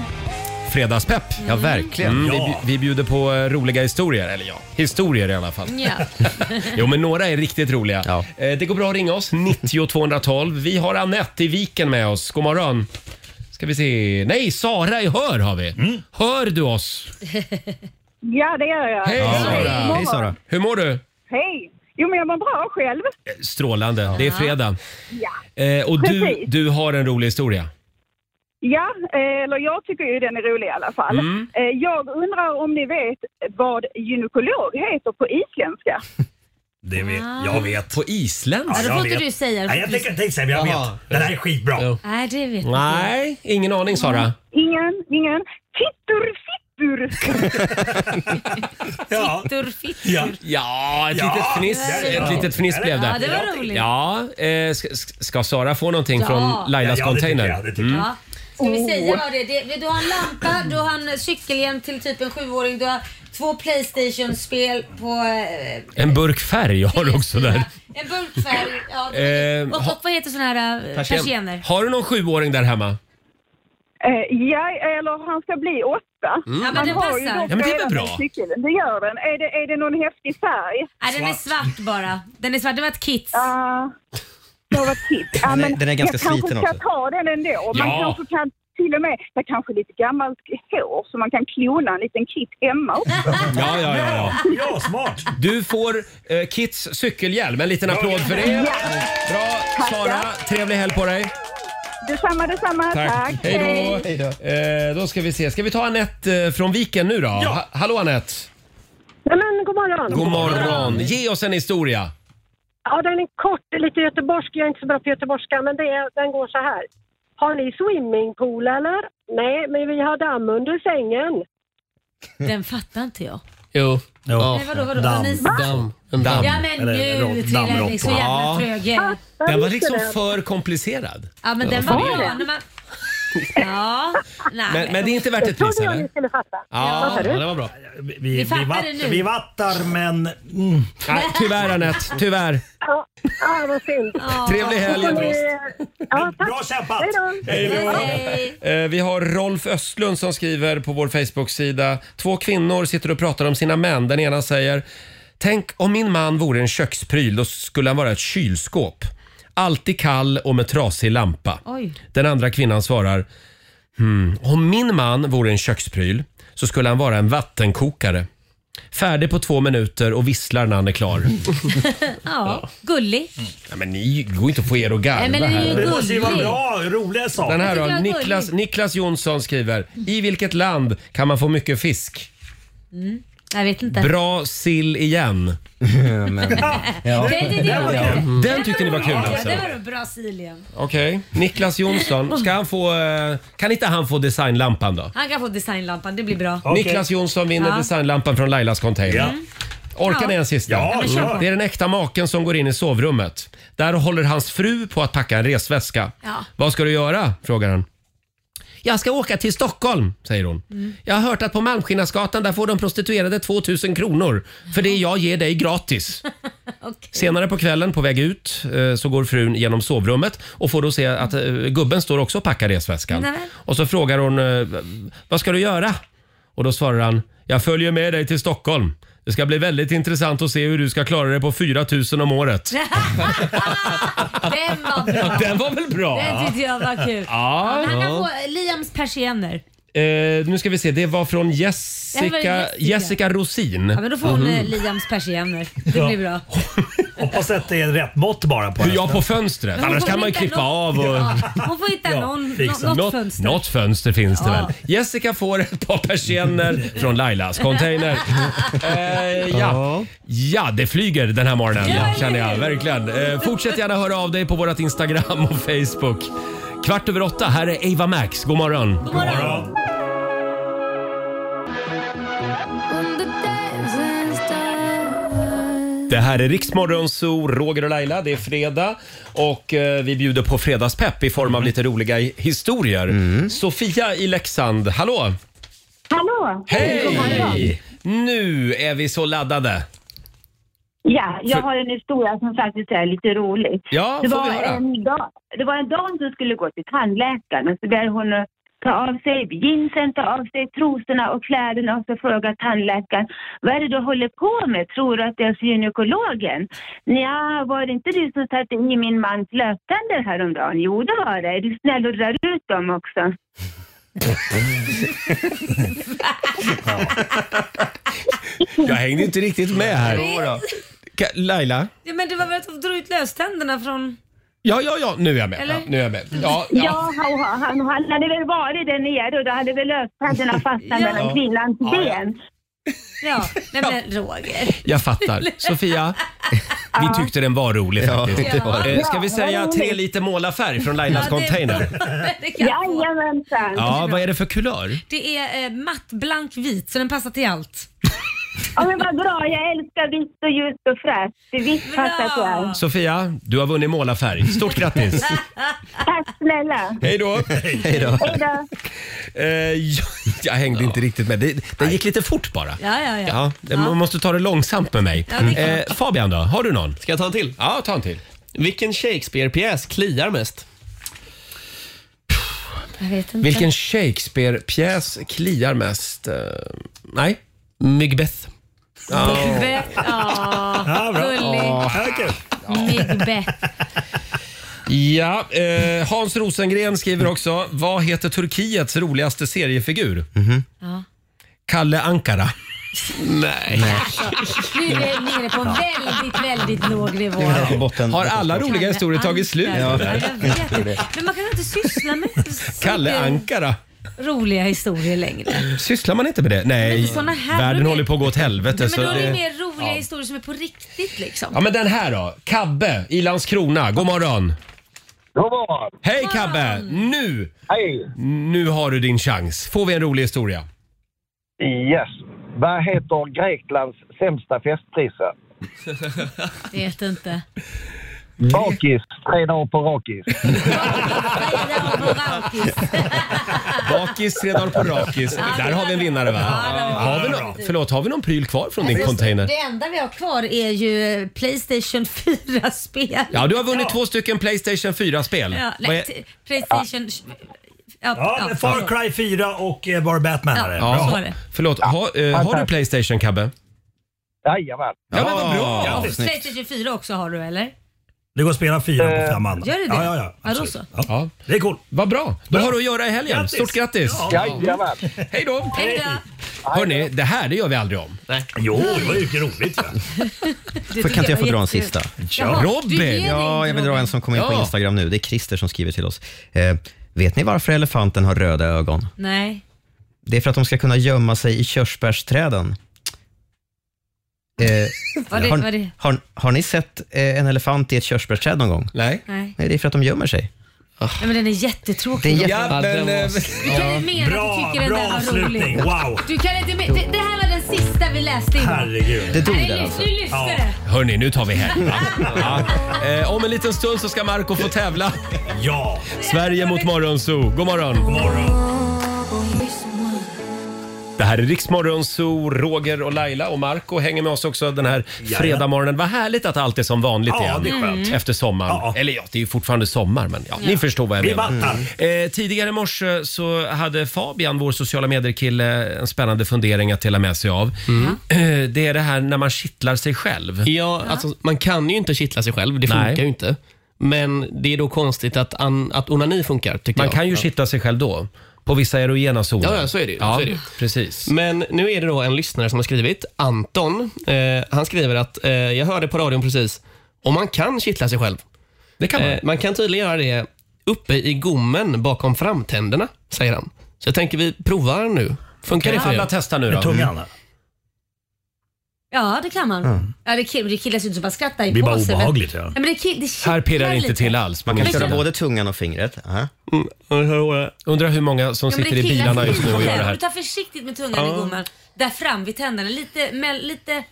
[SPEAKER 1] Fredagspepp. Ja, verkligen. Mm, vi, bju- vi bjuder på eh, roliga historier. Eller ja, historier i alla fall.
[SPEAKER 2] Ja.
[SPEAKER 1] Jo, men några är riktigt roliga. Eh, Det går bra att ringa oss, 90 212. Vi har Annette i Viken med oss. God morgon. Ska vi se. Nej, Sara i Hör har vi.
[SPEAKER 9] Mm.
[SPEAKER 1] Hör du oss?
[SPEAKER 14] Ja, det gör jag.
[SPEAKER 1] Hej Sara!
[SPEAKER 14] Hej, Sara.
[SPEAKER 1] Hur mår du?
[SPEAKER 14] Hej! Jo, men jag mår bra själv.
[SPEAKER 1] Strålande. Det är fredag.
[SPEAKER 14] Ja.
[SPEAKER 1] Eh, och du,
[SPEAKER 14] Precis.
[SPEAKER 1] du har en rolig historia.
[SPEAKER 14] Ja, eh, eller jag tycker ju den är rolig i alla fall.
[SPEAKER 1] Mm.
[SPEAKER 14] Eh, Jag undrar om ni vet vad gynekolog heter på isländska?
[SPEAKER 9] Det vet, jag vet.
[SPEAKER 1] Ah. På Island?
[SPEAKER 2] Ja, då får inte du säga det, för
[SPEAKER 9] Nej, jag
[SPEAKER 2] du-
[SPEAKER 9] tänker inte säga det, men jag
[SPEAKER 1] Jaha.
[SPEAKER 9] vet. Den här är skitbra.
[SPEAKER 2] [LAUGHS] Nej, det vet inte
[SPEAKER 1] Nej, ingen aning Sara.
[SPEAKER 14] Ingen, ingen. Fittur, fittur!
[SPEAKER 1] [LAUGHS] Ja.
[SPEAKER 2] Fittur, fittur.
[SPEAKER 1] Ja, ett
[SPEAKER 2] Ja.
[SPEAKER 1] litet fniss,
[SPEAKER 2] Ja, det är
[SPEAKER 1] ett
[SPEAKER 2] bra.
[SPEAKER 1] litet fniss
[SPEAKER 2] Ja,
[SPEAKER 1] blev det.
[SPEAKER 2] det var roligt.
[SPEAKER 1] Ja, eh, ska, ska Sara få någonting
[SPEAKER 2] Ja.
[SPEAKER 1] från Lailas
[SPEAKER 9] Ja, ja, det tycker
[SPEAKER 1] container? Mm.
[SPEAKER 9] jag, det tycker
[SPEAKER 2] Ja. Ska vi säga vad det är? Det- Du har en lampa, du har en cykelhjälm till typ en sjuåring, du har två Playstation-spel på eh,
[SPEAKER 1] En burk färg har du också där.
[SPEAKER 2] en burkfärg. Ja,
[SPEAKER 1] Eh,
[SPEAKER 2] och,
[SPEAKER 1] ha-
[SPEAKER 2] och vad heter såna här eh,
[SPEAKER 1] Persien-
[SPEAKER 2] persienner?
[SPEAKER 1] Har du någon sjuåring där hemma?
[SPEAKER 14] Eh, Ja, eller han ska bli åtta.
[SPEAKER 1] Mm. Ja, men
[SPEAKER 14] Man
[SPEAKER 1] den
[SPEAKER 14] har ju
[SPEAKER 1] passar.
[SPEAKER 14] då
[SPEAKER 1] Ja, men det är väl
[SPEAKER 14] redan
[SPEAKER 1] bra.
[SPEAKER 14] en cykel. Det gör den. Är det, är det någon häftig färg?
[SPEAKER 2] Nej, den är svart bara. Den är svart. Det var ett kits.
[SPEAKER 14] Ja, det var ett kits. Ja,
[SPEAKER 3] Den är-
[SPEAKER 14] men
[SPEAKER 3] den är ganska
[SPEAKER 14] jag
[SPEAKER 3] sliten
[SPEAKER 14] kanske ska
[SPEAKER 3] också.
[SPEAKER 14] ta den ändå. Man
[SPEAKER 3] Ja.
[SPEAKER 14] kanske kan till och med så kanske lite gammalt hår så man kan klona en liten kit hemma också.
[SPEAKER 1] Ja, ja, ja. ja.
[SPEAKER 9] Ja, smart!
[SPEAKER 1] Du får eh, Kits cykelhjälm. En liten applåd för det. Bra Sara, trevlig helg på dig.
[SPEAKER 14] Detsamma, detsamma. Tack.
[SPEAKER 1] Hej då. Eh, då ska vi se. Ska vi ta Anette eh, från Viken nu då? Ha- Hallå Anette.
[SPEAKER 15] Ja, men, god morgon.
[SPEAKER 1] God morgon. Ge oss en historia.
[SPEAKER 15] Ja, den är kort, lite göteborgsk. Jag är inte så bra på göteborgska, men det är, den går så här. Har ni swimmingpool eller? Nej, men vi har damm under sängen.
[SPEAKER 2] Den fattar inte jag.
[SPEAKER 8] Jo. Ja.
[SPEAKER 2] Nej, vadå, vadå? Damm. Har ni- Va?
[SPEAKER 8] Damm. En damm.
[SPEAKER 2] Ja men nu trillar ni så jävla tröga.
[SPEAKER 1] Den var liksom för komplicerad.
[SPEAKER 2] Ja men den var bra. När man... Ja, nej.
[SPEAKER 1] Men, men det är inte värt ett pris eller?
[SPEAKER 15] skulle fatta.
[SPEAKER 1] Ja, ja, det var bra.
[SPEAKER 9] Vi,
[SPEAKER 2] Vi fattar
[SPEAKER 9] vatt-
[SPEAKER 2] det nu.
[SPEAKER 9] vi vattar men... mm.
[SPEAKER 1] Nej, tyvärr
[SPEAKER 2] [LAUGHS]
[SPEAKER 1] Anette, tyvärr.
[SPEAKER 15] Ja, ja vad synd.
[SPEAKER 1] Trevlig helg,
[SPEAKER 15] Då får ni- Ja, tack.
[SPEAKER 9] Bra kämpat!
[SPEAKER 15] Hej då.
[SPEAKER 1] Eh, Vi har Rolf Östlund som skriver på vår Facebook-sida. Två kvinnor sitter och pratar om sina män. Den ena säger Tänk om min man vore en kökspryl, då skulle han vara ett kylskåp. Alltid kall och med trasig lampa.
[SPEAKER 2] Oj.
[SPEAKER 1] Den andra kvinnan svarar hmm, Om min man vore en kökspryl så skulle han vara en vattenkokare. Färdig på två minuter och visslar när han
[SPEAKER 2] [LAUGHS]
[SPEAKER 1] är klar.
[SPEAKER 2] Ja, gullig.
[SPEAKER 1] Nej, men ni går inte att få er att garva
[SPEAKER 2] Nej, men det är ju
[SPEAKER 1] här.
[SPEAKER 2] gulligt. Det måste ju vara bra,
[SPEAKER 9] roliga saker.
[SPEAKER 1] Den här
[SPEAKER 2] Jag tycker
[SPEAKER 1] då,
[SPEAKER 2] det var
[SPEAKER 1] Niklas,
[SPEAKER 2] gulligt.
[SPEAKER 1] Niklas Jonsson skriver. I vilket land kan man få mycket fisk?
[SPEAKER 2] Mm. Jag vet inte.
[SPEAKER 1] Bra
[SPEAKER 2] [LAUGHS]
[SPEAKER 1] sill igen.
[SPEAKER 2] Ja. Det- det- det var det.
[SPEAKER 1] Den tyckte ni var kul
[SPEAKER 2] Ja,
[SPEAKER 1] alltså?
[SPEAKER 2] det var då bra Silien.
[SPEAKER 1] Okej, Niklas Jonsson. Ska han få, eh, kan inte han få designlampan då?
[SPEAKER 2] Han kan få designlampan, det blir bra.
[SPEAKER 1] Niklas Jonsson vinner
[SPEAKER 2] Ja.
[SPEAKER 1] designlampan från Lailas container. Mm.
[SPEAKER 2] Ja.
[SPEAKER 1] Orkar ni en sista?
[SPEAKER 2] Ja, men kör på.
[SPEAKER 1] Det är den äkta maken som går in i sovrummet. Där håller hans fru på att packa en resväska.
[SPEAKER 2] Ja.
[SPEAKER 1] Vad ska du göra? frågar han. Jag ska åka till Stockholm, säger hon.
[SPEAKER 2] Mm.
[SPEAKER 1] Jag har hört att på Malmskillnadsgatan där får de prostituerade 2000 kronor för det jag ger
[SPEAKER 2] [LAUGHS]
[SPEAKER 1] dig gratis. Senare på kvällen på väg ut eh, så går frun genom sovrummet och får då se att eh, gubben står också och packar resväskan.
[SPEAKER 5] Nej.
[SPEAKER 1] Och så frågar hon, eh, vad ska du göra? Och då svarar han, jag följer med dig till Stockholm. Det ska bli väldigt intressant att se hur du ska klara dig på 4000 om året.
[SPEAKER 2] Den var bra.
[SPEAKER 1] Den var väl bra?
[SPEAKER 2] Den tyckte jag var kul.
[SPEAKER 1] Ja.
[SPEAKER 2] Ja, Han kan få eh, Liams persienner.
[SPEAKER 1] Eh, nu ska vi se, det var från Jessica,
[SPEAKER 2] Det här var
[SPEAKER 1] Jessica.
[SPEAKER 2] Jessica.
[SPEAKER 1] Rosin.
[SPEAKER 2] Ja, men då får hon eh,
[SPEAKER 1] Mhm.
[SPEAKER 2] Liams persienner. Det
[SPEAKER 1] Ja.
[SPEAKER 2] blir bra.
[SPEAKER 9] Hoppas att det är rätt mått bara på
[SPEAKER 1] Ja, på fönstret.
[SPEAKER 2] Men hon
[SPEAKER 1] Annars
[SPEAKER 2] får
[SPEAKER 1] kan man ju
[SPEAKER 2] hitta
[SPEAKER 1] klippa
[SPEAKER 2] något-
[SPEAKER 1] av och...
[SPEAKER 2] Ja, Hon får hitta någon,
[SPEAKER 1] fixa.
[SPEAKER 2] nå- något
[SPEAKER 1] Något-
[SPEAKER 2] fönster.
[SPEAKER 1] Något fönster finns det
[SPEAKER 2] Ja.
[SPEAKER 1] väl. Jessica får ett par persienner från Lailas container.
[SPEAKER 2] [LAUGHS]
[SPEAKER 1] Eh, ja. ja, det flyger den här morgonen känner jag verkligen. Eh, fortsätt gärna höra av dig på vårt Instagram och Facebook. Kvart över åtta, här är Ava Max. God morgon. God
[SPEAKER 9] morgon.
[SPEAKER 1] Det här är Riksmorgon Zoo, Roger och Laila. Det är fredag och eh, vi bjuder på fredagspepp i form av lite roliga i- historier. Sofia i Leksand, hallå!
[SPEAKER 16] Hallå! God morgon.
[SPEAKER 1] Hej! Nu är vi så laddade.
[SPEAKER 16] Ja, jag har en historia som faktiskt är lite rolig.
[SPEAKER 1] Ja,
[SPEAKER 16] det,
[SPEAKER 1] får
[SPEAKER 16] var
[SPEAKER 1] vi höra.
[SPEAKER 16] en dag, det var en dam som skulle gå till tandläkaren och så där hon eh, ta av sig jeansen, ta av sig trosorna och kläderna och så frågar tandläkaren vad är det du håller på med? Tror du att det är för gynekologen? Ja, var det inte du som satte i min mans löständer häromdagen? Jo, det var det. Är du snäll och drar ut dem också?
[SPEAKER 1] Jag hängde inte riktigt med här. Ka- Laila?
[SPEAKER 2] Ja, men det var väl att hon drog ut löständerna från...
[SPEAKER 1] Ja, ja, ja, nu är jag med.
[SPEAKER 2] Eller?
[SPEAKER 1] Ja, nu är jag med. Ja,
[SPEAKER 16] Ja,
[SPEAKER 1] ja.
[SPEAKER 16] han, han, han hade väl varit där nere och då hade väl
[SPEAKER 1] [LAUGHS]
[SPEAKER 16] löständerna fastnat
[SPEAKER 1] Ja.
[SPEAKER 16] mellan kvinnans
[SPEAKER 1] Ja, ja.
[SPEAKER 16] ben.
[SPEAKER 2] Ja, nej men Roger. [LAUGHS]
[SPEAKER 1] Jag fattar. Sofia, vi tyckte den var rolig
[SPEAKER 3] Ja,
[SPEAKER 1] faktiskt.
[SPEAKER 3] det var den.
[SPEAKER 1] Eh, Ska vi
[SPEAKER 16] Ja,
[SPEAKER 1] säga
[SPEAKER 16] vad
[SPEAKER 1] tre
[SPEAKER 16] roligt.
[SPEAKER 1] liter målarfärg från Lailas
[SPEAKER 2] Ja, det- [LAUGHS]
[SPEAKER 1] container?
[SPEAKER 16] Jajamensan.
[SPEAKER 1] Ja, vad är det för kulör?
[SPEAKER 2] Det är eh, matt, blank, vit så den passar till allt.
[SPEAKER 16] Ja, men vad bra. Jag älskar vitt och ljust och fräscht. Det vitt passar på
[SPEAKER 1] [LAUGHS]
[SPEAKER 16] allt.
[SPEAKER 1] Sofia, du har vunnit målarfärg. Stort grattis!
[SPEAKER 16] Tack snälla.
[SPEAKER 1] Hej då! Hej då!
[SPEAKER 16] Hej då.
[SPEAKER 1] Eh, jag, jag hängde inte riktigt med. Det, det gick lite fort bara.
[SPEAKER 2] Ja, ja, ja.
[SPEAKER 1] Ja, man måste ta det långsamt med mig.
[SPEAKER 2] Ja, det är
[SPEAKER 1] eh, Fabian då, har du någon?
[SPEAKER 8] Ska jag ta en till?
[SPEAKER 1] Ja, ta en till.
[SPEAKER 8] Vilken Shakespeare-pjäs kliar mest?
[SPEAKER 2] Jag vet inte.
[SPEAKER 1] Vilken Shakespeare-pjäs kliar mest? Eh, nej? Macbeth.
[SPEAKER 2] Macbeth. Ja,
[SPEAKER 1] Ja, bra.
[SPEAKER 2] gullig.
[SPEAKER 1] Ja.
[SPEAKER 2] Macbeth.
[SPEAKER 1] Ja, eh, Hans Rosengren skriver också. Vad heter Turkiets roligaste seriefigur?
[SPEAKER 2] Ja.
[SPEAKER 1] Kalle Ankara. Mhm. Nej. Alltså,
[SPEAKER 2] Nu är vi nere på en väldigt, väldigt låg nivå.
[SPEAKER 1] Har alla roliga historier tagit slut?
[SPEAKER 2] Ja, jag vet det. Men man kan inte syssla med så
[SPEAKER 1] Kalle
[SPEAKER 2] mycket
[SPEAKER 1] Ankara.
[SPEAKER 2] roliga historier längre.
[SPEAKER 1] Sysslar man inte med det? Nej,
[SPEAKER 2] Men såna här-
[SPEAKER 1] världen håller på att gå åt helvete.
[SPEAKER 2] Men
[SPEAKER 1] så
[SPEAKER 2] då är det
[SPEAKER 1] alltså, det-
[SPEAKER 2] mer roliga historier som är på riktigt liksom.
[SPEAKER 1] Ja, men den här då. Kabbe i Landskrona. God morgon.
[SPEAKER 17] God morgon.
[SPEAKER 1] Hej Kabbe! Nu!
[SPEAKER 17] Hej!
[SPEAKER 1] Nu har du din chans. Får vi en rolig historia?
[SPEAKER 17] Yes. Vad heter Greklands sämsta festprisa?
[SPEAKER 2] Vet inte.
[SPEAKER 17] Bakis. Tre dagar på rakis.
[SPEAKER 1] Bakis, tre dagar på rakis. Där har vi en vinnare va? Har vi någon, förlåt, har vi någon pryl kvar från din
[SPEAKER 2] Det-
[SPEAKER 1] container?
[SPEAKER 2] Det enda vi har kvar är ju Playstation 4-spel.
[SPEAKER 1] Ja, du har vunnit två stycken Playstation 4-spel.
[SPEAKER 2] Ja,
[SPEAKER 1] Vad
[SPEAKER 2] nej,
[SPEAKER 1] är-
[SPEAKER 2] t- Playstation... Ja,
[SPEAKER 9] Ja, men Far Cry 4 och eh, var Batman-are.
[SPEAKER 1] Ja,
[SPEAKER 9] Bra.
[SPEAKER 1] Förlåt, ha, eh, har du Playstation Kabbe?
[SPEAKER 17] Jajamän.
[SPEAKER 1] Ja, men vad bra!
[SPEAKER 9] Ja,
[SPEAKER 2] Och Playstation 4 också har du eller?
[SPEAKER 9] Det går att spela 4 på 5
[SPEAKER 2] Gör du det?
[SPEAKER 9] Ja, ja, ja.
[SPEAKER 2] Ja, då så.
[SPEAKER 1] Ja.
[SPEAKER 9] Det är cool.
[SPEAKER 1] Vad bra. Då har du att göra i helgen. Stort grattis.
[SPEAKER 17] Jajamän.
[SPEAKER 1] Hej då!
[SPEAKER 2] Hej då!
[SPEAKER 1] Hörni, det här det gör vi aldrig om. Nej.
[SPEAKER 9] Jo, det var ju roligt.
[SPEAKER 2] Det
[SPEAKER 3] kan inte jag
[SPEAKER 2] tycker
[SPEAKER 3] få dra en
[SPEAKER 2] jättekul.
[SPEAKER 3] sista?
[SPEAKER 2] Jaha, du ger dig
[SPEAKER 3] Ja,
[SPEAKER 2] inte,
[SPEAKER 3] jag vill dra
[SPEAKER 2] Robin.
[SPEAKER 3] en som kom in på
[SPEAKER 2] Ja.
[SPEAKER 3] Instagram nu. Det är Christer som skriver till oss. Eh, vet ni varför elefanten har röda ögon?
[SPEAKER 2] Nej.
[SPEAKER 3] Det är för att de ska kunna gömma sig i körsbärsträden.
[SPEAKER 2] [LAUGHS]
[SPEAKER 3] Eh,
[SPEAKER 2] Var det- var
[SPEAKER 3] har,
[SPEAKER 2] det-
[SPEAKER 3] har, har ni sett eh, en elefant i ett körsbärsträd någon gång?
[SPEAKER 1] Nej.
[SPEAKER 2] Nej. Ah.
[SPEAKER 3] det är för att de gömmer sig.
[SPEAKER 2] Nej, men den är jättetråkig.
[SPEAKER 3] Det är jätte- Ja, men, eh,
[SPEAKER 2] Du kan inte mena
[SPEAKER 9] Bra,
[SPEAKER 2] att du tycker
[SPEAKER 9] bra
[SPEAKER 2] den där var rolig.
[SPEAKER 9] avslutning. Wow.
[SPEAKER 2] Du kan inte mena... Det, det här var den sista vi läste idag.
[SPEAKER 1] Herregud. Det dog
[SPEAKER 2] Nej,
[SPEAKER 1] där
[SPEAKER 2] nu-
[SPEAKER 1] alltså.
[SPEAKER 2] Nu lyssnar det.
[SPEAKER 1] Hörni, nu tar vi
[SPEAKER 2] [LAUGHS]
[SPEAKER 1] hem. va? Ja. Eh, om en liten stund så ska Marco få tävla.
[SPEAKER 9] Ja!
[SPEAKER 1] Sverige mot Morgonzoo. God morgon! God Det här är Riksmorgonzoo, Roger och Laila och Marco hänger med oss också den här fredagsmorgonen. Vad härligt att allt är som vanligt
[SPEAKER 9] Ja,
[SPEAKER 1] igen
[SPEAKER 9] det är
[SPEAKER 8] Mm.
[SPEAKER 9] skönt.
[SPEAKER 1] efter sommaren. Eller ja, det är ju fortfarande sommar men ja, ni förstår vad jag
[SPEAKER 9] Vi
[SPEAKER 1] menar.
[SPEAKER 9] vattar.
[SPEAKER 1] Eh, tidigare i morse så hade Fabian, vår sociala medier-kille, en spännande fundering att dela med sig av. Eh, det är det här när man kittlar sig själv.
[SPEAKER 8] Mm. Ja, alltså, man kan ju inte kittla sig själv. Det
[SPEAKER 1] Nej.
[SPEAKER 8] funkar ju inte. Men det är då konstigt att, an, att onani funkar, tycker
[SPEAKER 1] Man
[SPEAKER 8] jag.
[SPEAKER 1] kan ju kittla sig själv då, på vissa erogena zoner.
[SPEAKER 8] Ja, ja, så är det ju.
[SPEAKER 1] Ja,
[SPEAKER 8] Så är det ju.
[SPEAKER 1] precis.
[SPEAKER 8] Men nu är det då en lyssnare som har skrivit, Anton. Eh, han skriver att, eh, jag hörde på radion precis, om man kan kittla sig själv. Eh,
[SPEAKER 1] Det kan man.
[SPEAKER 8] man kan tydligen göra det uppe i gommen bakom framtänderna, säger han. Så jag tänker vi provar nu. Funkar
[SPEAKER 1] Okej,
[SPEAKER 8] det för
[SPEAKER 1] alla
[SPEAKER 8] er?
[SPEAKER 1] testar nu då. Mm. Med tungan, va?
[SPEAKER 2] Ja, det kan man.
[SPEAKER 1] Mm.
[SPEAKER 2] Ja, det, kill, det killas ju inte så man skrattar i
[SPEAKER 1] Det blir bara
[SPEAKER 2] påsen, men-
[SPEAKER 1] obehagligt, ja.
[SPEAKER 2] Nej, men det kill, det
[SPEAKER 1] Här pirrar det
[SPEAKER 2] kittlar
[SPEAKER 1] inte
[SPEAKER 2] lite.
[SPEAKER 1] till alls. Man kan
[SPEAKER 2] Men
[SPEAKER 1] köra
[SPEAKER 2] så-
[SPEAKER 1] både
[SPEAKER 3] tungan och fingret.
[SPEAKER 8] Mm,
[SPEAKER 1] Undrar hur många som
[SPEAKER 2] Ja, men
[SPEAKER 1] sitter
[SPEAKER 2] det
[SPEAKER 1] i
[SPEAKER 2] killar
[SPEAKER 1] bilarna just nu och
[SPEAKER 2] lite.
[SPEAKER 1] gör det här.
[SPEAKER 2] Ta försiktigt med tungan i
[SPEAKER 1] Ja.
[SPEAKER 2] gommen. Där fram vid tänderna. Lite... Mel, lite...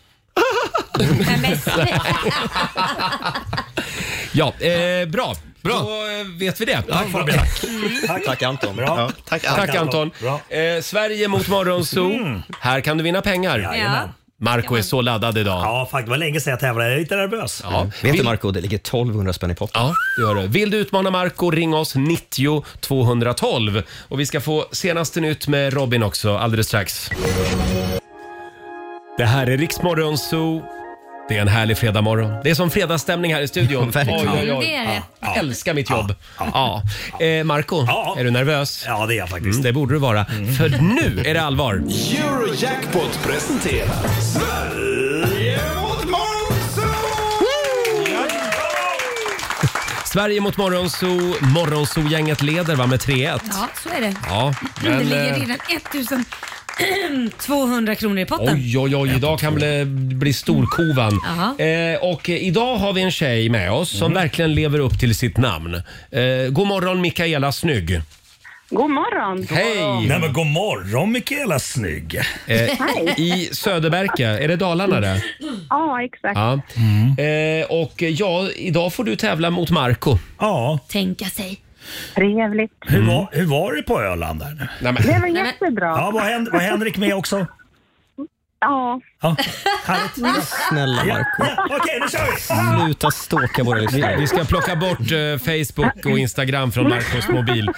[SPEAKER 2] Nej, men snälla.
[SPEAKER 1] Ja, eh, bra. Bra. Då eh, vet vi det. Tack Fabian.
[SPEAKER 9] Mm.
[SPEAKER 3] Tack, Anton.
[SPEAKER 1] Ja.
[SPEAKER 3] Tack,
[SPEAKER 1] Anton. Tack Anton. Eh, Sverige mot Morgonzoo. Här kan du vinna pengar.
[SPEAKER 9] Mm. Jajamän.
[SPEAKER 1] Marco är så laddad idag.
[SPEAKER 9] Ja, faktiskt. Det var länge sedan jag tävlade. Jag är lite nervös. Mm.
[SPEAKER 1] Ja.
[SPEAKER 3] Vet du Marco, det ligger 1200 spänn i potten.
[SPEAKER 1] Ja, det gör det. Vill du utmana Marco, ring oss 90 212. Och vi ska få senaste nytt med Robin också alldeles strax. Det här är Riksmorgon Zoo. Det är en härlig fredagmorgon. Det är som fredagsstämning här
[SPEAKER 9] [LAUGHS]
[SPEAKER 1] i studion.
[SPEAKER 2] verkligen. Det är det.
[SPEAKER 1] Jag älskar mitt jobb. Ja. Eh, Marco, är du nervös?
[SPEAKER 9] Ja, det är jag faktiskt.
[SPEAKER 1] Mm, det borde du vara. För nu är det allvar.
[SPEAKER 5] Eurojackpot presenterar Sverige mot Monzo!
[SPEAKER 1] Sverige mot Morgonzoo. Morgonzoo-gänget leder va, med 3-1.
[SPEAKER 2] Ja, så är det.
[SPEAKER 1] Ja,
[SPEAKER 2] det ligger
[SPEAKER 1] eh,
[SPEAKER 2] redan [CLEARS THROAT] 1200 kronor i potten.
[SPEAKER 1] Oj, oj, oj. Idag kan det bli storkovan.
[SPEAKER 2] Jaha.
[SPEAKER 1] Eh, och eh, idag har vi en tjej med oss som
[SPEAKER 9] Mm.
[SPEAKER 1] verkligen lever upp till sitt namn. Eh, god morgon Mikaela Snygg.
[SPEAKER 14] God morgon.
[SPEAKER 1] Hej! Eh,
[SPEAKER 9] Nej, men god morgon Mikaela Snygg.
[SPEAKER 14] Hej.
[SPEAKER 1] I Söderberke, är det Dalarna det?
[SPEAKER 14] Ja, exakt.
[SPEAKER 1] Ja. Eh, och eh, ja, idag får du tävla mot Marco. Mm.
[SPEAKER 9] Ja.
[SPEAKER 2] Tänka sig.
[SPEAKER 14] Trevligt.
[SPEAKER 9] Hur, var, hur var det på Öland? Där? nu?
[SPEAKER 1] Nej,
[SPEAKER 14] Det var jättebra.
[SPEAKER 9] Ja, var, Hen- var Henrik med också?
[SPEAKER 14] Ja.
[SPEAKER 9] Ja.
[SPEAKER 3] Snälla
[SPEAKER 9] Ja,
[SPEAKER 3] Marco.
[SPEAKER 9] ja, Okej, nu kör vi!
[SPEAKER 3] Sluta stalka våra lyssnare.
[SPEAKER 1] Vi ska plocka bort eh, Facebook och Instagram från Marcos mobil.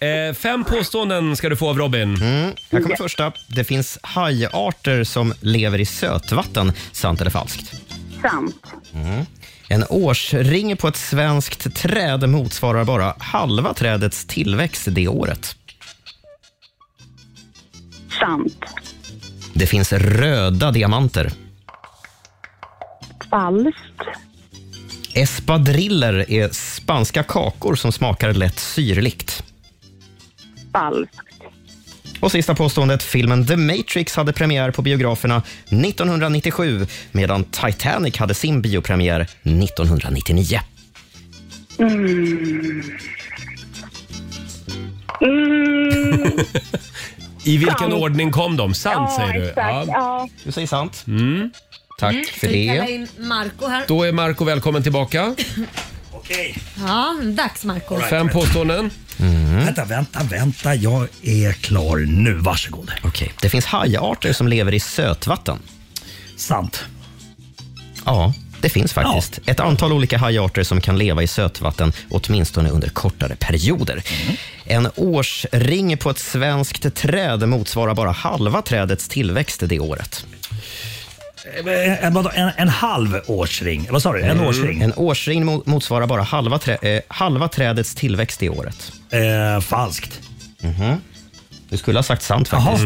[SPEAKER 1] Eh, fem påståenden ska du få av Robin.
[SPEAKER 3] Här kommer första. Det finns hajarter som lever i sötvatten. Sant eller falskt?
[SPEAKER 14] Sant.
[SPEAKER 3] Mm. En årsring på ett svenskt träd motsvarar bara halva trädets tillväxt det året.
[SPEAKER 6] Sant.
[SPEAKER 3] Det finns röda diamanter.
[SPEAKER 6] Falskt.
[SPEAKER 3] Espadriller är spanska kakor som smakar lätt syrligt.
[SPEAKER 6] Falskt.
[SPEAKER 3] Och sista påståendet. Filmen The Matrix hade premiär på biograferna 1997 medan Titanic hade sin biopremiär 1999.
[SPEAKER 6] Mm. Mm.
[SPEAKER 1] I vilken
[SPEAKER 6] Sant.
[SPEAKER 1] ordning kom de? Sant
[SPEAKER 2] Ja,
[SPEAKER 1] säger du?
[SPEAKER 2] exakt, ja.
[SPEAKER 3] Du säger sant.
[SPEAKER 1] Mm. Tack
[SPEAKER 2] Ska vi kalla in Marco här?
[SPEAKER 1] Då är Marco välkommen tillbaka.
[SPEAKER 2] Ja, dags Marco.
[SPEAKER 1] Fem påståenden.
[SPEAKER 3] Mm.
[SPEAKER 9] Vänta, vänta, vänta. Jag är klar nu. Varsågod.
[SPEAKER 3] Okej. Det finns hajarter som lever i sötvatten.
[SPEAKER 9] Sant.
[SPEAKER 3] Ja, det finns faktiskt. Ett antal olika hajarter som kan leva i sötvatten, åtminstone under kortare perioder.
[SPEAKER 9] Mm.
[SPEAKER 3] En årsring på ett svenskt träd motsvarar bara halva trädets tillväxt det året.
[SPEAKER 9] Eh, En, vadå? en, en halv årsring? Vad sa du?
[SPEAKER 1] Mm,
[SPEAKER 9] En årsring?
[SPEAKER 3] En årsring mo- motsvarar bara halva, trä, eh, halva trädets tillväxt det året. Mhm.
[SPEAKER 9] falskt.
[SPEAKER 3] Du skulle ha sagt sant faktiskt.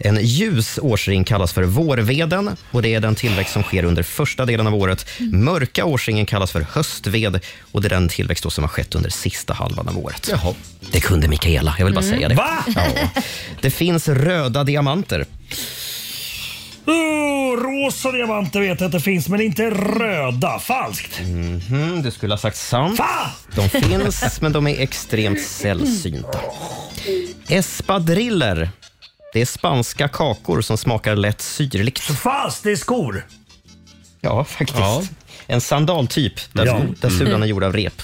[SPEAKER 3] En ljus årsring kallas för vårveden och det är den tillväxt som sker under första delen av året. Mörka årsringen kallas för höstved och det är den tillväxt då som har skett under sista halvan av året. Det kunde Mikaela, jag vill bara
[SPEAKER 5] Mm.
[SPEAKER 3] säga det.
[SPEAKER 5] Va?
[SPEAKER 3] Ja. Det finns röda diamanter.
[SPEAKER 9] Oh, rosa diamanter vet jag att det finns, men inte röda. Falskt.
[SPEAKER 3] Mhm, du skulle ha sagt sant.
[SPEAKER 9] Fan!
[SPEAKER 3] De finns, men de är extremt sällsynta. Espadriller. Det är spanska kakor som smakar lätt syrligt.
[SPEAKER 9] Fast det är skor.
[SPEAKER 3] Ja, faktiskt. En sandaltyp där,
[SPEAKER 9] Ja.
[SPEAKER 3] där sulan
[SPEAKER 9] Mm.
[SPEAKER 3] är gjord av rep.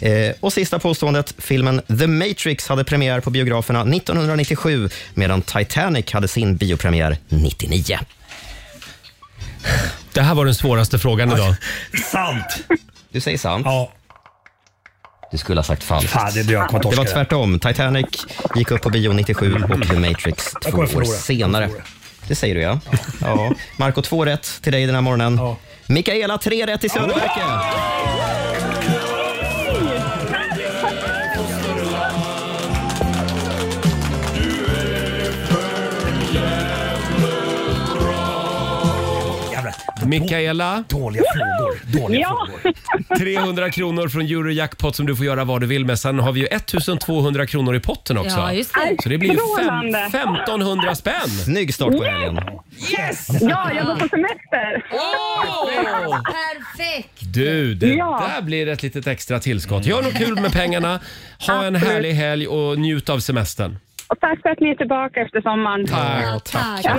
[SPEAKER 3] Eh, och sista påståendet. Filmen The Matrix hade premiär på biograferna 1997 medan Titanic hade sin biopremiär 99.
[SPEAKER 1] Det här var den svåraste frågan
[SPEAKER 3] [LAUGHS]
[SPEAKER 1] idag.
[SPEAKER 9] Sant.
[SPEAKER 3] Du säger sant?
[SPEAKER 9] Ja.
[SPEAKER 3] Du skulle ha sagt falskt.
[SPEAKER 9] Fan, det är jag kommer
[SPEAKER 3] det
[SPEAKER 9] torska
[SPEAKER 3] var
[SPEAKER 9] det.
[SPEAKER 3] tvärtom. Titanic gick upp på bio 97 och The Matrix två
[SPEAKER 9] Mm. kommer
[SPEAKER 3] år
[SPEAKER 9] förlora.
[SPEAKER 3] senare. Det säger du ja. ja. Marco, två rätt till dig den här morgonen. Mikaela, tre rätt till Söderverke.
[SPEAKER 1] Mikaela.
[SPEAKER 9] Dåliga frågor. Dåliga
[SPEAKER 1] ja. frågor. 300 kronor från Eurojackpot som du får göra vad du vill med. Sen har vi ju 1200 kronor i potten också.
[SPEAKER 5] Ja, just det.
[SPEAKER 1] Så det blir ju fem,
[SPEAKER 5] Strålande.
[SPEAKER 1] 1500 spänn.
[SPEAKER 3] Snygg start på helgen.
[SPEAKER 5] Yes!
[SPEAKER 6] Ja, jag går på semester.
[SPEAKER 1] Åh!
[SPEAKER 2] Perfekt!
[SPEAKER 1] Du, det
[SPEAKER 2] Ja.
[SPEAKER 1] där blir ett litet extra tillskott. Gör något kul med pengarna. Ha en
[SPEAKER 6] Absolut.
[SPEAKER 1] härlig helg och njut av semestern.
[SPEAKER 6] Och tack för att ni är tillbaka efter sommaren.
[SPEAKER 1] Tack. Ja,
[SPEAKER 6] tack.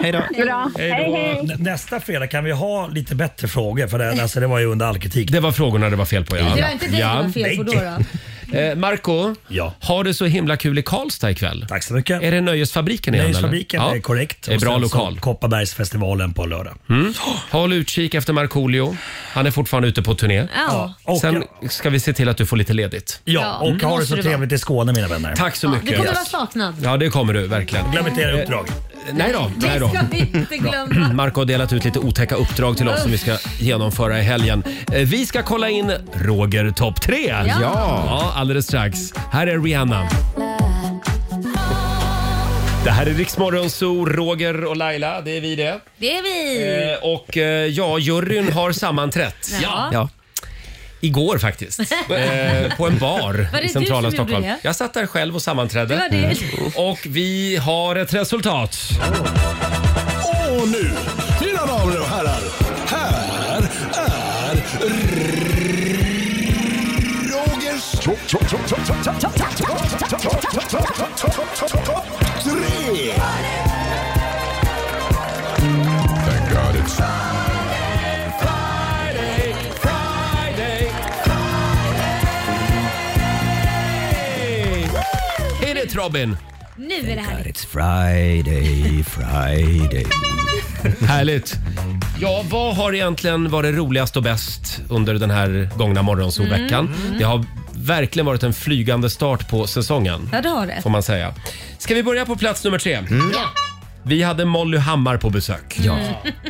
[SPEAKER 3] Hej då.
[SPEAKER 6] Bra. Hej, hej.
[SPEAKER 9] Nä- Nästa fredag kan vi ha lite bättre frågor för det, alltså, det var ju under all kritik.
[SPEAKER 1] Det var frågorna det var fel på ja.
[SPEAKER 2] Det var inte det det var fel på då. då.
[SPEAKER 1] [LAUGHS] Eh, Marco, ha det så himla kul i Karlstad ikväll.
[SPEAKER 9] Tack så mycket.
[SPEAKER 1] Är det Nöjesfabriken igen?
[SPEAKER 9] Nöjesfabriken
[SPEAKER 1] eller?
[SPEAKER 9] är korrekt.
[SPEAKER 1] Det är
[SPEAKER 9] Och
[SPEAKER 1] bra
[SPEAKER 9] sen så
[SPEAKER 1] lokal.
[SPEAKER 9] Kopparbergsfestivalen på lördag.
[SPEAKER 1] Mm. Håll utkik efter Markoolio. Han är fortfarande ute på turné.
[SPEAKER 2] Ja.
[SPEAKER 9] Och-
[SPEAKER 1] Sen ska vi se till att du får lite ledigt.
[SPEAKER 9] Ja, och
[SPEAKER 1] Mm.
[SPEAKER 9] ha det så trevligt i Skåne mina vänner.
[SPEAKER 1] Tack så
[SPEAKER 2] Du
[SPEAKER 1] mycket.
[SPEAKER 2] kommer vara saknad.
[SPEAKER 1] Ja, det kommer du verkligen.
[SPEAKER 9] Glöm inte era uppdrag.
[SPEAKER 1] Eh, Nej då.
[SPEAKER 2] Det
[SPEAKER 1] Nej då.
[SPEAKER 2] ska vi inte glömma.
[SPEAKER 1] [CLEARS THROAT] Marco har delat ut lite otäcka uppdrag till oss som vi ska genomföra i helgen. Eh, Vi ska kolla in Roger topp 3. Ja. ja, alldeles strax. Här är Rihanna. Det här är Riksmorgon Zoo, Roger och Laila. Det är vi det.
[SPEAKER 2] Det är vi.
[SPEAKER 1] Eh, Och eh, ja, juryn har sammanträtt.
[SPEAKER 2] Ja. [LAUGHS]
[SPEAKER 1] Igår faktiskt. Eh, på en bar
[SPEAKER 2] Var det
[SPEAKER 1] i centrala
[SPEAKER 2] du som gjorde
[SPEAKER 1] Stockholm.
[SPEAKER 2] det?
[SPEAKER 1] Jag satt där själv och sammanträdde.
[SPEAKER 2] Det var det.
[SPEAKER 1] Mm. Och vi har ett resultat.
[SPEAKER 5] Och nu, mina damer och herrar, här är Rogers tre. Thank God it's...
[SPEAKER 1] Hit it Robin!
[SPEAKER 2] Nu är det här.
[SPEAKER 1] It's Friday, Friday. Härligt. Ja, vad har egentligen varit roligast och bäst under den här gångna morgonsovveckan?
[SPEAKER 2] Mm.
[SPEAKER 1] Det har verkligen varit en flygande start på säsongen,
[SPEAKER 2] Ja, du har det.
[SPEAKER 3] Mm.
[SPEAKER 1] får man säga. Ska vi börja på plats nummer tre?
[SPEAKER 2] Ja.
[SPEAKER 1] Vi hade Molly Hammar på besök.
[SPEAKER 2] Ja.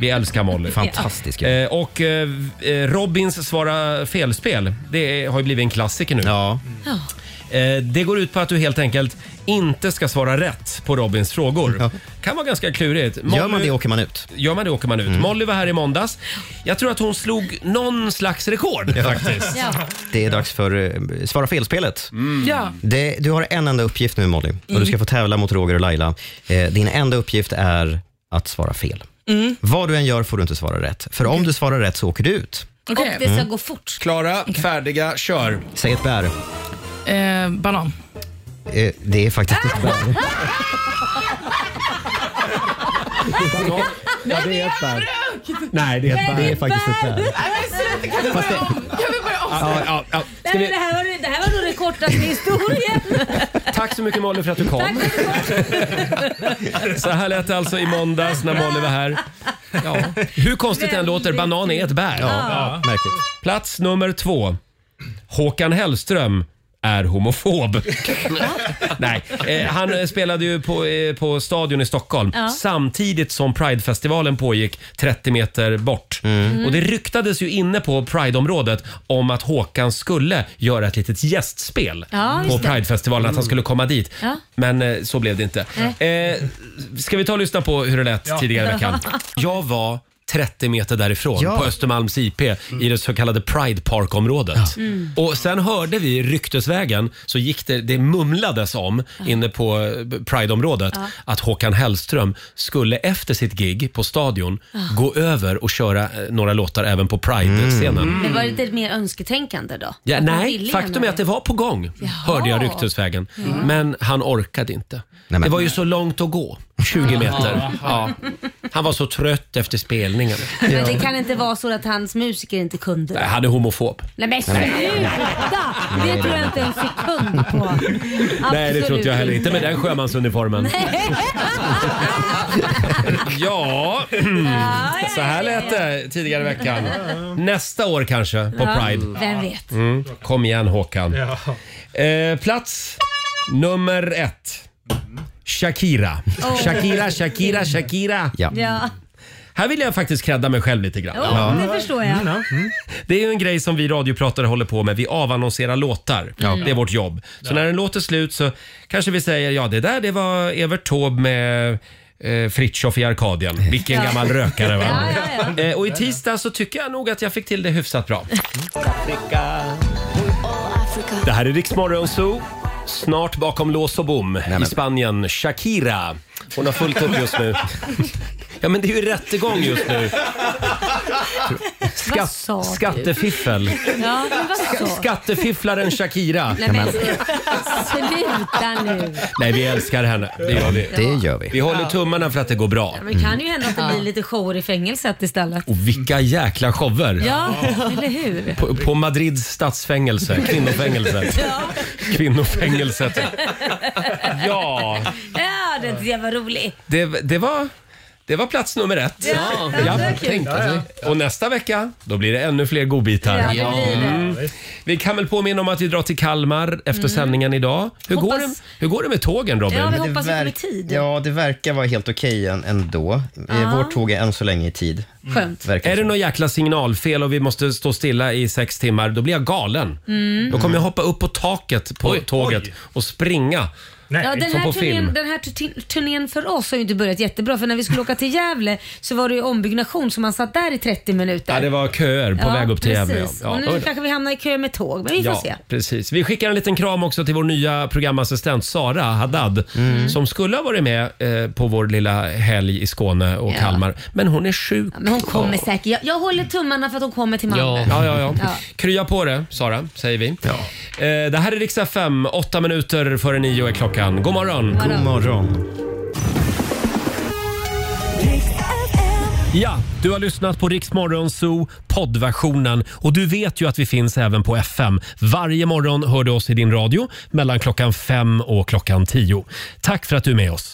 [SPEAKER 1] Vi älskar
[SPEAKER 3] [LAUGHS]
[SPEAKER 1] Molly.
[SPEAKER 2] Fantastisk.
[SPEAKER 1] Eh, och eh, eh, Robins svara felspel, det är, har ju blivit en klassiker nu. Ja. Eh, Det går ut på att du helt enkelt inte ska svara rätt på Robins frågor. Kan vara ganska klurigt.
[SPEAKER 3] Gör man det åker man ut. Mm.
[SPEAKER 1] Gör man det åker man ut. Molly var här i måndags. Jag tror att hon slog någon slags rekord
[SPEAKER 3] Ja.
[SPEAKER 1] faktiskt. Mm.
[SPEAKER 3] Det är dags för eh, Svara fel-spelet.
[SPEAKER 1] Ja.
[SPEAKER 3] Det, du har en enda uppgift nu, Molly, och du ska få tävla mot Roger och Laila. Eh, din enda uppgift är att svara fel.
[SPEAKER 2] Mm.
[SPEAKER 3] Vad du än gör får du inte svara rätt, för om du svarar rätt så åker du ut.
[SPEAKER 2] Och det ska
[SPEAKER 3] Mm.
[SPEAKER 2] gå fort.
[SPEAKER 1] Klara, färdiga, kör.
[SPEAKER 3] Säg ett bär.
[SPEAKER 18] Eh, banan.
[SPEAKER 3] Eh, det är faktiskt ett bär.
[SPEAKER 18] Ja, det är ett bär.
[SPEAKER 1] Nej, det är ett bär.
[SPEAKER 18] Det är
[SPEAKER 1] faktiskt ett bär.
[SPEAKER 18] Nej, men sluta. Kan vi
[SPEAKER 1] Fast
[SPEAKER 18] börja om? Kan vi börja om?
[SPEAKER 1] Ja, ja, ja.
[SPEAKER 2] Nej, men det, här var, det här var nog den kortaste historien.
[SPEAKER 1] [LAUGHS] Tack så mycket Molly för att du kom. Så här lät det alltså i måndags när Molly var här. Ja. Hur konstigt det än låter, banan är ett bär.
[SPEAKER 3] Ja, märkligt.
[SPEAKER 1] Plats nummer två. Håkan Hellström
[SPEAKER 5] [LAUGHS]
[SPEAKER 1] är homofob. Nej, eh, han eh, spelade ju på, eh, på Stadion i Stockholm
[SPEAKER 5] Ja.
[SPEAKER 1] samtidigt som Pridefestivalen pågick 30 meter bort.
[SPEAKER 5] Mm.
[SPEAKER 1] Och det ryktades ju inne på Prideområdet om att Håkan skulle göra ett litet gästspel
[SPEAKER 5] Ja,
[SPEAKER 1] på
[SPEAKER 5] just det. Mm.
[SPEAKER 1] Pridefestivalen, att han skulle komma dit.
[SPEAKER 5] Ja.
[SPEAKER 1] Men eh, så blev det inte. Eh, ska vi ta och lyssna på hur det lät
[SPEAKER 5] Ja.
[SPEAKER 1] tidigare i veckan?
[SPEAKER 5] Ja.
[SPEAKER 1] Jag var 30 meter därifrån
[SPEAKER 5] Ja.
[SPEAKER 1] på Östermalms IP i det så kallade Pride Park-området.
[SPEAKER 5] Mm.
[SPEAKER 1] Och sen hörde vi ryktesvägen så gick det, det mumlades om inne på eh, Pride-området
[SPEAKER 5] Ja.
[SPEAKER 1] att Håkan Hellström skulle efter sitt gig på Stadion
[SPEAKER 2] Ah.
[SPEAKER 1] gå över och köra eh, några låtar även på Pride-scenen.
[SPEAKER 2] Mm. Det var lite mer önsketänkande då.
[SPEAKER 1] Mm. Ja,
[SPEAKER 2] Att man
[SPEAKER 1] nej,
[SPEAKER 2] ville
[SPEAKER 1] faktum
[SPEAKER 2] gärna
[SPEAKER 1] är att det var på gång, hörde jag ryktesvägen.
[SPEAKER 2] Mm.
[SPEAKER 1] Men han orkade inte. Det var ju så långt att gå, 20 meter. Ja. Han var så trött efter spelningen.
[SPEAKER 2] Men det kan inte vara så att hans musiker inte kunde det.
[SPEAKER 1] Han är homofob.
[SPEAKER 2] Nej men sluta! Det tror jag inte en sekund på.
[SPEAKER 1] Nej, det
[SPEAKER 2] Absolut
[SPEAKER 1] tror inte jag heller. Inte med den sjömansuniformen. Ja, så här lät det tidigare i veckan. Nästa år kanske, på
[SPEAKER 2] Ja,
[SPEAKER 1] Pride.
[SPEAKER 2] Vem vet?
[SPEAKER 1] Mm. Kom igen Håkan. Eh, plats nummer ett. Shakira.
[SPEAKER 2] Åh.
[SPEAKER 1] Shakira, Shakira, Shakira.
[SPEAKER 2] Ja,
[SPEAKER 1] Här vill jag faktiskt credda mig själv lite grann.
[SPEAKER 2] Ja, det förstår jag.
[SPEAKER 1] Det är ju en grej som vi radiopratare håller på med. Vi avannonserar låtar.
[SPEAKER 2] Ja.
[SPEAKER 1] Det är vårt jobb. Så när en låt är slut så kanske vi säger ja det där det var Evert Taube med eh, Fritiof i Arkadien. Vilken
[SPEAKER 5] Ja.
[SPEAKER 1] gammal rökare
[SPEAKER 2] [LAUGHS]
[SPEAKER 1] va?
[SPEAKER 5] Ja,
[SPEAKER 1] Eh, och i tisdag så tycker jag nog att jag fick till det hyfsat bra. Det här är Riksmorgon Zoo. Snart bakom lås och bom i Spanien. Shakira. Hon har fullt upp just nu. Ja men det är ju rättegång just nu.
[SPEAKER 2] Vad sa du?
[SPEAKER 1] Skattefiffel.
[SPEAKER 2] Ja, men vad sa du?
[SPEAKER 1] Skattefifflaren Shakira.
[SPEAKER 2] Nej men sluta nu.
[SPEAKER 1] Nej, vi älskar henne. Det gör vi.
[SPEAKER 2] Det
[SPEAKER 3] gör vi.
[SPEAKER 1] Vi håller tummarna för att det går bra.
[SPEAKER 2] Men det kan ju hända att det blir lite shower i fängelset istället.
[SPEAKER 1] Och vilka jäkla shower!
[SPEAKER 2] Ja, eller hur?
[SPEAKER 1] På, på Madrids stadsfängelse, kvinnofängelse.
[SPEAKER 2] Ja.
[SPEAKER 1] Kvinnofängelset. Ja,
[SPEAKER 2] Ja, det tyckte jag var rolig.
[SPEAKER 1] det, det, var, det var plats nummer ett.
[SPEAKER 2] Ja, det var kul.
[SPEAKER 1] tänkte vi. Och nästa vecka, då blir det ännu fler godbitar. Mm.
[SPEAKER 2] Ja, det blir det. Mm.
[SPEAKER 1] Vi kan väl påminna om att vi drar till Kalmar efter sändningen idag. Hur, går det,
[SPEAKER 2] Hoppas-
[SPEAKER 1] hur går det med tågen Robin?
[SPEAKER 2] Ja, vi hoppas
[SPEAKER 3] verk-
[SPEAKER 2] att det blir tid.
[SPEAKER 3] Ja, det verkar vara helt okej än, ändå.
[SPEAKER 2] Ja.
[SPEAKER 3] Ah. Vårt tåg är än så länge i tid.
[SPEAKER 2] Skönt.
[SPEAKER 3] Verkar
[SPEAKER 1] Är det något jäkla signalfel och vi måste stå stilla i sex timmar, då blir jag galen.
[SPEAKER 2] Mm.
[SPEAKER 1] Då kommer jag hoppa upp på taket på tåget och springa.
[SPEAKER 2] Ja, den,
[SPEAKER 1] som
[SPEAKER 2] här
[SPEAKER 1] på film.
[SPEAKER 2] turnén, den här tu- turnén för oss har ju inte börjat jättebra för när vi skulle åka till Gävle så var det ju ombyggnation så man satt där i 30 minuter.
[SPEAKER 1] Ja, det var köer på
[SPEAKER 2] Ja,
[SPEAKER 1] väg upp till Gävle. ja.
[SPEAKER 2] precis.
[SPEAKER 1] Ja,
[SPEAKER 2] Och nu
[SPEAKER 1] oj då.
[SPEAKER 2] kanske vi hamnar i kö med tåg, men vi får
[SPEAKER 1] Ja,
[SPEAKER 2] se.
[SPEAKER 1] precis. Vi skickar en liten kram också till vår nya programassistent Sara Haddad
[SPEAKER 2] Mm.
[SPEAKER 1] som skulle ha varit med eh, på vår lilla helg i Skåne och
[SPEAKER 2] Ja.
[SPEAKER 1] Kalmar. Men hon är sjuk.
[SPEAKER 2] Men hon kommer säkert. Jag, jag håller tummarna för att hon kommer till Malmö.
[SPEAKER 1] Ja, ja, ja. Krya på det, Sara, säger vi. Eh, det här är riksdag 5, åtta minuter före nio är klockan. God morgon!
[SPEAKER 2] God morgon.
[SPEAKER 1] Ja, du har lyssnat på Riksmorgon Zoo poddversionen och du vet ju att vi finns även på FM. Varje morgon hör du oss i din radio mellan klockan fem och klockan tio. Tack för att du är med oss.